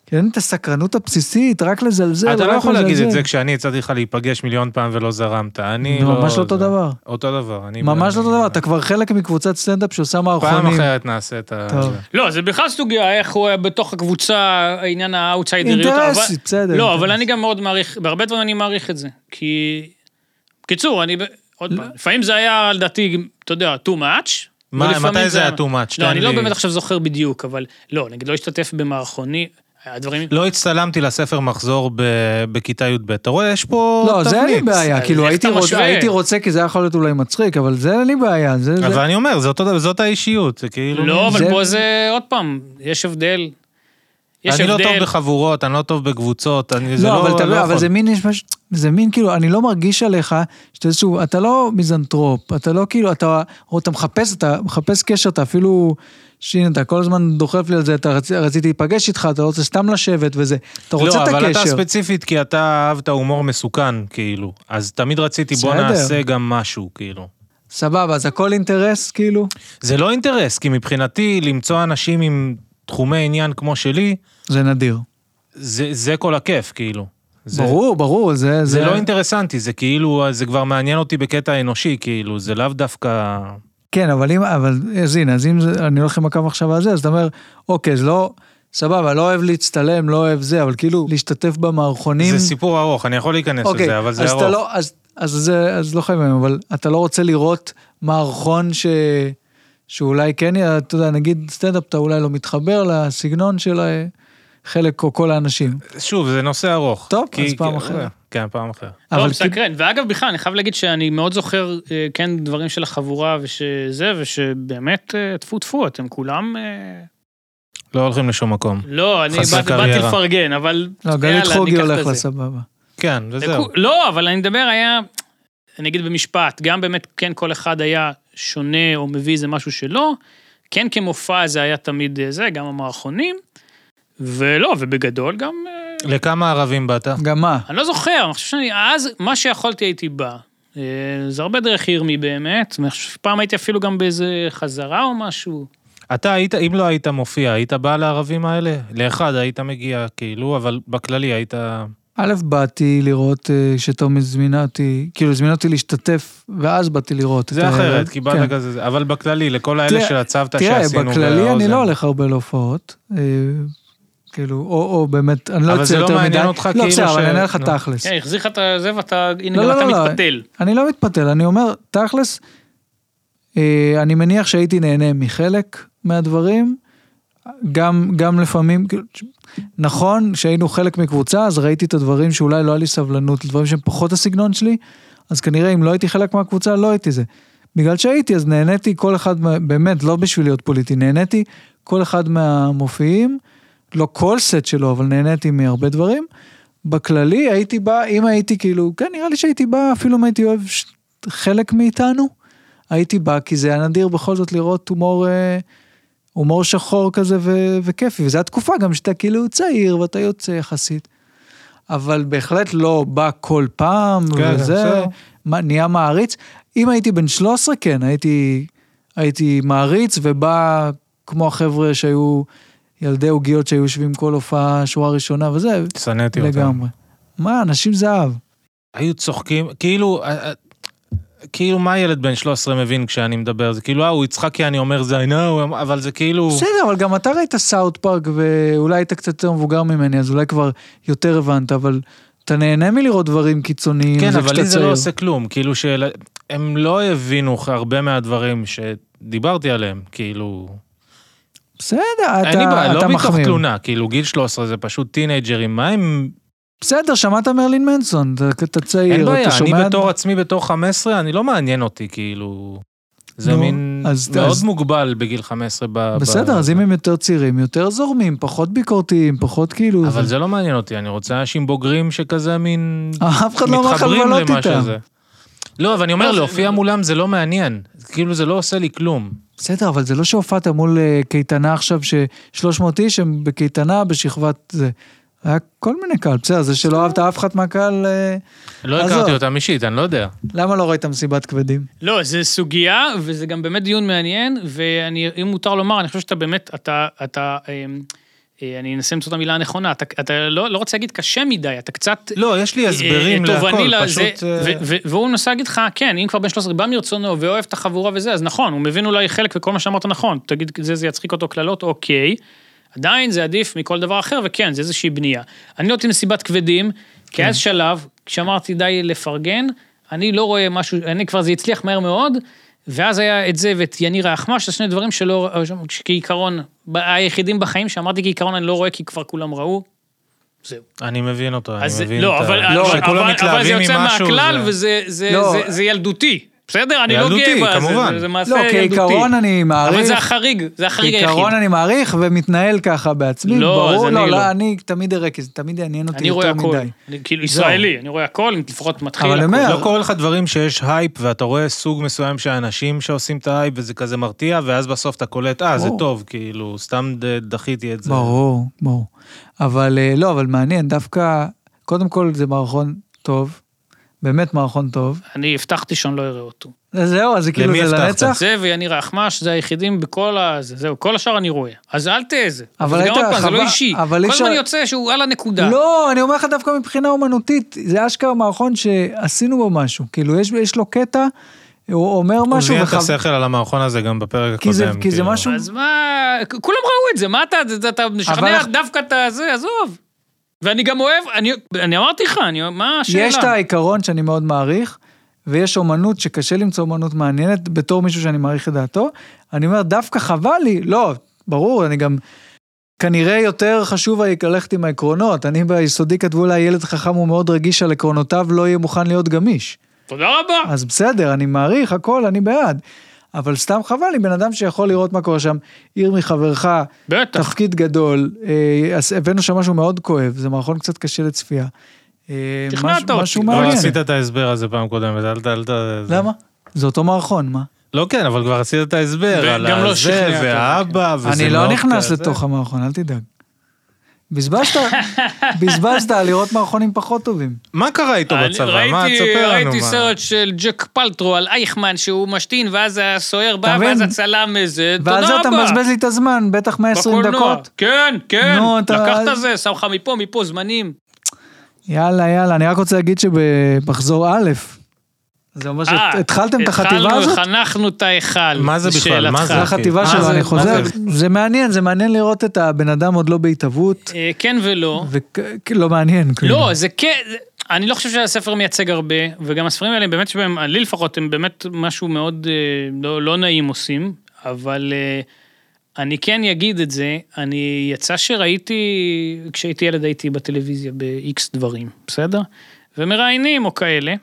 [SPEAKER 2] כן, את הסקרנות הבסיסית, רק לזלזל,
[SPEAKER 3] אתה לא
[SPEAKER 2] רק
[SPEAKER 3] יכול להגיד את
[SPEAKER 2] לזלזל.
[SPEAKER 3] זה כשאני הצעתי לך להיפגש מיליון פעם ולא זרמת. אני
[SPEAKER 2] נו,
[SPEAKER 3] לא...
[SPEAKER 2] ממש לא אותו
[SPEAKER 3] זה-
[SPEAKER 2] דבר.
[SPEAKER 3] אותו דבר. אני-
[SPEAKER 2] ממש לא
[SPEAKER 3] אני-
[SPEAKER 2] אותו דבר, אתה כבר חלק מקבוצת סטנדאפ שעושה
[SPEAKER 3] פעם
[SPEAKER 2] מערכונים.
[SPEAKER 3] אחרת נעשה את ה...
[SPEAKER 2] טוב.
[SPEAKER 1] לא, זה בכלל סוגיה, איך הוא היה בתוך הקבוצה, העניין האאוטסיידריות.
[SPEAKER 2] אינטרס,
[SPEAKER 1] אבל-
[SPEAKER 2] בסדר,
[SPEAKER 1] לא,
[SPEAKER 2] אינטרס.
[SPEAKER 1] אבל אני גם מאוד מעריך, בהרבה דברים אני מעריך את זה. כי... בקיצור, אני... ב-
[SPEAKER 3] לא.
[SPEAKER 1] עוד פעם, לפעמים זה היה, לדעתי, אתה יודע, too much.
[SPEAKER 3] מה,
[SPEAKER 1] ולפעמים
[SPEAKER 3] מתי זה היה too much? תן
[SPEAKER 1] לא, אני לא
[SPEAKER 3] לי.
[SPEAKER 1] באמת עכשיו זוכר בדיוק, אבל לא, נגיד לא השתתף במערכוני, הדברים...
[SPEAKER 3] לא הצטלמתי לספר מחזור ב- בכיתה י"ב. אתה רואה, יש פה
[SPEAKER 2] לא, זה אין לי בעיה,
[SPEAKER 1] אז
[SPEAKER 2] כאילו
[SPEAKER 1] איך
[SPEAKER 2] הייתי
[SPEAKER 1] אתה
[SPEAKER 2] רוצ-
[SPEAKER 1] משווה?
[SPEAKER 2] הייתי רוצה, כי זה היה יכול להיות אולי מצחיק, אבל זה אין לי בעיה, זה... לא, זה-
[SPEAKER 3] אבל אני אומר, זה אותו דבר, זאת האישיות. זה כאילו...
[SPEAKER 1] לא,
[SPEAKER 2] זה-
[SPEAKER 1] אבל פה זה, עוד פעם, יש הבדל. יש
[SPEAKER 3] אני לא טוב
[SPEAKER 1] הבדל.
[SPEAKER 3] בחבורות, אני לא טוב בקבוצות, אני... זה
[SPEAKER 2] לא,
[SPEAKER 3] לא...
[SPEAKER 2] אבל אתה לא,
[SPEAKER 3] לא
[SPEAKER 2] אבל
[SPEAKER 3] יכול.
[SPEAKER 2] זה מין, יש מש- זה מין כאילו, אני לא מרגיש עליך שאתה איזשהו, אתה לא מיזנטרופ, אתה לא כאילו, אתה, או אתה מחפש, אתה מחפש קשר, אתה אפילו, שהנה, אתה כל הזמן דוחף לי על זה, אתה רצ, רציתי להיפגש איתך, אתה לא רוצה סתם לשבת וזה, אתה רוצה
[SPEAKER 3] לא,
[SPEAKER 2] את
[SPEAKER 3] אבל אתה
[SPEAKER 2] הקשר.
[SPEAKER 3] ספציפית, כי אתה אהבת הומור מסוכן, כאילו. אז תמיד רציתי, בוא
[SPEAKER 2] בסדר.
[SPEAKER 3] נעשה גם משהו, כאילו.
[SPEAKER 2] סבבה, אז הכל אינטרס, כאילו.
[SPEAKER 3] זה לא אינטרס, כי מבחינתי, למצוא אנשים עם תחומי עניין כמו שלי,
[SPEAKER 2] זה נדיר.
[SPEAKER 3] זה, זה כל הכיף, כאילו. זה,
[SPEAKER 2] ברור, ברור, זה...
[SPEAKER 3] זה לא אינטרסנטי, זה כאילו, זה כבר מעניין אותי בקטע אנושי, כאילו, זה לאו דווקא...
[SPEAKER 2] כן, אבל אם, אבל אז הנה, אז אם זה, אני הולך עם הקו עכשיו על זה, אז אתה אומר, אוקיי, אז לא, סבבה, לא אוהב להצטלם, לא אוהב זה, אבל כאילו, להשתתף במערכונים.
[SPEAKER 3] זה סיפור ארוך, אני יכול להיכנס לזה, אבל זה
[SPEAKER 2] אז
[SPEAKER 3] ארוך.
[SPEAKER 2] אתה לא, אז, אז, זה, אז לא חייבים, אבל אתה לא רוצה לראות מערכון ש... שאולי כן, יהיה, אתה יודע, נגיד סטנדאפ, אתה אולי לא מתחבר לסגנון של ה- חלק או כל
[SPEAKER 3] לא
[SPEAKER 2] האנשים.
[SPEAKER 3] שוב, זה נושא ארוך.
[SPEAKER 2] לא- טוב, אז פעם אחרת.
[SPEAKER 3] כן, פעם אחרת.
[SPEAKER 1] לא,
[SPEAKER 2] אבל כאילו- כי-
[SPEAKER 1] מסקרן. ואגב, בכלל, אני חייב להגיד שאני מאוד זוכר, אה, כן, דברים של החבורה ושזה, ושבאמת, אה, טפו טפו, אתם כולם... אה,
[SPEAKER 3] לא הולכים לשום מקום.
[SPEAKER 1] לא, אני
[SPEAKER 3] חסרי
[SPEAKER 1] באתי- באתי
[SPEAKER 3] קריירה.
[SPEAKER 1] לפרגן, אבל...
[SPEAKER 2] לא, גלית
[SPEAKER 1] יאללה,
[SPEAKER 2] חוגי
[SPEAKER 1] ניקח את
[SPEAKER 2] הולך
[SPEAKER 1] זה.
[SPEAKER 2] לסבבה.
[SPEAKER 3] כן, וזהו.
[SPEAKER 1] לכו- לא, אבל אני מדבר היה, אני אגיד במשפט, גם באמת, כן, כל אחד היה שונה או מביא איזה משהו שלו, כן כמופע זה היה תמיד אה, זה, גם המערכונים, ולא, ובגדול גם... אה,
[SPEAKER 3] לכמה ערבים באת?
[SPEAKER 2] גם מה?
[SPEAKER 1] אני לא זוכר, אני חושב שאני, אז מה שיכולתי הייתי בא. אה, זה הרבה דרך ירמי באמת, אני חושב שפעם הייתי אפילו גם באיזה חזרה או משהו.
[SPEAKER 3] אתה היית, אם לא היית מופיע, היית בא לערבים האלה? לאחד היית מגיע, כאילו, אבל בכללי היית...
[SPEAKER 2] א', באתי לראות אה, שתום הזמינה אותי, כאילו הזמינה אותי להשתתף, ואז באתי לראות. את
[SPEAKER 3] זה
[SPEAKER 2] ה-
[SPEAKER 3] אחרת, כי
[SPEAKER 2] כן.
[SPEAKER 3] באת כזה, אבל בכללי, לכל האלה
[SPEAKER 2] תראה-
[SPEAKER 3] של הצוותא
[SPEAKER 2] תראה,
[SPEAKER 3] שעשינו
[SPEAKER 2] בכללי אני
[SPEAKER 3] באוזן.
[SPEAKER 2] לא הולך הרבה להופעות. אה, כאילו, או, או באמת, אני לא
[SPEAKER 3] אבל
[SPEAKER 2] יוצא
[SPEAKER 3] זה לא
[SPEAKER 2] יותר מדי.
[SPEAKER 3] מעניין אותך כאילו
[SPEAKER 2] לא, בסדר,
[SPEAKER 3] ש-
[SPEAKER 2] אבל אני אענה לך
[SPEAKER 3] נו.
[SPEAKER 2] תכלס.
[SPEAKER 1] כן, החזיר לך את זה ואתה, הנה
[SPEAKER 2] לא,
[SPEAKER 1] גם
[SPEAKER 2] לא,
[SPEAKER 1] אתה
[SPEAKER 2] לא,
[SPEAKER 1] מתפתל.
[SPEAKER 2] אני לא מתפתל, אני אומר, תכלס, אה, אני מניח שהייתי נהנה מחלק מהדברים, גם, גם לפעמים, כאילו, ש- נכון שהיינו חלק מקבוצה, אז ראיתי את הדברים שאולי לא היה לי סבלנות, דברים שהם פחות הסגנון שלי, אז כנראה אם לא הייתי חלק מהקבוצה, לא הייתי זה. בגלל שהייתי, אז נהניתי כל אחד, מה- באמת, לא בשביל להיות פוליטי, נהניתי כל אחד מהמופיעים, לא כל סט שלו, אבל נהניתי מהרבה דברים. בכללי הייתי בא, אם הייתי כאילו, כן, נראה לי שהייתי בא, אפילו אם הייתי אוהב ש... חלק מאיתנו, הייתי בא, כי זה היה נדיר בכל זאת לראות הומור, אה, הומור שחור כזה ו... וכיפי, וזו התקופה גם שאתה כאילו צעיר ואתה יוצא יחסית. אבל בהחלט לא בא כל פעם,
[SPEAKER 3] כן,
[SPEAKER 2] וזה
[SPEAKER 3] בסדר.
[SPEAKER 2] מה, נהיה מעריץ. אם הייתי בן 13, כן, הייתי, הייתי מעריץ ובא כמו החבר'ה שהיו ילדי עוגיות שהיו יושבים כל הופעה, שורה ראשונה וזה,
[SPEAKER 3] שנאתי אותם.
[SPEAKER 2] לגמרי. מה, אנשים זהב.
[SPEAKER 3] היו צוחקים, כאילו, אה, אה, כאילו מה ילד בן 13 מבין כשאני מדבר? זה כאילו, אה, הוא יצחק כי אני אומר זה, I know, אבל זה כאילו...
[SPEAKER 2] בסדר, אבל גם אתה ראית סאוט פארק, ואולי היית קצת יותר מבוגר ממני, אז אולי כבר יותר הבנת, אבל אתה נהנה מלראות דברים קיצוניים.
[SPEAKER 3] כן, אבל
[SPEAKER 2] כשאתה
[SPEAKER 3] לי זה
[SPEAKER 2] צעיר.
[SPEAKER 3] לא עושה כלום, כאילו של... הם לא הבינו הרבה מהדברים שדיברתי עליהם, כאילו...
[SPEAKER 2] בסדר, אתה,
[SPEAKER 3] אין לי בעיה,
[SPEAKER 2] אתה
[SPEAKER 3] לא מתוך
[SPEAKER 2] מחמיר.
[SPEAKER 3] תלונה, כאילו גיל 13 זה פשוט טינג'רים, מה הם...
[SPEAKER 2] בסדר, שמעת מרלין מנסון, אתה, אתה צעיר,
[SPEAKER 3] אין בעיה,
[SPEAKER 2] אה, לא, אתה שומע...
[SPEAKER 3] אני בתור עצמי, בתור 15, אני לא מעניין אותי, כאילו... זה
[SPEAKER 2] נו,
[SPEAKER 3] מין
[SPEAKER 2] אז-
[SPEAKER 3] מאוד
[SPEAKER 2] אז-
[SPEAKER 3] מוגבל בגיל 15 ב...
[SPEAKER 2] בסדר,
[SPEAKER 3] ב-
[SPEAKER 2] אז אם הם יותר צעירים, יותר זורמים, פחות ביקורתיים, פחות כאילו...
[SPEAKER 3] אבל זה לא מעניין אותי, אני רוצה אנשים בוגרים שכזה מין...
[SPEAKER 2] אף אחד לא אמר לך
[SPEAKER 3] מתחברים
[SPEAKER 2] לבלות
[SPEAKER 3] למה
[SPEAKER 2] איתם.
[SPEAKER 3] שזה. לא, אבל אני אומר,
[SPEAKER 1] לא, זה-
[SPEAKER 3] להופיע מולם זה לא מעניין. כאילו זה לא עושה לי כלום.
[SPEAKER 2] בסדר, אבל זה לא שהופעת מול אה, קייטנה עכשיו ש-300 איש הם בקייטנה בשכבת זה. היה כל מיני קהל, בסדר, זה שלא אהבת אף אחד מהקהל, אה,
[SPEAKER 3] לא
[SPEAKER 2] עזוב.
[SPEAKER 3] הכרתי אותם אישית, אני לא יודע.
[SPEAKER 2] למה לא ראית מסיבת כבדים?
[SPEAKER 1] לא, זו סוגיה, וזה גם באמת דיון מעניין, ואם מותר לומר, אני חושב שאתה באמת, אתה, אתה, אמ, אה, אני אנסה למצוא את המילה הנכונה, אתה, אתה לא, לא רוצה להגיד קשה מדי, אתה קצת...
[SPEAKER 3] לא, יש לי הסברים
[SPEAKER 1] אה, תובעני
[SPEAKER 3] להכל,
[SPEAKER 1] לזה,
[SPEAKER 3] פשוט...
[SPEAKER 1] ו-
[SPEAKER 3] אה,
[SPEAKER 1] ו- והוא מנסה להגיד לך, כן, אם כבר בן 13 בא מרצונו ואוהב את החבורה וזה, אז נכון, הוא מבין אולי חלק וכל מה שאמרת נכון, תגיד, זה, זה יצחיק אותו קללות, אוקיי. עדיין זה עדיף מכל דבר אחר, וכן, זה איזושהי בנייה. אני לא הייתי מסיבת כבדים, כי
[SPEAKER 3] כן.
[SPEAKER 1] היה שלב, כשאמרתי די לפרגן, אני לא רואה משהו, אני כבר, זה הצליח מהר מאוד, ואז היה את זה ואת יניר האחמ"ש, זה שני דברים שלא, שכעיקרון, ב- היחידים בחיים שאמרתי כעיקרון אני לא רואה כי כבר כולם ראו,
[SPEAKER 3] אני מבין אותו, אני
[SPEAKER 1] אז
[SPEAKER 3] מבין
[SPEAKER 1] לא,
[SPEAKER 3] את ה-
[SPEAKER 1] אבל,
[SPEAKER 2] לא,
[SPEAKER 1] אבל,
[SPEAKER 3] שכולם
[SPEAKER 1] אבל, אבל זה
[SPEAKER 3] מתלהבים
[SPEAKER 1] יוצא
[SPEAKER 3] ממשהו,
[SPEAKER 1] מהכלל
[SPEAKER 3] זה-
[SPEAKER 1] וזה זה,
[SPEAKER 2] לא.
[SPEAKER 1] זה, זה ילדותי. בסדר? אני לא
[SPEAKER 3] ילדותי,
[SPEAKER 1] גאה בה,
[SPEAKER 3] כמובן.
[SPEAKER 1] זה, זה, זה מעשה
[SPEAKER 2] לא,
[SPEAKER 1] ילדותי.
[SPEAKER 2] כעיקרון אני מעריך.
[SPEAKER 1] אבל זה החריג, זה החריג היחיד.
[SPEAKER 2] כעיקרון אני מעריך ומתנהל ככה בעצמי,
[SPEAKER 1] לא,
[SPEAKER 2] ברור,
[SPEAKER 1] אז
[SPEAKER 2] לא,
[SPEAKER 1] אני
[SPEAKER 2] לא,
[SPEAKER 1] לא.
[SPEAKER 2] אני תמיד אראה, כי זה תמיד יעניין אותי
[SPEAKER 1] אני רואה
[SPEAKER 2] יותר
[SPEAKER 1] הכל.
[SPEAKER 2] מדי.
[SPEAKER 1] אני, כאילו ישראלי, אני רואה הכל, אני לפחות מתחיל.
[SPEAKER 2] אבל
[SPEAKER 1] הכל.
[SPEAKER 2] אומר,
[SPEAKER 3] לא קורה לך דברים שיש הייפ ואתה רואה סוג מסוים של אנשים שעושים את ההייפ וזה כזה מרתיע ואז בסוף אתה קולט אה זה
[SPEAKER 2] ברור.
[SPEAKER 3] טוב כאילו סתם ד- דחיתי את זה.
[SPEAKER 2] ברור, ברור. אבל אה, לא, אבל מעניין, דווקא, קודם כל זה מערכון טוב, באמת מערכון טוב.
[SPEAKER 1] אני הבטחתי שאני לא אראה אותו.
[SPEAKER 2] אז זהו, אז זה כאילו
[SPEAKER 3] למי
[SPEAKER 2] זה
[SPEAKER 3] הבטחת?
[SPEAKER 2] לנצח.
[SPEAKER 1] זה ויניר האחמ"ש, זה היחידים בכל ה... זה- זהו, כל השאר אני רואה. אז אל תהיה זה.
[SPEAKER 2] אבל
[SPEAKER 1] אבל
[SPEAKER 2] היית-
[SPEAKER 1] גם עוד פעם, זה
[SPEAKER 2] חבל-
[SPEAKER 1] לא אישי.
[SPEAKER 2] אבל
[SPEAKER 1] כל
[SPEAKER 2] אי אפשר-
[SPEAKER 1] הזמן יוצא שהוא על הנקודה.
[SPEAKER 2] לא, אני אומר לך דווקא מבחינה אומנותית, זה אשכרה מערכון שעשינו בו משהו. כאילו, יש, יש לו קטע, הוא אומר
[SPEAKER 3] הוא
[SPEAKER 2] משהו
[SPEAKER 3] זיהה את
[SPEAKER 2] וחב-
[SPEAKER 3] השכל על המערכון הזה גם בפרק הקודם.
[SPEAKER 2] כי זה- כי זה
[SPEAKER 3] כאילו.
[SPEAKER 2] משהו-
[SPEAKER 1] אז מה, כ- כולם ראו את זה, מה אתה, אתה- אתה משכנע
[SPEAKER 2] אנחנו-
[SPEAKER 1] דווקא את הזה, עזוב. ואני גם אוהב, אני אני אמרתי לך, אני- מה השאלה?
[SPEAKER 2] יש את העיקרון שאני מאוד מעריך, ויש אומנות שקשה למצוא אומנות מעניינת בתור מישהו שאני מעריך את דעתו. אני אומר, דווקא חבל לי, לא, ברור, אני גם... כנראה יותר חשוב ה- ללכת עם העקרונות. אני ביסודי כתבו לה, ילד חכם הוא מאוד רגיש על עקרונותיו, לא יהיה מוכן להיות גמיש.
[SPEAKER 1] תודה רבה.
[SPEAKER 2] אז בסדר, אני מעריך, הכל, אני בעד. אבל סתם חבל לי, בן אדם שיכול לראות מה קורה שם, עיר מחברך,
[SPEAKER 1] בטח.
[SPEAKER 2] תפקיד גדול, אה, אז הבאנו שם משהו מאוד כואב, זה מערכון קצת קשה לצפייה. אה,
[SPEAKER 1] שכנעת
[SPEAKER 2] משהו-
[SPEAKER 1] אותי.
[SPEAKER 2] משהו
[SPEAKER 1] לא
[SPEAKER 3] לא
[SPEAKER 2] מעניין.
[SPEAKER 3] עשית את ההסבר הזה פעם קודמת אל ת... אל ת- זה-
[SPEAKER 2] למה? זה אותו מערכון, מה?
[SPEAKER 3] לא כן אבל כבר עשית את ההסבר
[SPEAKER 1] וגם
[SPEAKER 3] על
[SPEAKER 1] לא שכנעת
[SPEAKER 3] הזה
[SPEAKER 1] אותי.
[SPEAKER 3] והאבא וזה
[SPEAKER 2] אני לא
[SPEAKER 3] מאוד
[SPEAKER 2] נכנס
[SPEAKER 3] כזה.
[SPEAKER 2] לתוך המערכון, אל תדאג. בזבזת, בזבזת על לראות מערכונים פחות טובים.
[SPEAKER 3] מה קרה איתו
[SPEAKER 1] אני
[SPEAKER 3] בצבא
[SPEAKER 1] ראיתי-
[SPEAKER 3] מה תספר לנו
[SPEAKER 1] ראיתי
[SPEAKER 3] מה.
[SPEAKER 1] סרט של ג'ק פלטרו על אייכמן שהוא משתין, ואז הסוהר
[SPEAKER 2] אתה
[SPEAKER 1] בא,
[SPEAKER 2] מבין?
[SPEAKER 1] ואז הצלם איזה, תודה רבה.
[SPEAKER 2] ואז אתה מבזבז לי את הזמן, בטח 120
[SPEAKER 1] בקולנוע.
[SPEAKER 2] דקות.
[SPEAKER 1] כן, כן.
[SPEAKER 2] נו, אתה-
[SPEAKER 1] לקחת זה, שם לך מפה, מפה, זמנים.
[SPEAKER 2] יאללה, יאללה, אני רק רוצה להגיד שבמחזור א', זה אומר
[SPEAKER 1] אה,
[SPEAKER 2] שהתחלתם את החטיבה
[SPEAKER 1] התחלנו,
[SPEAKER 2] הזאת?
[SPEAKER 1] חנכנו את ההיכל.
[SPEAKER 3] מה זה בכלל? מה
[SPEAKER 1] לשאלתך.
[SPEAKER 2] זה
[SPEAKER 3] אה,
[SPEAKER 2] החטיבה
[SPEAKER 3] כן.
[SPEAKER 2] שלו,
[SPEAKER 3] אה,
[SPEAKER 2] אני
[SPEAKER 3] זה-
[SPEAKER 2] חוזר.
[SPEAKER 3] מה
[SPEAKER 2] זה מעניין, זה מעניין לראות את הבן אדם עוד לא בהתהוות,
[SPEAKER 1] אה, כן ולא.
[SPEAKER 2] ולא מעניין. כאילו.
[SPEAKER 1] לא, זה כן, זה- אני לא חושב שהספר מייצג הרבה, וגם הספרים האלה, באמת שבהם, לי לפחות, הם באמת משהו מאוד אה, לא, לא נעים עושים, אבל אה, אני כן אגיד את זה, אני יצא שראיתי, כשהייתי ילד הייתי בטלוויזיה ב-X דברים, בסדר? ומראיינים או כאלה.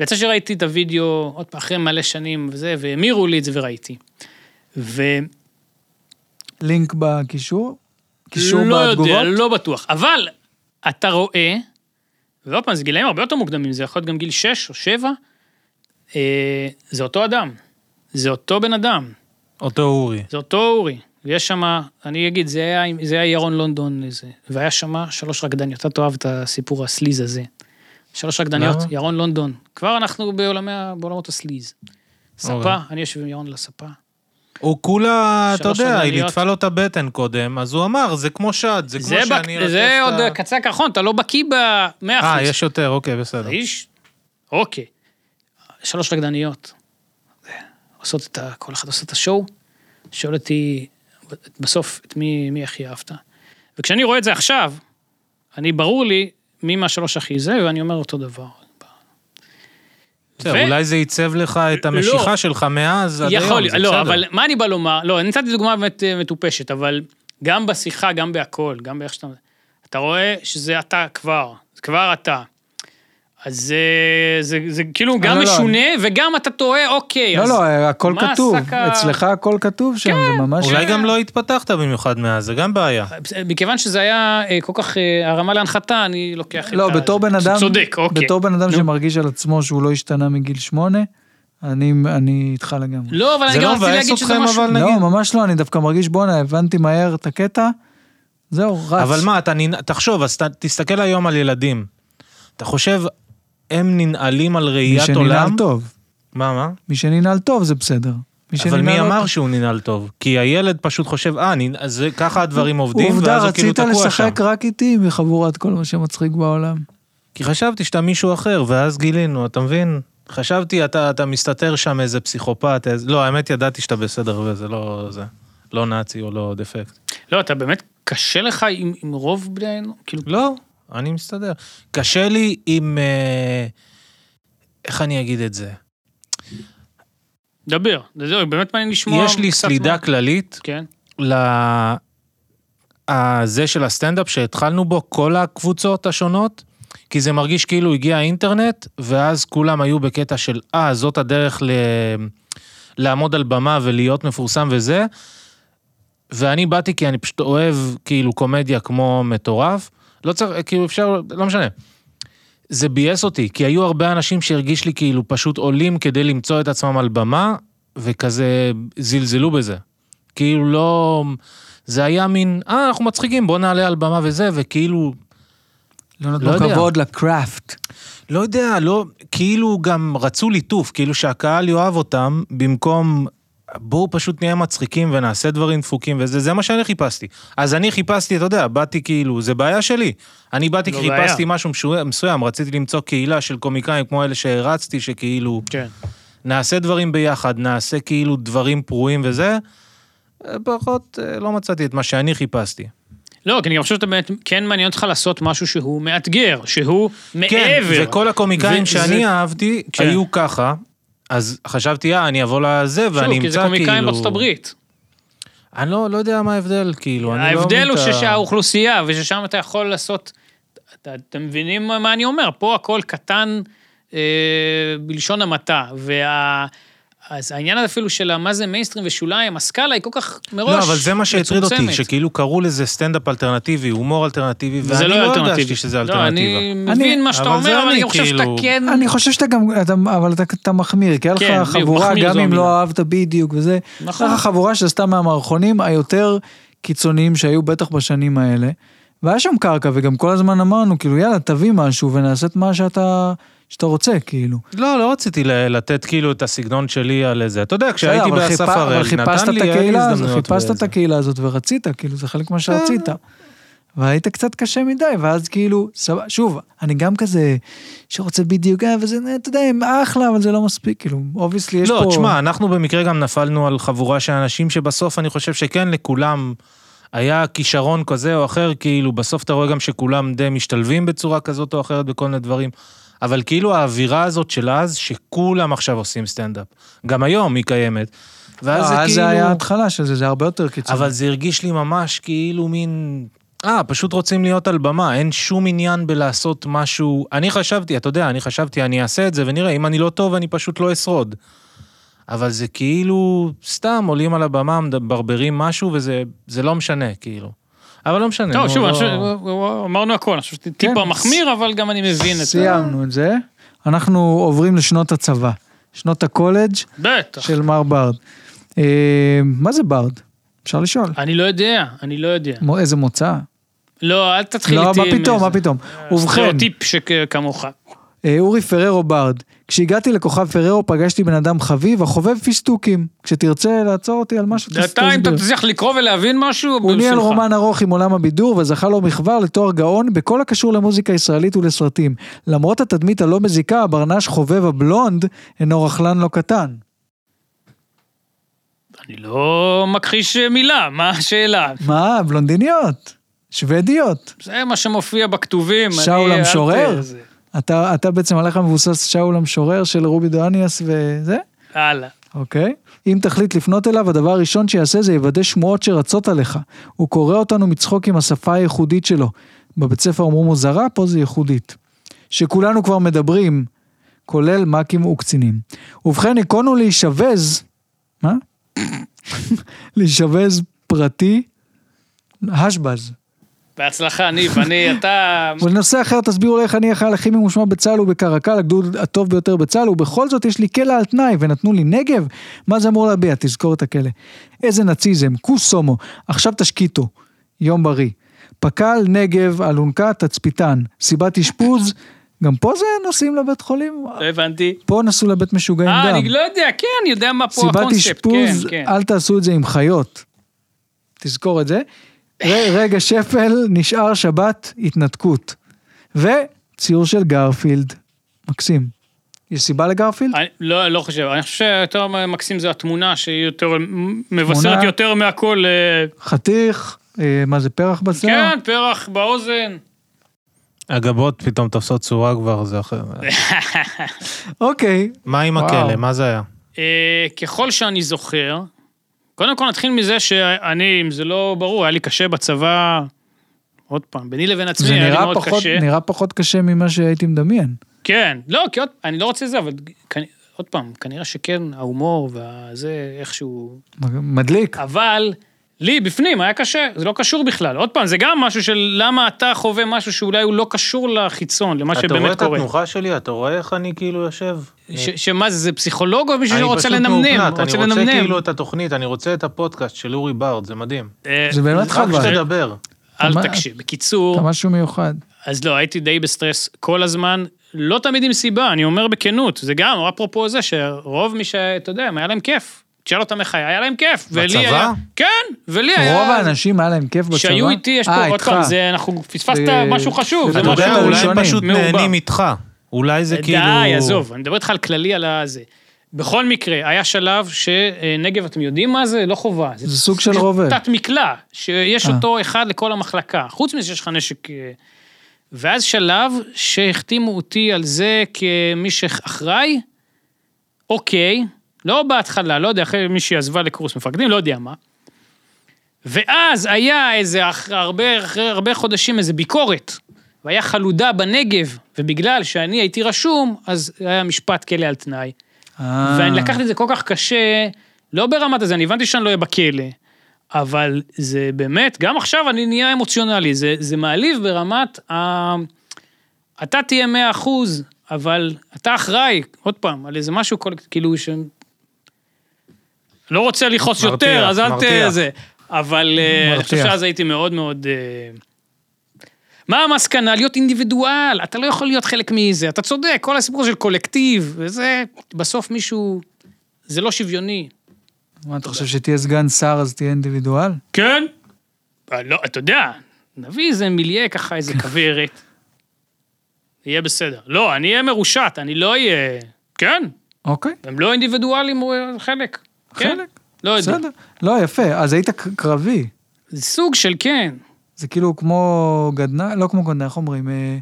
[SPEAKER 1] ויצא שראיתי את הוידאו, עוד פעם, אחרי מלא שנים וזה, והמירו לי את זה וראיתי. ו...
[SPEAKER 2] לינק בקישור. קישור
[SPEAKER 1] לא
[SPEAKER 2] בתגובות?
[SPEAKER 1] יודע, לא בטוח. אבל אתה רואה, ועוד פעם, זה גילאים הרבה יותר מוקדמים, זה יכול להיות גם גיל 6 או 7, אה, זה אותו אדם, זה אותו בן אדם,
[SPEAKER 3] אותו אורי.
[SPEAKER 1] זה אותו אורי. ויש שם, אני אגיד, זה היה, עם- זה היה ירון לונדון, איזה, והיה שם שלוש רקדניות, אתה תאהב את הסיפור הסליז הזה. שלוש רקדניות,
[SPEAKER 3] למה?
[SPEAKER 1] ירון לונדון. כבר אנחנו בעולמי, ה- בעולמות הסליז. ספה,
[SPEAKER 3] אוקיי.
[SPEAKER 1] אני יושב עם ירון על הספה.
[SPEAKER 3] הוא כולה, אתה
[SPEAKER 1] שלוש
[SPEAKER 3] יודע, היא
[SPEAKER 1] עגלניות.
[SPEAKER 3] ליטפה לו את הבטן קודם, אז הוא אמר, זה כמו שד, זה כמו
[SPEAKER 1] זה, בק...
[SPEAKER 3] שאני...
[SPEAKER 1] זה
[SPEAKER 3] אלטף
[SPEAKER 1] עוד
[SPEAKER 3] את ה-
[SPEAKER 1] קצה הקרחון, אתה לא בקיא במאה
[SPEAKER 3] אה,
[SPEAKER 1] אחוז.
[SPEAKER 3] יש יותר, אוקיי, בסדר.
[SPEAKER 1] האיש, אוקיי. שלוש רקדניות. עושות את ה... כל אחת עושה את השואו. שואל אותי בסוף את מי, מי הכי אהבת. וכשאני רואה את זה עכשיו, אני ברור לי מי מהשלוש הכי זה, ואני אומר אותו דבר.
[SPEAKER 3] בסדר, אולי זה עיצב לך את המשיכה שלך מאז עד היום,
[SPEAKER 1] לא. יכול
[SPEAKER 3] זה
[SPEAKER 1] להיות, לא,
[SPEAKER 3] בסדר.
[SPEAKER 1] אבל מה אני בא לומר? לא, אני נתתי דוגמה באמת אה, מטופשת, אבל גם בשיחה, גם בהכל, גם באיך שאתה... אתה רואה שזה אתה כבר, זה כבר אתה. אז זה, זה, זה כאילו
[SPEAKER 2] לא,
[SPEAKER 1] גם
[SPEAKER 2] לא,
[SPEAKER 1] משונה, וגם אתה טועה, אוקיי.
[SPEAKER 2] לא,
[SPEAKER 1] אז...
[SPEAKER 3] אה,
[SPEAKER 2] לא, הכל
[SPEAKER 1] מה כן.
[SPEAKER 2] כתוב.
[SPEAKER 1] עסק ה-
[SPEAKER 2] אצלך הכל כתוב שם, זה ממש...
[SPEAKER 3] אולי
[SPEAKER 1] אה.
[SPEAKER 3] גם לא התפתחת במיוחד מאז, זה גם בעיה.
[SPEAKER 1] מכיוון שזה היה אה, כל כך אה, הרמה להנחתה, אני לוקח
[SPEAKER 2] לא,
[SPEAKER 1] את
[SPEAKER 2] בתור בן
[SPEAKER 1] זה
[SPEAKER 2] אדם...
[SPEAKER 1] צודק, אוקיי.
[SPEAKER 2] בתור בן אדם
[SPEAKER 1] נו.
[SPEAKER 2] שמרגיש על עצמו שהוא לא השתנה מגיל שמונה, אני אני איתך לגמרי.
[SPEAKER 1] לא, אבל
[SPEAKER 3] זה
[SPEAKER 1] אני גם
[SPEAKER 3] לא
[SPEAKER 1] רציתי
[SPEAKER 3] מבאס
[SPEAKER 1] להגיד שזה
[SPEAKER 3] אתכם,
[SPEAKER 1] משהו...
[SPEAKER 3] אבל-
[SPEAKER 2] לא,
[SPEAKER 3] נגיד-
[SPEAKER 2] ממש לא, אני דווקא מרגיש, בואנה, הבנתי מהר את הקטע, זהו, רץ.
[SPEAKER 3] אבל מה, אתה ננ... תחשוב, אז ת... תסתכל היום על ילדים. אתה חושב, הם ננעלים על
[SPEAKER 2] מי
[SPEAKER 3] ראיית
[SPEAKER 2] שננעל
[SPEAKER 3] עולם?
[SPEAKER 2] טוב.
[SPEAKER 3] מה, מה?
[SPEAKER 2] מי שננעל טוב זה בסדר. מי
[SPEAKER 3] אבל
[SPEAKER 2] שננעל
[SPEAKER 3] מי
[SPEAKER 2] לא
[SPEAKER 3] אמר
[SPEAKER 2] טוב-
[SPEAKER 3] שהוא ננעל טוב? כי הילד פשוט חושב, אה, ננ... אז זה- ככה הדברים עובדים,
[SPEAKER 2] עובדה,
[SPEAKER 3] ואז הוא כאילו
[SPEAKER 2] רצית
[SPEAKER 3] תקוע שם.
[SPEAKER 2] לשחק רק איתי מחבורת כל מה שמצחיק בעולם.
[SPEAKER 3] כי חשבתי שאתה מישהו אחר, ואז גילינו, אתה מבין? חשבתי, אתה, אתה מסתתר שם איזה פסיכופת, איזה... לא, האמת, ידעתי שאתה בסדר וזה לא זה. לא נאצי או לא דפקט.
[SPEAKER 1] לא, אתה באמת, קשה לך עם, עם רוב בני... האנוש? כאילו,
[SPEAKER 3] לא, אני מסתדר. קשה לי עם... אה, איך אני אגיד את זה?
[SPEAKER 1] דבר. זהו, באמת מעניין לשמוע
[SPEAKER 3] יש לי
[SPEAKER 1] קצת
[SPEAKER 3] סלידה
[SPEAKER 1] מה-
[SPEAKER 3] כללית
[SPEAKER 1] כן.
[SPEAKER 3] ל... הזה של הסטנדאפ שהתחלנו בו, כל הקבוצות השונות, כי זה מרגיש כאילו הגיע האינטרנט, ואז כולם היו בקטע של, אה, זאת הדרך ל... לעמוד על במה ולהיות מפורסם וזה. ואני באתי כי אני פשוט אוהב כאילו קומדיה כמו מטורף. לא צריך, כאילו אפשר, לא משנה. זה ביאס אותי, כי היו הרבה אנשים שהרגיש לי כאילו פשוט עולים כדי למצוא את עצמם על במה, וכזה זלזלו בזה. כאילו לא... זה היה מין, אה, אנחנו מצחיקים, בוא נעלה על במה וזה, וכאילו,
[SPEAKER 2] לא
[SPEAKER 3] לא
[SPEAKER 2] נתנו
[SPEAKER 3] יודע.
[SPEAKER 2] כבוד לקראפט.
[SPEAKER 3] לא יודע, לא, כאילו גם רצו ליטוף, כאילו שהקהל יאהב אותם, במקום, בואו פשוט נהיה מצחיקים ונעשה דברים דפוקים וזה, זה מה שאני חיפשתי. אז אני חיפשתי, אתה יודע, באתי כאילו, זה בעיה שלי. אני באתי
[SPEAKER 1] לא
[SPEAKER 3] כי חיפשתי
[SPEAKER 1] בעיה.
[SPEAKER 3] משהו משו- מסוים, רציתי למצוא קהילה של קומיקאים כמו אלה שהרצתי, שכאילו,
[SPEAKER 1] כן.
[SPEAKER 3] נעשה דברים ביחד, נעשה כאילו דברים פרועים וזה, אה, פחות, אה, לא מצאתי את מה שאני חיפשתי.
[SPEAKER 1] לא, כי אני גם חושב שאתה באמת, כן מעניין אותך לעשות משהו שהוא מאתגר, שהוא
[SPEAKER 3] כן,
[SPEAKER 1] מעבר.
[SPEAKER 3] וכל הקומיקאים
[SPEAKER 1] ו-
[SPEAKER 3] שאני
[SPEAKER 1] זה-
[SPEAKER 3] אהבתי,
[SPEAKER 1] כן.
[SPEAKER 3] היו ככה. אז חשבתי, אה, אני אבוא לזה, ואני אמצא כאילו...
[SPEAKER 1] שוב, כי זה קומיקאים בארצות הברית.
[SPEAKER 3] אני לא, לא יודע מה ההבדל, כאילו, אני לא...
[SPEAKER 1] ההבדל
[SPEAKER 3] מבין
[SPEAKER 1] הוא
[SPEAKER 3] את ה-
[SPEAKER 1] שהאוכלוסייה, וששם אתה יכול לעשות... אתה- אתם מבינים מה מה אני אומר? פה הכל קטן אה, בלשון המעטה. וה... אז העניין הזה אפילו של מה זה מיינסטרים ושוליים, הסקאלה היא כל כך מראש
[SPEAKER 3] לא, אבל זה מה שהטריד אותי,
[SPEAKER 1] מצומצמת.
[SPEAKER 3] שכאילו קראו לזה סטנדאפ אלטרנטיבי, הומור אלטרנטיבי,
[SPEAKER 1] וזה
[SPEAKER 3] ואני
[SPEAKER 1] לא
[SPEAKER 3] לא
[SPEAKER 1] אלטרנטיבי.
[SPEAKER 3] הרגשתי שזה
[SPEAKER 1] לא,
[SPEAKER 3] אלטרנטיבה.
[SPEAKER 1] אני
[SPEAKER 2] אני-
[SPEAKER 1] מבין מה שאתה
[SPEAKER 3] אבל זה
[SPEAKER 1] אומר, אבל
[SPEAKER 3] אני,
[SPEAKER 1] אני גם חושב שאתה
[SPEAKER 3] כאילו-
[SPEAKER 1] כן...
[SPEAKER 2] אני חושב שאתה גם, אתה, אבל אתה, אתה מחמיר, כי היה
[SPEAKER 1] כן,
[SPEAKER 2] לך
[SPEAKER 1] בדיוק,
[SPEAKER 2] חבורה,
[SPEAKER 1] מחמיר
[SPEAKER 2] גם
[SPEAKER 1] זו
[SPEAKER 2] אם לא
[SPEAKER 1] המילה.
[SPEAKER 2] אהבת בדיוק וזה,
[SPEAKER 1] נכון.
[SPEAKER 2] היה לך חבורה שעשתה מהמערכונים היותר קיצוניים שהיו בטח בשנים האלה, והיה שם קרקע, וגם כל הזמן אמרנו, כאילו, יאללה, תביא משהו ונעשה את מה שאתה, שאתה רוצה, כאילו.
[SPEAKER 3] לא, לא רציתי ל- לתת כאילו את הסגנון שלי על איזה. אתה יודע,
[SPEAKER 2] בסדר,
[SPEAKER 3] כשהייתי
[SPEAKER 2] אבל
[SPEAKER 3] באסף
[SPEAKER 2] חיפה- אבל
[SPEAKER 3] הראל,
[SPEAKER 2] חיפשת את
[SPEAKER 3] נתן לי כן. היה לי
[SPEAKER 2] הקהילה הזאת,
[SPEAKER 3] הזדמנויות.
[SPEAKER 2] חיפשת את
[SPEAKER 3] באיזה.
[SPEAKER 2] הקהילה הזאת ורצית, כאילו, זה חלק ממה שרצית. והיית קצת קשה מדי, ואז כאילו, סבבה, שוב, אני גם כזה שרוצה בדיוק, אה, וזה, אה, אתה יודע, הם אחלה, אבל זה לא מספיק, כאילו, אובייסלי יש פה...
[SPEAKER 3] לא, תשמע, אנחנו במקרה גם נפלנו על חבורה של אנשים שבסוף אני חושב שכן לכולם היה כישרון כזה או אחר, כאילו בסוף אתה רואה גם שכולם די משתלבים בצורה כזאת או אחרת בכל מיני דברים. אבל כאילו האווירה הזאת של אז, שכולם עכשיו עושים סטנדאפ. גם היום היא קיימת. ואז זה
[SPEAKER 2] אה, אז
[SPEAKER 3] כאילו...
[SPEAKER 2] זה היה ההתחלה של זה, זה הרבה יותר קיצוני.
[SPEAKER 3] אבל זה הרגיש לי ממש כאילו מין... אה, פשוט רוצים להיות על במה, אין שום עניין בלעשות משהו... אני חשבתי, אתה יודע, אני חשבתי, אני אעשה את זה ונראה, אם אני לא טוב, אני פשוט לא אשרוד. אבל זה כאילו, סתם עולים על הבמה, מברברים משהו, וזה זה לא משנה, כאילו. אבל לא משנה.
[SPEAKER 1] טוב,
[SPEAKER 3] נו,
[SPEAKER 1] שוב,
[SPEAKER 3] לא-
[SPEAKER 1] אני חושב- אמרנו הכל, אני חושב שזה טיפה מחמיר, אבל גם אני מבין את זה.
[SPEAKER 2] כן, סיימנו את זה. אנחנו עוברים לשנות הצבא, שנות הקולג'
[SPEAKER 1] בטח.
[SPEAKER 2] של מר ברד. אה, מה זה ברד? אפשר לשאול.
[SPEAKER 3] אה,
[SPEAKER 1] אני לא יודע, אני לא יודע.
[SPEAKER 2] מו- איזה מוצא?
[SPEAKER 1] לא, אל תתחיל
[SPEAKER 2] לא,
[SPEAKER 1] איתי
[SPEAKER 2] מה
[SPEAKER 1] עם
[SPEAKER 2] פתאום,
[SPEAKER 1] איזה-
[SPEAKER 2] מה פתאום. ובכן,
[SPEAKER 1] סטריאוטיפ שכמוך.
[SPEAKER 2] אה, אורי פררו ברד. כשהגעתי לכוכב פררו פגשתי בן אדם חביב החובב פיסטוקים. כשתרצה לעצור אותי על משהו, תס-
[SPEAKER 1] אתה, אם אתה
[SPEAKER 2] תסביר.
[SPEAKER 1] תצליח לקרוא ולהבין משהו,
[SPEAKER 2] הוא ניהל
[SPEAKER 1] בשמחה.
[SPEAKER 2] רומן ארוך עם עולם הבידור וזכה לו מכבר לתואר גאון בכל הקשור למוזיקה ישראלית ולסרטים. למרות התדמית הלא מזיקה, הברנש חובב הבלונד אינו רכלן לא קטן.
[SPEAKER 1] אני לא מכחיש מילה, מה השאלה?
[SPEAKER 2] מה, בלונדיניות, שוודיות.
[SPEAKER 1] זה מה שמופיע בכתובים.
[SPEAKER 2] שאול
[SPEAKER 1] אני- אל
[SPEAKER 2] המשורר?
[SPEAKER 1] ת- זה-
[SPEAKER 2] אתה, אתה בעצם עליך מבוסס שאול המשורר של רובי דואניאס וזה?
[SPEAKER 1] הלאה.
[SPEAKER 2] אוקיי. אם תחליט לפנות אליו, הדבר הראשון שיעשה זה יוודא שמועות שרצות עליך. הוא קורא אותנו מצחוק עם השפה הייחודית שלו. בבית ספר אמרו מוזרה, פה זה ייחודית. שכולנו כבר מדברים, כולל מ"כים וקצינים. ובכן, היכונו להישבז, מה? להישבז פרטי, השבז.
[SPEAKER 1] בהצלחה, ניב, אני, אתה...
[SPEAKER 2] ולנושא אחר תסבירו לי איך אני החייל הכי ממושמע בצה"ל ובקרקל, הגדוד הטוב ביותר בצה"ל, ובכל זאת יש לי כלא על תנאי, ונתנו לי נגב? מה זה אמור להביע? תזכור את הכלא. איזה נאציזם, כוס סומו, עכשיו תשקיטו. יום בריא. פק"ל, נגב, אלונקה, תצפיתן. סיבת אשפוז, גם פה זה נוסעים לבית חולים?
[SPEAKER 1] לא הבנתי.
[SPEAKER 2] פה נסעו לבית משוגעים גם.
[SPEAKER 1] אה, אני לא יודע, כן, אני יודע מה פה
[SPEAKER 2] סיבת
[SPEAKER 1] הקונספט. כן,
[SPEAKER 2] אשפוז,
[SPEAKER 1] כן.
[SPEAKER 2] אל תעשו את זה עם חיות. תזכור את זה. ר- רגע שפל, נשאר שבת, התנתקות. וציור של גרפילד, מקסים. יש סיבה לגרפילד?
[SPEAKER 1] אני לא, לא חושב, אני חושב שיותר מקסים זה התמונה שהיא יותר, מבשרת
[SPEAKER 2] תמונה.
[SPEAKER 1] יותר מהכל, אה,
[SPEAKER 2] חתיך, אה, מה זה פרח בשיער?
[SPEAKER 1] כן, פרח באוזן.
[SPEAKER 3] הגבות פתאום תופסות צורה כבר, זה אחר.
[SPEAKER 2] אוקיי,
[SPEAKER 3] מה עם
[SPEAKER 2] וואו.
[SPEAKER 3] הכלא? מה זה היה?
[SPEAKER 1] אה, ככל שאני זוכר, קודם כל נתחיל מזה שאני, אם זה לא ברור, היה לי קשה בצבא, עוד פעם, ביני לבין עצמי
[SPEAKER 2] זה
[SPEAKER 1] היה לי
[SPEAKER 2] נראה
[SPEAKER 1] מאוד
[SPEAKER 2] פחות,
[SPEAKER 1] קשה.
[SPEAKER 2] נראה פחות קשה ממה שהייתי מדמיין.
[SPEAKER 1] כן, לא, כי עוד, אני לא רוצה זה, אבל כנ- עוד פעם, כנראה שכן, ההומור והזה איכשהו...
[SPEAKER 2] מדליק.
[SPEAKER 1] אה. אבל לי בפנים היה קשה, זה לא קשור בכלל. עוד פעם, זה גם משהו של למה אתה חווה משהו שאולי הוא לא קשור לחיצון, למה
[SPEAKER 3] אתה רואה
[SPEAKER 1] שבאמת
[SPEAKER 3] את
[SPEAKER 1] קורה.
[SPEAKER 3] התנוחה שלי? אתה רואה איך אני כאילו יושב?
[SPEAKER 1] ש- שמה זה, זה פסיכולוג או מישהו
[SPEAKER 3] אני
[SPEAKER 1] שרוצה
[SPEAKER 3] פשוט
[SPEAKER 1] לנמנם?
[SPEAKER 3] מאופנת,
[SPEAKER 1] רוצה
[SPEAKER 3] אני רוצה
[SPEAKER 1] לנמנם.
[SPEAKER 3] כאילו את התוכנית, אני רוצה את הפודקאסט של אורי בארד, זה מדהים.
[SPEAKER 1] אה,
[SPEAKER 2] זה באמת
[SPEAKER 3] רק
[SPEAKER 2] חבל.
[SPEAKER 3] שתדבר.
[SPEAKER 2] אתה-
[SPEAKER 1] אל תקשיב.
[SPEAKER 2] אתה
[SPEAKER 1] בקיצור,
[SPEAKER 2] משהו מיוחד.
[SPEAKER 1] אז לא, הייתי די בסטרס כל הזמן, לא תמיד עם סיבה, אני אומר בכנות. זה גם, אפרופו זה שרוב מי ש... אתה יודע, היה להם כיף. תשאל אותם איך היה, היה להם כיף. ולי
[SPEAKER 3] בצבא?
[SPEAKER 1] היה- כן, ולי היה...
[SPEAKER 2] רוב האנשים היה להם כיף בצבא.
[SPEAKER 1] שהיו אה. איתי, יש פה,
[SPEAKER 2] אה,
[SPEAKER 1] עוד
[SPEAKER 2] איתך.
[SPEAKER 1] פעם, זה, אנחנו, פספסת
[SPEAKER 2] זה-
[SPEAKER 1] משהו חשוב,
[SPEAKER 2] אתה
[SPEAKER 1] זה
[SPEAKER 3] אתה
[SPEAKER 1] משהו...
[SPEAKER 3] יודע,
[SPEAKER 2] משהו
[SPEAKER 3] אולי הם
[SPEAKER 2] ראשוני.
[SPEAKER 3] פשוט
[SPEAKER 1] מעובר.
[SPEAKER 3] נהנים איתך. אולי זה כאילו...
[SPEAKER 1] די, עזוב, אני מדבר איתך על כללי על הזה. בכל מקרה, היה שלב שנגב, אתם יודעים מה זה? לא חובה.
[SPEAKER 2] זה סוג של רובה.
[SPEAKER 1] תת מקלע, שיש
[SPEAKER 2] אה.
[SPEAKER 1] אותו אחד לכל המחלקה. חוץ מזה שיש לך נשק... אה, ואז שלב שהחתימו אותי על זה כמי שאחראי, אוקיי, לא בהתחלה, לא יודע, אחרי מישהי עזבה לקורס מפקדים, לא יודע מה. ואז היה איזה, אח- הרבה, אחרי הרבה חודשים איזה ביקורת, והיה חלודה בנגב, ובגלל שאני הייתי רשום, אז היה משפט כלא על תנאי.
[SPEAKER 2] אה.
[SPEAKER 1] ואני לקחתי את זה כל כך קשה, לא ברמת הזה, אני הבנתי שאני לא אהיה בכלא, אבל זה באמת, גם עכשיו אני נהיה אמוציונלי, זה, זה מעליב ברמת ה... אתה תהיה 100 אחוז, אבל אתה אחראי, עוד פעם, על איזה משהו, כל, כאילו, ש... לא רוצה לכעוס
[SPEAKER 3] מרתיע,
[SPEAKER 1] יותר, אז אל
[SPEAKER 3] מרתיע.
[SPEAKER 1] ת... זה. אבל אה, אני חושב
[SPEAKER 2] מרתיע.
[SPEAKER 1] שאז הייתי מאוד מאוד... אה, מה המסקנה? להיות אינדיבידואל, אתה לא יכול להיות חלק מזה, אתה צודק, כל הסיפור של קולקטיב, וזה, בסוף מישהו, זה לא שוויוני.
[SPEAKER 2] מה, אתה חושב שתהיה סגן שר אז תהיה אינדיבידואל?
[SPEAKER 1] כן? לא, אתה יודע, נביא איזה מיליה ככה, איזה כוורת. יהיה בסדר. לא, אני אהיה מרושת, אני לא אהיה... כן,
[SPEAKER 2] אוקיי.
[SPEAKER 1] הם לא אינדיבידואלים, הוא חלק. כן?
[SPEAKER 2] חלק.
[SPEAKER 1] לא יודע.
[SPEAKER 2] בסדר. לא, יפה. אז היית ק- קרבי.
[SPEAKER 1] זה סוג של כן.
[SPEAKER 2] זה כאילו כמו גדנ"ע, לא כמו גדנ"ע, איך אומרים? אה,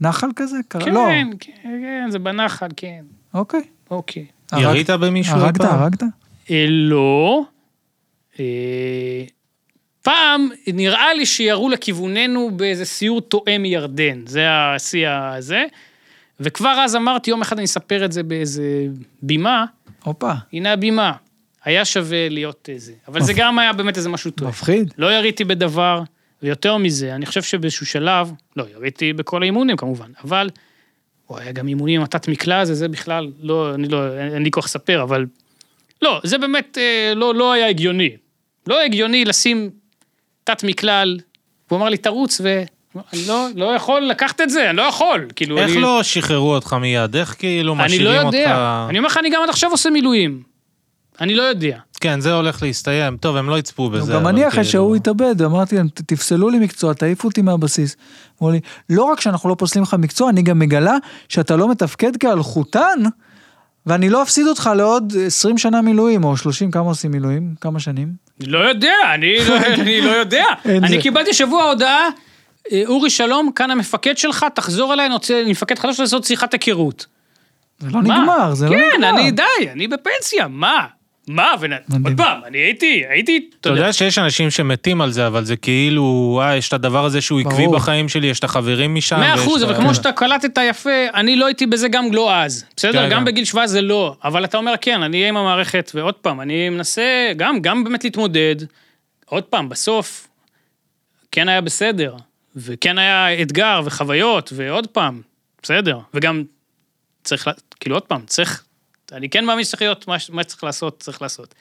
[SPEAKER 2] נחל כזה? קר-
[SPEAKER 1] כן,
[SPEAKER 2] לא.
[SPEAKER 1] כן, כן, זה בנחל, כן.
[SPEAKER 2] אוקיי.
[SPEAKER 1] אוקיי.
[SPEAKER 2] הרג-
[SPEAKER 3] ירית במישהו?
[SPEAKER 2] הרגת,
[SPEAKER 3] הפעם?
[SPEAKER 2] הרגת?
[SPEAKER 1] אה, לא. אה, פעם נראה לי שירו לכיווננו באיזה סיור טועה מירדן, זה השיא הזה. וכבר אז אמרתי, יום אחד אני אספר את זה באיזה בימה,
[SPEAKER 2] הופה,
[SPEAKER 1] הנה הבימה. היה שווה להיות איזה. אבל זה גם היה באמת איזה משהו טועה.
[SPEAKER 2] מפחיד.
[SPEAKER 1] לא יריתי בדבר, ויותר מזה, אני חושב שבאיזשהו שלב, לא, יריתי בכל האימונים כמובן, אבל, הוא היה גם אימונים עם התת מקלע הזה, זה בכלל, לא, אני לא, אין, אין לי כוח לספר, אבל, לא, זה באמת אה, לא, לא היה הגיוני. לא היה הגיוני לשים תת מקלע על, והוא אמר לי, תרוץ, ו... אני לא, לא יכול לקחת את זה, אני לא יכול, כאילו,
[SPEAKER 3] איך
[SPEAKER 1] אני...
[SPEAKER 3] לא שחררו אותך מיד? איך כאילו
[SPEAKER 1] אני לא
[SPEAKER 3] משאירים אותך...
[SPEAKER 1] יודע. אני אומר לך, אני גם עד עכשיו עושה מילואים. אני לא יודע.
[SPEAKER 3] כן, זה הולך להסתיים. טוב, הם לא יצפו בזה.
[SPEAKER 2] גם
[SPEAKER 3] אבל
[SPEAKER 2] אני אחרי
[SPEAKER 3] כאילו-
[SPEAKER 2] שהוא התאבד, אמרתי להם, "ת- תפסלו לי מקצוע, תעיפו אותי מהבסיס. אמרו לי, לא רק שאנחנו לא פוסלים לך מקצוע, אני גם מגלה שאתה לא מתפקד כאלחוטן, ואני לא אפסיד אותך לעוד 20 שנה מילואים, או 30, כמה עושים מילואים? כמה שנים?
[SPEAKER 1] אני לא יודע, אני לא, אני לא יודע.
[SPEAKER 2] אין
[SPEAKER 1] אני
[SPEAKER 2] זה.
[SPEAKER 1] קיבלתי השבוע הודעה, אה, אורי שלום, כאן המפקד שלך, תחזור אליי, אני רוצה, אני מפקד חדש לעשות שיחת היכרות.
[SPEAKER 2] זה לא נגמר, זה לא נגמר.
[SPEAKER 1] כן, אני, די, אני בפנסיה, מה? מה? ונ... עוד
[SPEAKER 2] מדהים.
[SPEAKER 1] פעם, אני הייתי, הייתי,
[SPEAKER 3] אתה יודע שיש אנשים שמתים על זה, אבל זה כאילו, אה, יש את הדבר הזה שהוא עקבי
[SPEAKER 2] ברור.
[SPEAKER 3] בחיים שלי, יש את החברים משם.
[SPEAKER 1] מאה
[SPEAKER 3] ויש
[SPEAKER 1] אחוז,
[SPEAKER 3] את
[SPEAKER 1] אבל
[SPEAKER 3] ה-
[SPEAKER 1] כמו שאתה קלטת יפה, אני לא הייתי בזה גם לא אז. בסדר?
[SPEAKER 3] כן,
[SPEAKER 1] גם
[SPEAKER 3] כן.
[SPEAKER 1] בגיל 17 זה לא. אבל אתה אומר, כן, אני אהיה עם המערכת, ועוד פעם, אני מנסה גם, גם באמת להתמודד. עוד פעם, בסוף, כן היה בסדר, וכן היה אתגר וחוויות, ועוד פעם, בסדר. וגם צריך, לה- כאילו, עוד פעם, צריך, אני כן מאמין שצריך להיות, מה, ש- מה שצריך לעשות, צריך לעשות.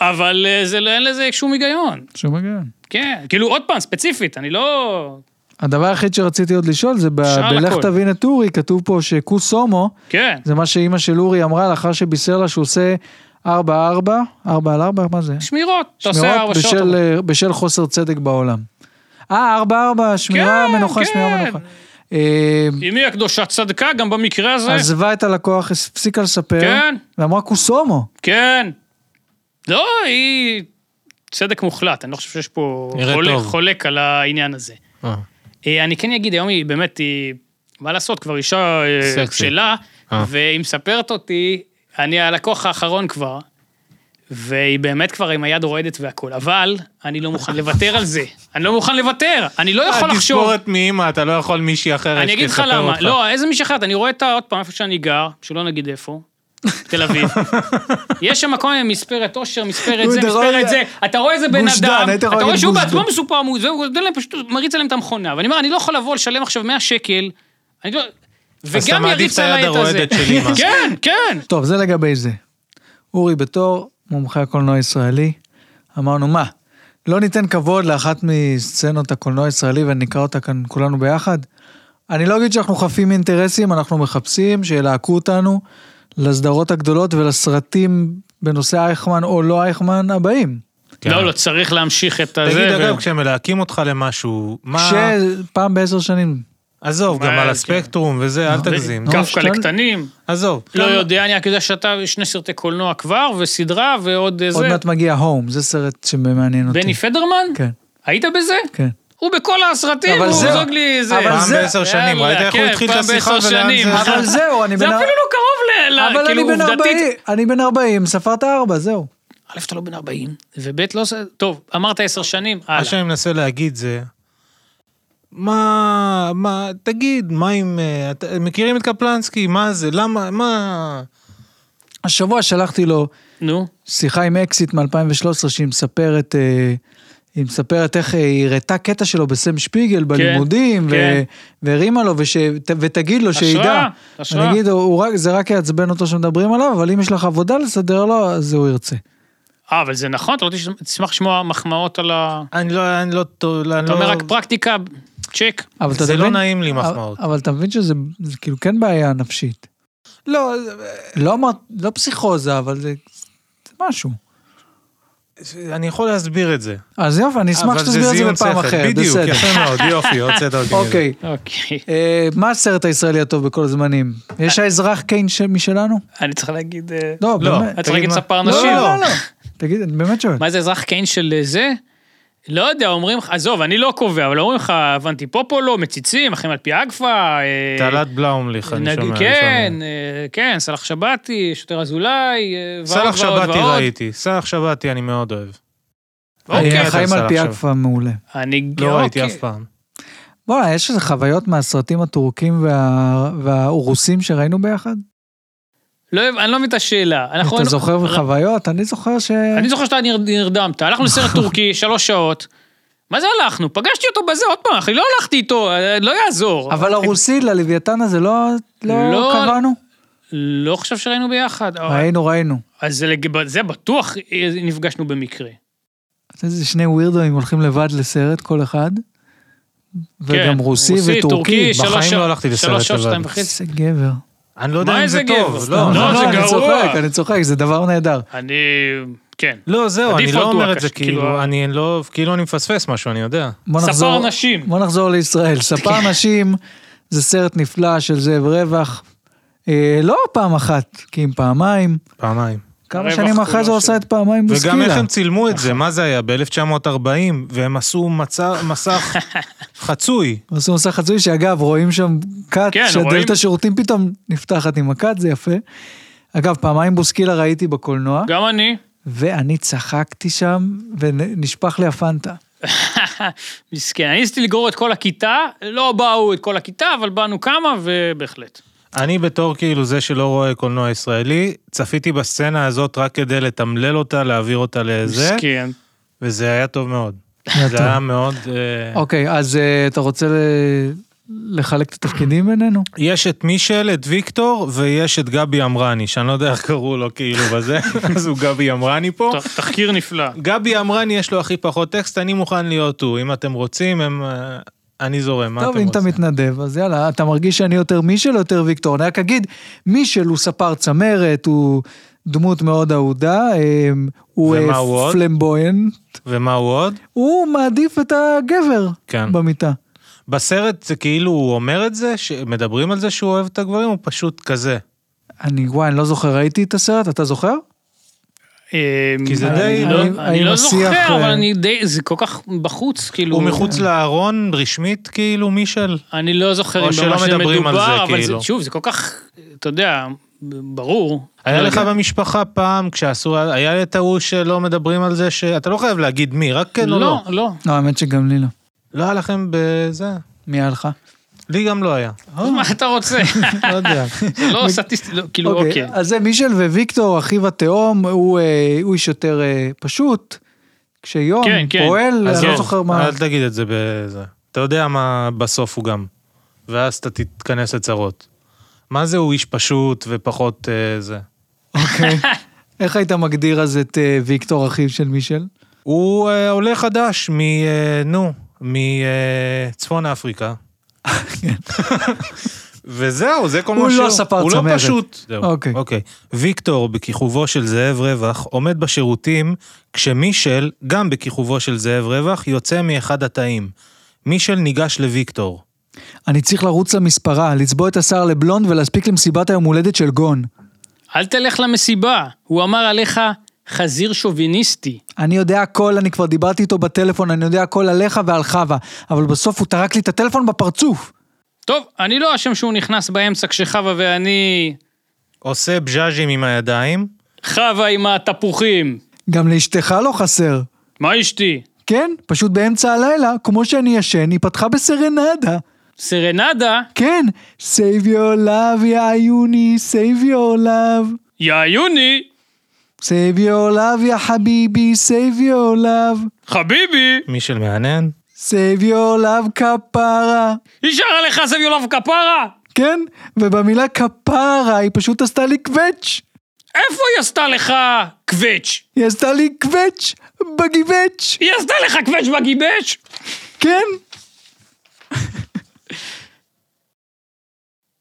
[SPEAKER 1] אבל אה, זה, לא- אין לזה שום היגיון,
[SPEAKER 2] שום הגיון.
[SPEAKER 1] כן. כאילו, עוד פעם, ספציפית, אני לא...
[SPEAKER 2] הדבר היחיד שרציתי עוד לשאול זה, ב-
[SPEAKER 1] שאל
[SPEAKER 2] בלך
[SPEAKER 1] הכל.
[SPEAKER 2] תבין את אורי, כתוב פה שכוס הומו,
[SPEAKER 1] כן.
[SPEAKER 2] זה מה שאימא של אורי אמרה לאחר שבישר לה שהוא עושה 4-4, 4 על 4, מה זה?
[SPEAKER 1] שמירות, אתה עושה
[SPEAKER 2] שמירות
[SPEAKER 1] ארבע שעות.
[SPEAKER 2] בשל, אה, בשל חוסר צדק בעולם. אה, ארבע ארבע, שמירה,
[SPEAKER 1] כן,
[SPEAKER 2] מנוחה, שמירה,
[SPEAKER 1] כן.
[SPEAKER 2] מנוחה. אה,
[SPEAKER 1] אמי הקדושה צדקה גם במקרה הזה,
[SPEAKER 2] עזבה את הלקוח, הפסיקה לספר,
[SPEAKER 1] כן.
[SPEAKER 2] ואמרה קוסומו.
[SPEAKER 1] כן. לא, היא צדק מוחלט, אני לא חושב שיש פה
[SPEAKER 3] נראה
[SPEAKER 1] חולק-
[SPEAKER 3] טוב.
[SPEAKER 1] חולק על העניין הזה.
[SPEAKER 3] אה,
[SPEAKER 1] אה, אני כן אגיד, היום היא באמת, היא, מה לעשות, כבר אישה אה,
[SPEAKER 3] סקסית.
[SPEAKER 1] שלה,
[SPEAKER 3] אה.
[SPEAKER 1] והיא מספרת אותי, אני הלקוח האחרון כבר, והיא באמת כבר עם היד רועדת והכול, אבל אני לא מוכן לוותר על זה. אני לא מוכן לוותר, אני לא
[SPEAKER 2] אה,
[SPEAKER 1] יכול לחשוב.
[SPEAKER 3] תספורת מאמא, אתה לא יכול מישהי אחרת
[SPEAKER 1] אני אגיד לך
[SPEAKER 3] שתספר
[SPEAKER 1] למה,
[SPEAKER 3] אותך.
[SPEAKER 1] לא, איזה מישהי אחרת, אני רואה את ה... עוד פעם, איפה שאני גר, שלא נגיד איפה, בתל אביב. יש שם כל מיני מספרת אושר, מספרת זה,
[SPEAKER 2] הוא דרום-
[SPEAKER 1] מספרת זה, אתה רואה איזה בן
[SPEAKER 2] גוש דן,
[SPEAKER 1] אדם,
[SPEAKER 2] היית
[SPEAKER 1] אתה
[SPEAKER 2] יכול
[SPEAKER 1] רואה
[SPEAKER 2] להגיד
[SPEAKER 1] שהוא
[SPEAKER 2] גוש
[SPEAKER 1] בעצמו
[SPEAKER 2] דן.
[SPEAKER 1] מסופר, מוז- והוא נותן להם פשוט, מריץ עליהם את המכונה, ואני אומר, אני לא יכול לבוא לשלם עכשיו 100 שקל, אני לא...
[SPEAKER 3] אז אתה
[SPEAKER 1] וגם
[SPEAKER 3] מעדיף
[SPEAKER 1] יריץ
[SPEAKER 3] את היד
[SPEAKER 1] עליי את הזה.
[SPEAKER 3] הרועדת של אמא.
[SPEAKER 1] כן, כן.
[SPEAKER 2] טוב, זה לגבי זה. אורי, בתור מומחה הקולנוע הישראלי, אמרנו, מה, לא ניתן כבוד לאחת מסצנות הקולנוע הישראלי ונקרא אותה כאן כולנו ביחד? אני לא אגיד שאנחנו חפים מאינטרסים, אנחנו מחפשים שילהקו אותנו לסדרות הגדולות ולסרטים בנושא אייכמן או לא אייכמן הבאים.
[SPEAKER 3] כן.
[SPEAKER 1] לא, לא, צריך להמשיך את הזה.
[SPEAKER 3] תגיד,
[SPEAKER 1] ו-
[SPEAKER 3] אגב, כשמלהקים אותך למשהו, מה...
[SPEAKER 2] שפעם בעשר שנים.
[SPEAKER 3] עזוב,
[SPEAKER 1] מה,
[SPEAKER 3] גם על
[SPEAKER 1] כן.
[SPEAKER 3] הספקטרום וזה, אל
[SPEAKER 1] ו-
[SPEAKER 3] תגזים.
[SPEAKER 2] גם-
[SPEAKER 1] קפקא לקטנים,
[SPEAKER 3] עזוב.
[SPEAKER 1] לא
[SPEAKER 3] גם-
[SPEAKER 1] יודע, אני רק יודע שאתה שני סרטי קולנוע כבר, וסדרה, ועוד אה,
[SPEAKER 2] עוד
[SPEAKER 1] זה.
[SPEAKER 2] מעט מגיע הום, זה סרט שמעניין אותי.
[SPEAKER 1] בני פדרמן?
[SPEAKER 2] כן,
[SPEAKER 1] היית בזה?
[SPEAKER 2] כן.
[SPEAKER 1] הוא בכל הסרטים,
[SPEAKER 2] אבל
[SPEAKER 1] הוא
[SPEAKER 2] זהו.
[SPEAKER 1] זוג לי זה.
[SPEAKER 2] אבל
[SPEAKER 3] פעם
[SPEAKER 2] זה-
[SPEAKER 3] בעשר שנים,
[SPEAKER 1] יאללה,
[SPEAKER 3] ראית איך הוא
[SPEAKER 1] כן,
[SPEAKER 3] התחיל את
[SPEAKER 1] פעם
[SPEAKER 3] השיחה
[SPEAKER 1] בעשר שנים.
[SPEAKER 3] ולאן זה...
[SPEAKER 2] אבל זהו, אני
[SPEAKER 1] זה
[SPEAKER 2] בן...
[SPEAKER 1] אפילו לא קרוב ל... ל-
[SPEAKER 2] אבל אני
[SPEAKER 1] כאילו,
[SPEAKER 2] בן
[SPEAKER 1] עובדתית.
[SPEAKER 2] 40, אני בן 40, ספרת 4, זהו.
[SPEAKER 1] א', אתה לא בן 40, וב', לא... ס- טוב, אמרת עשר שנים,
[SPEAKER 3] מה
[SPEAKER 1] הלאה.
[SPEAKER 3] שאני מנסה להגיד זה... מה, מה, תגיד, מה אם, אה, את- מכירים את קפלנסקי, מה זה, למה, מה...
[SPEAKER 2] השבוע שלחתי לו
[SPEAKER 1] נו.
[SPEAKER 2] שיחה עם אקזיט מ-2013 שהיא מספרת, אה, היא מספרת איך אה, היא הראתה קטע שלו בסם שפיגל בלימודים,
[SPEAKER 1] כן.
[SPEAKER 2] ו- והרימה לו, וש- ת- ותגיד לו שידע.
[SPEAKER 1] השראה, השראה.
[SPEAKER 2] אני אגיד, "הוא- הוא רק- זה רק יעצבן אותו שמדברים עליו, אבל אם יש לך עבודה לסדר לו, אז הוא ירצה.
[SPEAKER 1] אה, אבל זה נכון, אתה לא תש- תשמח לשמוע מחמאות על ה...
[SPEAKER 3] אני לא, אני לא, טוב, אני
[SPEAKER 1] אתה
[SPEAKER 3] לא...
[SPEAKER 1] אומר רק פרקטיקה, צ'ק.
[SPEAKER 2] אבל אתה
[SPEAKER 3] זה לא
[SPEAKER 2] מבין-
[SPEAKER 3] נעים לי מחמאות.
[SPEAKER 2] אבל אתה מבין שזה זה כאילו כן בעיה נפשית.
[SPEAKER 3] לא,
[SPEAKER 2] לא אמרת, לא פסיכוזה, אבל זה זה משהו.
[SPEAKER 3] זה- אני יכול להסביר את זה.
[SPEAKER 2] אז יופי, אני אשמח
[SPEAKER 3] אבל
[SPEAKER 2] שתסביר את זה
[SPEAKER 3] זיון
[SPEAKER 2] בפעם
[SPEAKER 3] שכל,
[SPEAKER 2] אחרת,
[SPEAKER 3] בדיוק,
[SPEAKER 2] בסדר.
[SPEAKER 3] יפה מאוד, יופי, הוצאת אותי. מזה.
[SPEAKER 2] אוקיי,
[SPEAKER 1] אוקיי.
[SPEAKER 2] אה, מה הסרט הישראלי הטוב בכל הזמנים? יש האזרח קיין של- משלנו?
[SPEAKER 1] אני צריך להגיד... אה,
[SPEAKER 2] לא,
[SPEAKER 3] לא.
[SPEAKER 2] באמת.
[SPEAKER 1] אני
[SPEAKER 3] תגיד
[SPEAKER 1] צריך להגיד
[SPEAKER 3] מה-
[SPEAKER 1] ספר
[SPEAKER 2] לא,
[SPEAKER 1] נשים.
[SPEAKER 2] לא, לא. תגיד, אני באמת שואל.
[SPEAKER 1] מה זה אזרח קיין של אה, זה? לא יודע, אומרים לך, עזוב, אני לא קובע, אבל אומרים לך, הבנתי פופולו, מציצים, אחים על פי אגפה. אה,
[SPEAKER 3] תעלת בלאומליך, אני
[SPEAKER 1] נגיד,
[SPEAKER 3] שומע.
[SPEAKER 1] כן, אה, כן, סלח שבתי, שוטר אזולאי, אה,
[SPEAKER 3] אני
[SPEAKER 1] ועוד
[SPEAKER 3] שומע. סאלח
[SPEAKER 1] ועוד
[SPEAKER 3] שבתי
[SPEAKER 1] ועוד.
[SPEAKER 3] ראיתי, סאלח שבתי אני מאוד אוהב.
[SPEAKER 1] אוקיי.
[SPEAKER 2] אה, חיים על
[SPEAKER 3] סלח
[SPEAKER 2] פי
[SPEAKER 3] שם.
[SPEAKER 2] אגפה מעולה.
[SPEAKER 1] אני
[SPEAKER 3] לא ראיתי
[SPEAKER 1] אוקיי.
[SPEAKER 3] אף פעם.
[SPEAKER 2] בואנה, יש איזה חוויות מהסרטים הטורקים וה- והאורוסים שראינו ביחד?
[SPEAKER 1] לא, אני לא מבין את השאלה. אנחנו
[SPEAKER 2] אתה
[SPEAKER 1] היינו-
[SPEAKER 2] זוכר חוויות? אני זוכר ש...
[SPEAKER 1] אני זוכר שאתה נר- נרדמת. הלכנו לסרט טורקי, שלוש שעות. מה זה הלכנו? פגשתי אותו בזה עוד פעם, אחי, לא הלכתי איתו, אה, לא יעזור.
[SPEAKER 2] אבל הרוסי ללוויתן הזה לא לא
[SPEAKER 1] לא-
[SPEAKER 2] קבענו?
[SPEAKER 1] לא חושב שראינו ביחד. אבל-
[SPEAKER 2] ראינו, ראינו.
[SPEAKER 1] אז זה לג- זה בטוח אה, נפגשנו במקרה.
[SPEAKER 2] איזה שני ווירדואים הולכים לבד לסרט, כל אחד. וגם רוסי וטורקי.
[SPEAKER 3] בחיים
[SPEAKER 1] כן, שלוש-
[SPEAKER 3] לא הלכתי לסרט
[SPEAKER 1] שלוש שעות,
[SPEAKER 3] לבד.
[SPEAKER 1] שתיים וחצי.
[SPEAKER 2] איזה גבר.
[SPEAKER 3] אני לא יודע
[SPEAKER 1] מה
[SPEAKER 3] אם
[SPEAKER 1] איזה
[SPEAKER 3] זה טוב.
[SPEAKER 1] גבר? לא,
[SPEAKER 3] לא,
[SPEAKER 1] זה
[SPEAKER 2] אני
[SPEAKER 1] גרוע.
[SPEAKER 2] צוחק, אני צוחק, זה דבר נהדר.
[SPEAKER 1] אני... כן.
[SPEAKER 3] לא, זהו, אני
[SPEAKER 1] הדיפולט
[SPEAKER 3] לא
[SPEAKER 1] הוא
[SPEAKER 3] אומר את
[SPEAKER 1] הקש-
[SPEAKER 3] זה
[SPEAKER 1] כאילו-
[SPEAKER 3] כאילו, אני לא, כאילו אני מפספס משהו, אני יודע.
[SPEAKER 2] בוא נחזור-
[SPEAKER 1] ספר נשים.
[SPEAKER 2] בוא נחזור לישראל. ספר נשים זה סרט נפלא של זאב רווח. אה, לא פעם אחת, כי אם פעמיים.
[SPEAKER 3] פעמיים.
[SPEAKER 2] כמה
[SPEAKER 1] רווח לא
[SPEAKER 2] שנים אחרי
[SPEAKER 1] כולו
[SPEAKER 2] זה הוא עשה
[SPEAKER 1] של-
[SPEAKER 2] את פעמיים בוסקילה.
[SPEAKER 3] וגם איך הם צילמו את זה, מה זה היה? ב-1940, והם עשו מצע- מסך חצוי.
[SPEAKER 2] עשו מסך חצוי, שאגב, רואים שם כת,
[SPEAKER 1] כן,
[SPEAKER 2] שדלת
[SPEAKER 1] רואים.
[SPEAKER 2] השירותים פתאום נפתחת עם הכת, זה יפה. אגב, פעמיים בוסקילה ראיתי בקולנוע,
[SPEAKER 1] גם אני.
[SPEAKER 2] ואני צחקתי שם, ונשפך לי הפנטה.
[SPEAKER 1] מסכן. אני ניסיתי לגרור את כל הכיתה, לא באו את כל הכיתה, אבל באנו כמה, ובהחלט.
[SPEAKER 3] אני בתור כאילו זה שלא רואה קולנוע ישראלי, צפיתי בסצנה הזאת רק כדי לתמלל אותה, להעביר אותה לזה,
[SPEAKER 1] מסכן.
[SPEAKER 3] וזה היה טוב מאוד.
[SPEAKER 2] היה
[SPEAKER 3] זה
[SPEAKER 2] טוב.
[SPEAKER 3] היה מאוד...
[SPEAKER 1] כן.
[SPEAKER 3] אה,
[SPEAKER 2] אוקיי, אז אה, אתה רוצה ל- לחלק את התפקידים בינינו?
[SPEAKER 3] יש את מישל, את ויקטור, ויש את גבי אמרני, שאני לא יודע איך קראו לו כאילו בזה, אז הוא גבי אמרני פה.
[SPEAKER 1] ת- תחקיר נפלא.
[SPEAKER 3] גבי אמרני יש לו הכי פחות טקסט, אני מוכן להיות הוא. אם אתם רוצים, הם... אה, אני זורם, מה
[SPEAKER 2] טוב,
[SPEAKER 3] אתם רוצים?
[SPEAKER 2] אם אתה מתנדב, אז יאללה, אתה מרגיש שאני יותר מישל או יותר ויקטור? אני רק אגיד, מישל הוא ספר צמרת, הוא דמות מאוד אהודה, אה, הוא
[SPEAKER 3] ומה
[SPEAKER 2] אה,
[SPEAKER 3] הוא עוד?
[SPEAKER 2] פלמבויינט,
[SPEAKER 3] ומה הוא עוד?
[SPEAKER 2] הוא מעדיף את הגבר
[SPEAKER 3] כן.
[SPEAKER 2] במיטה.
[SPEAKER 3] בסרט זה כאילו הוא אומר את זה, שמדברים על זה שהוא אוהב את הגברים, הוא פשוט כזה.
[SPEAKER 2] אני, וואי, אני לא זוכר, ראיתי את הסרט, אתה זוכר?
[SPEAKER 1] אמ,
[SPEAKER 3] כי זה
[SPEAKER 1] אני
[SPEAKER 3] די-
[SPEAKER 1] לא-
[SPEAKER 2] האם-
[SPEAKER 1] אני
[SPEAKER 2] האם
[SPEAKER 1] לא
[SPEAKER 2] השיח,
[SPEAKER 1] זוכר, אבל
[SPEAKER 2] אה,
[SPEAKER 1] אני די... זה כל כך בחוץ, כאילו...
[SPEAKER 3] הוא מחוץ לארון רשמית כאילו מישל?
[SPEAKER 1] אני לא זוכר
[SPEAKER 3] או
[SPEAKER 1] אם
[SPEAKER 3] שלא
[SPEAKER 1] במה
[SPEAKER 3] מדברים על זה,
[SPEAKER 1] שמדובר, אבל זה,
[SPEAKER 3] כאילו.
[SPEAKER 1] שוב, זה כל כך, אתה יודע, ברור.
[SPEAKER 3] היה
[SPEAKER 1] לא
[SPEAKER 3] לך
[SPEAKER 1] יודע.
[SPEAKER 3] במשפחה פעם כשעשו, היה את ההוא שלא מדברים על זה, שאתה לא חייב להגיד מי, רק כן או
[SPEAKER 1] לא,
[SPEAKER 3] לא.
[SPEAKER 1] לא.
[SPEAKER 2] לא, האמת שגם לי לא.
[SPEAKER 3] לא היה לכם בזה?
[SPEAKER 2] מי היה לך?
[SPEAKER 3] לי גם לא היה.
[SPEAKER 1] מה אתה רוצה?
[SPEAKER 3] לא יודע.
[SPEAKER 1] זה לא סטטיסטי, לא, כאילו, אוקיי.
[SPEAKER 2] אז זה מישל וויקטור, אחיו התאום, הוא אה, הוא איש יותר אה, פשוט, כשיום
[SPEAKER 1] כן, כן.
[SPEAKER 2] פועל,
[SPEAKER 3] אז
[SPEAKER 2] אני לא
[SPEAKER 3] כן,
[SPEAKER 2] זוכר מה...
[SPEAKER 3] אל תגיד את זה בזה. אתה יודע מה בסוף הוא גם. ואז אתה תתכנס לצרות. מה זה הוא איש פשוט ופחות אה, זה?
[SPEAKER 2] אוקיי. איך היית מגדיר אז את אה, ויקטור, אחיו של מישל?
[SPEAKER 3] הוא אה, עולה חדש מ... אה, נו, מצפון אפריקה.
[SPEAKER 2] כן.
[SPEAKER 3] וזהו, זה כל מה
[SPEAKER 2] הוא
[SPEAKER 3] שהוא.
[SPEAKER 2] לא ספר
[SPEAKER 3] הוא
[SPEAKER 2] צמרת.
[SPEAKER 3] לא פשוט. זהו,
[SPEAKER 2] אוקיי.
[SPEAKER 3] אוקיי. ויקטור, בכיכובו של זאב רווח, עומד בשירותים, כשמישל, גם בכיכובו של זאב רווח, יוצא מאחד התאים. מישל ניגש לוויקטור.
[SPEAKER 2] אני צריך לרוץ למספרה, לצבוע את השיער לבלונד ולהספיק למסיבת היום הולדת של גון.
[SPEAKER 1] אל תלך למסיבה. הוא אמר עליך חזיר שוביניסטי.
[SPEAKER 2] אני יודע הכל, אני כבר דיברתי איתו בטלפון, אני יודע הכל עליך ועל חווה, אבל בסוף הוא טרק לי את הטלפון בפרצוף.
[SPEAKER 1] טוב, אני לא אשם שהוא נכנס באמצע כשחווה ואני...
[SPEAKER 3] עושה בז'אז'ים עם הידיים.
[SPEAKER 1] חווה עם התפוחים.
[SPEAKER 2] גם לאשתך לא חסר.
[SPEAKER 1] מה אשתי?
[SPEAKER 2] כן, פשוט באמצע הלילה, כמו שאני ישן, היא פתחה בסרנדה.
[SPEAKER 1] סרנדה?
[SPEAKER 2] כן, save your love, יא יוני, save your love.
[SPEAKER 1] יא יוני!
[SPEAKER 2] save your love, יא חביבי, save your love.
[SPEAKER 1] חביבי!
[SPEAKER 3] מישל מהנהן.
[SPEAKER 2] save your love, כפרה.
[SPEAKER 1] נשאר עליך סביב יולב כפרה?
[SPEAKER 2] כן, ובמילה כפרה היא פשוט עשתה לי קווץ'.
[SPEAKER 1] איפה היא עשתה לך קווץ'?
[SPEAKER 2] היא עשתה לי קווץ' בגיבץ'.
[SPEAKER 1] היא עשתה לך קווץ' בגיבש?
[SPEAKER 2] כן,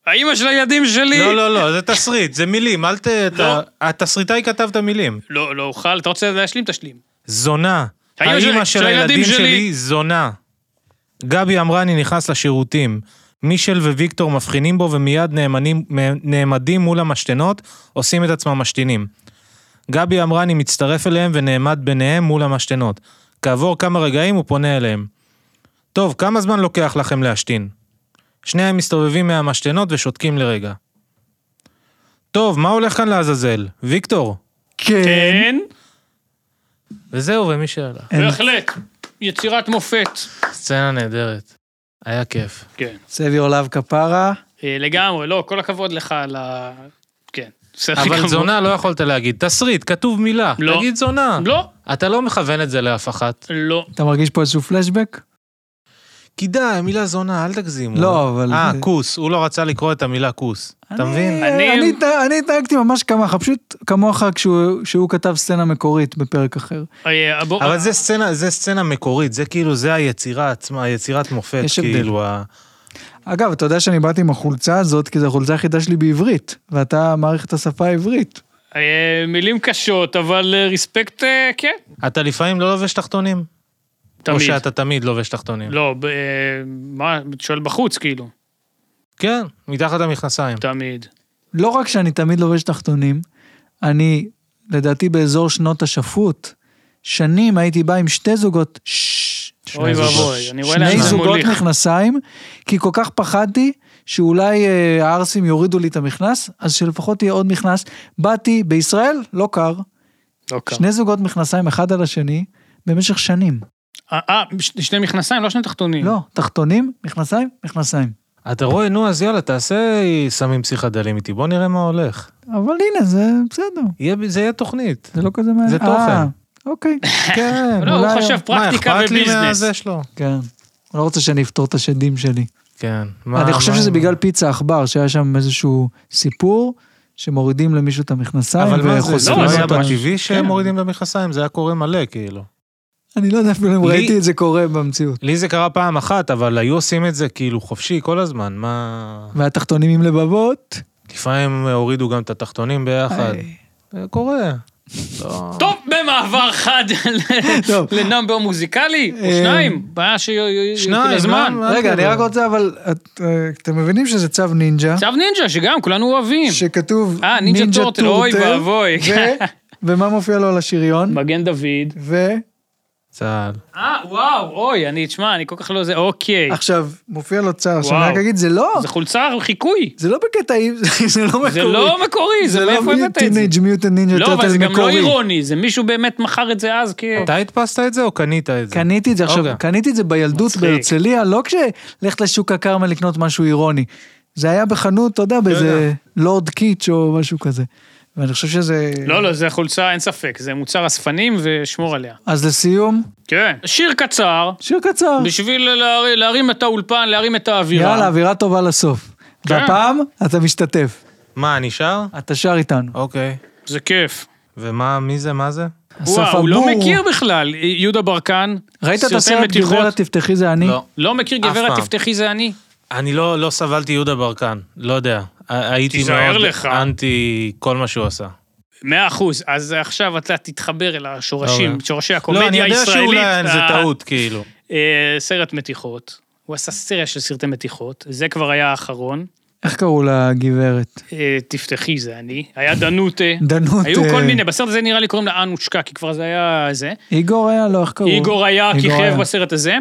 [SPEAKER 1] האימא של הילדים שלי...
[SPEAKER 3] לא, לא, לא, זה תסריט, זה מילים, אל ת... אתה- התסריטאי כתב את המילים.
[SPEAKER 1] לא, לא אוכל, אתה רוצה להשלים? תשלים.
[SPEAKER 3] אמ, זונה.
[SPEAKER 1] האמא
[SPEAKER 3] האימא
[SPEAKER 1] של-
[SPEAKER 3] של הילדים שלי
[SPEAKER 1] שלי.
[SPEAKER 3] זונה. גבי אמרה אני נכנס לשירותים. מישל וויקטור מבחינים בו ומיד נאמנים, נעמדים מול המשתנות, עושים את עצמם משתינים. גבי אמרה אני מצטרף אליהם ונעמד ביניהם מול המשתנות. כעבור כמה רגעים הוא פונה אליהם. טוב, כמה זמן לוקח לכם להשתין? שניהם מסתובבים מהמשתנות ושותקים לרגע. טוב, מה הולך כאן לעזאזל? ויקטור.
[SPEAKER 2] כן.
[SPEAKER 1] כן,
[SPEAKER 3] אמ. וזהו, ומישל הלך.
[SPEAKER 2] אין.
[SPEAKER 1] בהחלט. יצירת מופת.
[SPEAKER 3] סצנה נהדרת. היה כיף.
[SPEAKER 1] כן.
[SPEAKER 2] save your love, כפרה.
[SPEAKER 1] אה, לגמרי, לא, כל הכבוד לך על ה... כן. בסדר
[SPEAKER 3] אבל
[SPEAKER 1] גמור.
[SPEAKER 3] זונה לא יכולת להגיד. תסריט, כתוב מילה.
[SPEAKER 1] לא.
[SPEAKER 3] תגיד זונה.
[SPEAKER 1] לא,
[SPEAKER 3] אתה לא מכוון את זה לאף אחת.
[SPEAKER 1] לא.
[SPEAKER 2] אתה מרגיש פה איזשהו פלשבק?
[SPEAKER 3] כי די, המילה זונה, אל תגזימו.
[SPEAKER 2] לא, אבל...
[SPEAKER 3] אה,
[SPEAKER 2] זה-
[SPEAKER 3] כוס, הוא לא רצה לקרוא את המילה כוס. אתה מבין?
[SPEAKER 2] אני,
[SPEAKER 1] אני-
[SPEAKER 2] אני, התנה- אני התנהגתי ממש כמוך, פשוט כמוך כשהוא, כשהוא כתב סצנה מקורית בפרק אחר.
[SPEAKER 1] אה, בוא-
[SPEAKER 3] אבל זה סצנה, זה סצנה מקורית, זה כאילו, זה היצירה עצמה, היצירת מופת,
[SPEAKER 2] יש הבדל.
[SPEAKER 3] כאילו, ה-
[SPEAKER 2] אגב, אתה יודע שאני באתי עם החולצה הזאת, כי זו החולצה היחידה שלי בעברית, ואתה מעריך את השפה העברית.
[SPEAKER 1] אה, מילים קשות, אבל אה, ריספקט, אה, כן,
[SPEAKER 3] אתה לפעמים לא לובש תחתונים? או
[SPEAKER 1] תמיד.
[SPEAKER 3] שאתה תמיד לובש תחתונים?
[SPEAKER 1] לא, ב- אה, מה, אתה שואל בחוץ, כאילו,
[SPEAKER 3] כן, מתחת למכנסיים.
[SPEAKER 1] תמיד.
[SPEAKER 2] לא רק שאני תמיד לובש תחתונים, אני, לדעתי באזור שנות השפוט, שנים הייתי בא עם שתי זוגות, ש-
[SPEAKER 1] אוי
[SPEAKER 3] זוגות.
[SPEAKER 1] ואבוי, אני רואה לאן
[SPEAKER 2] שני
[SPEAKER 1] זה
[SPEAKER 2] זוגות
[SPEAKER 1] מוליך.
[SPEAKER 2] מכנסיים, כי כל כך פחדתי שאולי אה, הערסים יורידו לי את המכנס, אז שלפחות יהיה עוד מכנס. באתי, בישראל לא קר,
[SPEAKER 1] לא קר.
[SPEAKER 2] שני זוגות מכנסיים אחד על השני במשך שנים.
[SPEAKER 1] אה, אה, ש- שני מכנסיים, לא שני תחתונים.
[SPEAKER 2] לא, תחתונים, מכנסיים, מכנסיים.
[SPEAKER 3] אתה רואה, נו, אז יאללה, תעשה סמים פסיכדלים איתי, בוא נראה מה הולך.
[SPEAKER 2] אבל הנה, זה בסדר,
[SPEAKER 3] יהיה- זה יהיה תוכנית.
[SPEAKER 2] זה לא כזה מעניין.
[SPEAKER 3] זה תוכן.
[SPEAKER 2] אה, אוקיי, כן,
[SPEAKER 1] לא, הוא חושב פרקטיקה
[SPEAKER 3] מה, אכפת לי
[SPEAKER 1] וביזנס.
[SPEAKER 3] מהזה שלו?
[SPEAKER 2] כן. לא רוצה שאני אפתור את השדים שלי.
[SPEAKER 3] כן. מה-
[SPEAKER 2] אני חושב
[SPEAKER 3] מה-
[SPEAKER 2] שזה בגלל פיצה עכבר, שהיה שם איזשהו סיפור, שמורידים למישהו את המכנסיים
[SPEAKER 3] אבל מה זה, זה
[SPEAKER 2] וחושפים
[SPEAKER 3] לא
[SPEAKER 1] אז
[SPEAKER 3] היה
[SPEAKER 2] אותו.
[SPEAKER 3] בטבעי
[SPEAKER 1] כן.
[SPEAKER 3] שהם מורידים את המכנסיים, זה היה קורה מלא, כאילו.
[SPEAKER 2] אני לא יודע אפילו אם
[SPEAKER 3] לי-
[SPEAKER 2] ראיתי את זה קורה במציאות.
[SPEAKER 3] לי זה קרה פעם אחת, אבל היו עושים את זה כאילו חופשי כל הזמן, מה...
[SPEAKER 2] והתחתונים עם לבבות.
[SPEAKER 3] לפעמים הורידו גם את התחתונים ביחד.
[SPEAKER 2] איי.
[SPEAKER 3] זה קורה. לא...
[SPEAKER 1] טוב, במעבר חד
[SPEAKER 2] טוב.
[SPEAKER 1] לנאמבר מוזיקלי, או
[SPEAKER 2] אה,
[SPEAKER 1] שניים, בעיה שיהיה
[SPEAKER 3] שניים,
[SPEAKER 1] כאילו זמן.
[SPEAKER 3] מה- מה-
[SPEAKER 2] רגע, אני
[SPEAKER 3] כאילו?
[SPEAKER 2] רק רוצה, אבל את- אה, אתם מבינים שזה צו נינג'ה,
[SPEAKER 1] צו נינג'ה, שגם כולנו אוהבים.
[SPEAKER 2] שכתוב
[SPEAKER 1] אה, נינג'ה
[SPEAKER 2] נינג'ה
[SPEAKER 1] טורטל,
[SPEAKER 2] טורטל,
[SPEAKER 1] אוי ואבוי.
[SPEAKER 2] ו- ומה מופיע לו על השריון?
[SPEAKER 1] מגן דוד.
[SPEAKER 2] ועכשיו,
[SPEAKER 3] צה"ל.
[SPEAKER 1] אה, וואו, אוי, אני, תשמע, אני כל כך לא זה, אוקיי.
[SPEAKER 2] מופיע לו צו, עכשיו
[SPEAKER 1] וואו.
[SPEAKER 2] אני רק אגיד, זה לא,
[SPEAKER 1] זה חולצה על חיקוי.
[SPEAKER 2] זה לא בקטע, זה לא מקורי.
[SPEAKER 1] זה לא מקורי, זה מאיפה הבאת את זה?
[SPEAKER 2] טינג' מיוטן נינג'ה
[SPEAKER 1] לא, אבל זה
[SPEAKER 2] טורטל
[SPEAKER 1] גם לא
[SPEAKER 2] מקורי.
[SPEAKER 1] אירוני, זה מישהו באמת מכר את זה אז כ...
[SPEAKER 2] כן.
[SPEAKER 3] אתה הדפסת את זה או קנית את זה?
[SPEAKER 2] קניתי את זה עכשיו,
[SPEAKER 3] אוקיי.
[SPEAKER 2] קניתי את זה בילדות
[SPEAKER 1] מצחיק.
[SPEAKER 2] בהרצליה, לא כשלכת לשוק הכרמל לקנות משהו אירוני. זה היה בחנות, אתה
[SPEAKER 1] לא
[SPEAKER 2] יודע, באיזה לורד קיץ' או משהו כזה. ואני חושב שזה...
[SPEAKER 1] לא, לא, זה חולצה, אין ספק, זה מוצר אספנים ושמור עליה.
[SPEAKER 2] אז לסיום,
[SPEAKER 1] כן. שיר קצר,
[SPEAKER 2] שיר קצר.
[SPEAKER 1] בשביל להר- להרים את האולפן, להרים את האווירה.
[SPEAKER 2] יאללה, אווירה טובה לסוף.
[SPEAKER 1] כן.
[SPEAKER 2] והפעם אתה משתתף,
[SPEAKER 3] מה, אני שר?
[SPEAKER 2] אתה שר איתנו.
[SPEAKER 3] אוקיי.
[SPEAKER 1] זה כיף.
[SPEAKER 3] ומה, מי זה, מה זה?
[SPEAKER 2] אסף
[SPEAKER 1] וואו, הוא לא
[SPEAKER 2] אבור.
[SPEAKER 1] מכיר בכלל, יהודה ברקן.
[SPEAKER 2] ראית את
[SPEAKER 1] סרטי
[SPEAKER 2] הסרט
[SPEAKER 1] מתיחות?
[SPEAKER 2] גברת תפתחי זה אני?
[SPEAKER 1] לא מכיר
[SPEAKER 3] אף
[SPEAKER 1] גברת
[SPEAKER 3] פעם.
[SPEAKER 1] תפתחי זה אני.
[SPEAKER 3] אני לא, לא סבלתי יהודה ברקן, לא יודע. ה- הייתי
[SPEAKER 1] תיזהר
[SPEAKER 3] מאוד
[SPEAKER 1] לך.
[SPEAKER 3] אנטי כל מה שהוא עשה.
[SPEAKER 1] מאה אחוז, אז עכשיו אתה תתחבר אל השורשים,
[SPEAKER 3] אוקיי.
[SPEAKER 1] שורשי
[SPEAKER 3] לא, אני
[SPEAKER 1] הקומדיה
[SPEAKER 3] יודע
[SPEAKER 1] הישראלית. אה,
[SPEAKER 3] שאולי זה
[SPEAKER 1] ה-
[SPEAKER 3] טעות, כאילו.
[SPEAKER 1] אה, סרט מתיחות, הוא עשה סריה של סרטי מתיחות, זה כבר היה האחרון.
[SPEAKER 2] איך קראו לה גברת?
[SPEAKER 1] אה, תפתחי זה אני, היה דנוטה.
[SPEAKER 2] דנות...
[SPEAKER 1] היו כל
[SPEAKER 2] אה,
[SPEAKER 1] מיני, בסרט הזה נראה לי קוראים לה אנושקה, כי כבר זה היה זה.
[SPEAKER 2] איגור היה? לא, איך קראו?
[SPEAKER 1] איגור היה
[SPEAKER 2] איגור היה.
[SPEAKER 1] כיכב בסרט הזה.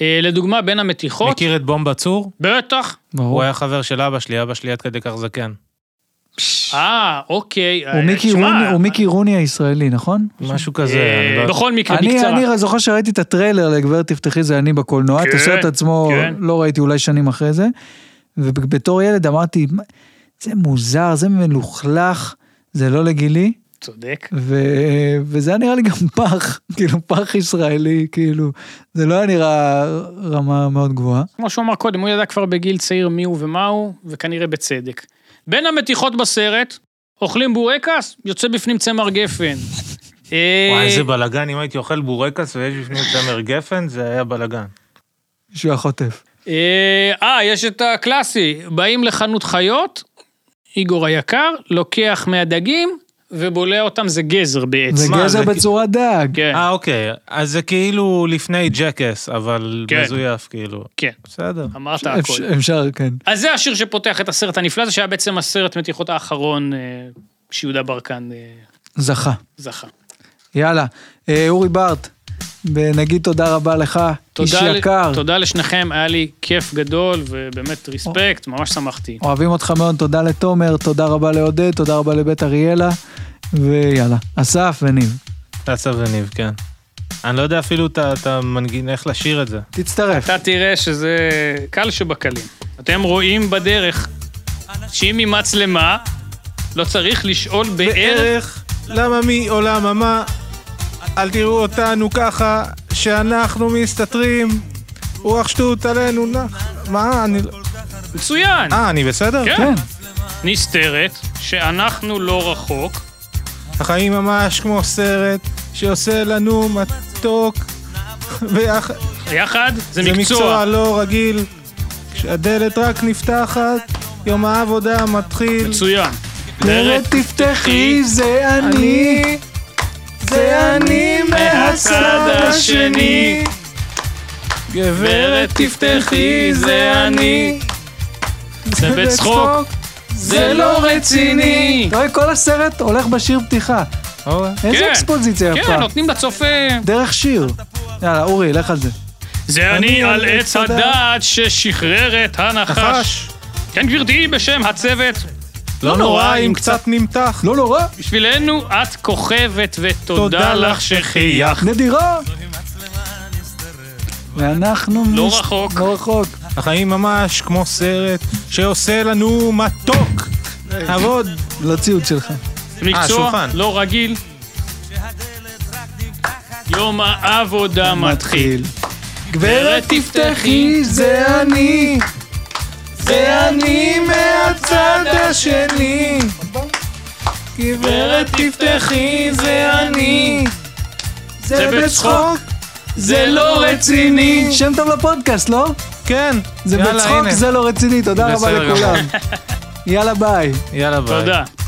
[SPEAKER 1] אה, לדוגמה, בין המתיחות,
[SPEAKER 3] מכיר את בומבה צור?
[SPEAKER 1] בטח.
[SPEAKER 2] ברור.
[SPEAKER 3] הוא היה חבר של אבא שלי, אבא שלי עד כדי כך זקן.
[SPEAKER 1] אה, אוקיי.
[SPEAKER 2] הוא
[SPEAKER 1] אה,
[SPEAKER 2] מיקי
[SPEAKER 1] תשמע,
[SPEAKER 2] רוני- הוא מיקי רוני הישראלי, נכון?
[SPEAKER 3] משהו
[SPEAKER 1] אה,
[SPEAKER 3] כזה, אני לא-
[SPEAKER 1] בכל מקרה,
[SPEAKER 2] אני,
[SPEAKER 1] בקצרה.
[SPEAKER 2] אני זוכר שראיתי את הטריילר לגברת תפתחי זה אני בקולנוע, את
[SPEAKER 1] כן,
[SPEAKER 2] הסרט עצמו
[SPEAKER 1] כן.
[SPEAKER 2] לא ראיתי אולי שנים אחרי זה, ובתור ילד אמרתי, "מה, זה מוזר, זה מלוכלך, זה לא לגילי,
[SPEAKER 1] צודק.
[SPEAKER 2] ו... וזה היה נראה לי גם פח, כאילו פח ישראלי, כאילו, זה לא היה נראה רמה מאוד גבוהה.
[SPEAKER 1] כמו שהוא אמר קודם, הוא ידע כבר בגיל צעיר מי הוא ומה הוא, וכנראה בצדק. בין המתיחות בסרט, אוכלים בורקס, יוצא בפנים צמר גפן. אה,
[SPEAKER 3] וואי, איזה בלאגן, אם הייתי אוכל בורקס ויש בפנים צמר גפן, זה היה בלאגן.
[SPEAKER 2] שהוא היה חוטף.
[SPEAKER 1] אה, אה, יש את הקלאסי, באים לחנות חיות, איגור היקר, לוקח מהדגים ובולע אותם, זה גזר
[SPEAKER 2] זה
[SPEAKER 1] בעצם.
[SPEAKER 3] מה,
[SPEAKER 2] גזר
[SPEAKER 3] זה כי-
[SPEAKER 2] בצורת דג.
[SPEAKER 1] כן,
[SPEAKER 3] אה, אוקיי, אז זה כאילו לפני ג'קס, אבל
[SPEAKER 1] כן.
[SPEAKER 3] מזויף, כאילו.
[SPEAKER 1] כן,
[SPEAKER 3] בסדר.
[SPEAKER 1] אמרת
[SPEAKER 2] אפשר,
[SPEAKER 1] הכל.
[SPEAKER 2] אפשר, כן.
[SPEAKER 1] אז זה השיר שפותח את הסרט הנפלא הזה, שהיה בעצם הסרט מתיחות האחרון אה, שיהודה ברקן אה,
[SPEAKER 2] זכה.
[SPEAKER 1] זכה.
[SPEAKER 2] יאללה. אה, אורי בארט, נגיד תודה רבה לך, איש
[SPEAKER 1] תודה ל-
[SPEAKER 2] יקר.
[SPEAKER 1] תודה לשניכם, היה לי כיף גדול ובאמת ריספקט, ממש שמחתי.
[SPEAKER 2] אוהבים אותך מאוד, תודה לתומר, תודה רבה לעודד, תודה רבה לבית אריאלה, ויאללה, אסף וניב,
[SPEAKER 3] אסף וניב, כן. אני לא יודע אפילו את ה- את המנגין, איך לשיר את זה.
[SPEAKER 2] תצטרף.
[SPEAKER 1] אתה תראה שזה קל שבקלים. אתם רואים בדרך שאם היא מצלמה, לא צריך לשאול בערך
[SPEAKER 3] למה מי או למה מה, אל תראו אותנו ככה, שאנחנו מסתתרים. רוח שטות עלינו, נח. מה, אני... לא-
[SPEAKER 1] מצוין.
[SPEAKER 3] אה, אני בסדר?
[SPEAKER 1] כן.
[SPEAKER 2] כן,
[SPEAKER 1] נסתרת, שאנחנו לא רחוק,
[SPEAKER 3] החיים ממש כמו סרט שעושה לנו מתוק. ביחד.
[SPEAKER 1] יחד זה
[SPEAKER 3] זה
[SPEAKER 1] מקצוע.
[SPEAKER 3] מקצוע לא רגיל. כשהדלת רק נפתחת, יום העבודה מתחיל.
[SPEAKER 1] מצוין.
[SPEAKER 2] דלת תפתחי, זה אני, זה אני מהצד השני.
[SPEAKER 3] גברת
[SPEAKER 1] תפתחי, זה אני. זה בצחוק,
[SPEAKER 2] זה לא רציני. אתה רואה, כל הסרט הולך בשיר פתיחה.
[SPEAKER 3] אוי,
[SPEAKER 2] איזה
[SPEAKER 1] כן.
[SPEAKER 2] אקספוזיציה יפה.
[SPEAKER 1] כן, נותנים לצופה...
[SPEAKER 2] דרך שיר. יאללה, אורי, לך על זה.
[SPEAKER 1] זה אני
[SPEAKER 3] אני
[SPEAKER 1] על
[SPEAKER 3] על
[SPEAKER 1] עץ
[SPEAKER 3] עץ
[SPEAKER 1] הדעת ששחרר את הנחש.
[SPEAKER 3] נחש.
[SPEAKER 1] כן, גברתי, בשם הצוות,
[SPEAKER 3] לא נורא אם קצת נמתח.
[SPEAKER 2] לא נורא,
[SPEAKER 1] בשבילנו את כוכבת ותודה
[SPEAKER 3] תודה
[SPEAKER 1] לך
[SPEAKER 3] לך
[SPEAKER 1] שחייך.
[SPEAKER 2] נדירה. ואנחנו...
[SPEAKER 1] לא
[SPEAKER 2] מס-
[SPEAKER 1] רחוק.
[SPEAKER 2] לא רחוק.
[SPEAKER 3] החיים ממש כמו סרט שעושה לנו מתוק. עבוד.
[SPEAKER 2] לא ציוד שלך.
[SPEAKER 1] זה מקצוע
[SPEAKER 3] שולחן.
[SPEAKER 1] לא רגיל. יום העבודה מתחיל.
[SPEAKER 2] גברת תפתחי, זה אני. זה אני מהצד השני. גברת תפתחי, זה אני.
[SPEAKER 1] זה
[SPEAKER 2] זה
[SPEAKER 1] בצחוק,
[SPEAKER 2] בצחוק,
[SPEAKER 1] זה לא
[SPEAKER 2] רציני. שם טוב לפודקאסט, לא?
[SPEAKER 3] כן.
[SPEAKER 2] זה
[SPEAKER 3] יאללה,
[SPEAKER 2] בצחוק,
[SPEAKER 3] הנה.
[SPEAKER 2] זה לא רציני. תודה רבה
[SPEAKER 3] בסדר גמור.
[SPEAKER 2] לכולם. יאללה, ביי.
[SPEAKER 3] יאללה ביי.
[SPEAKER 1] תודה.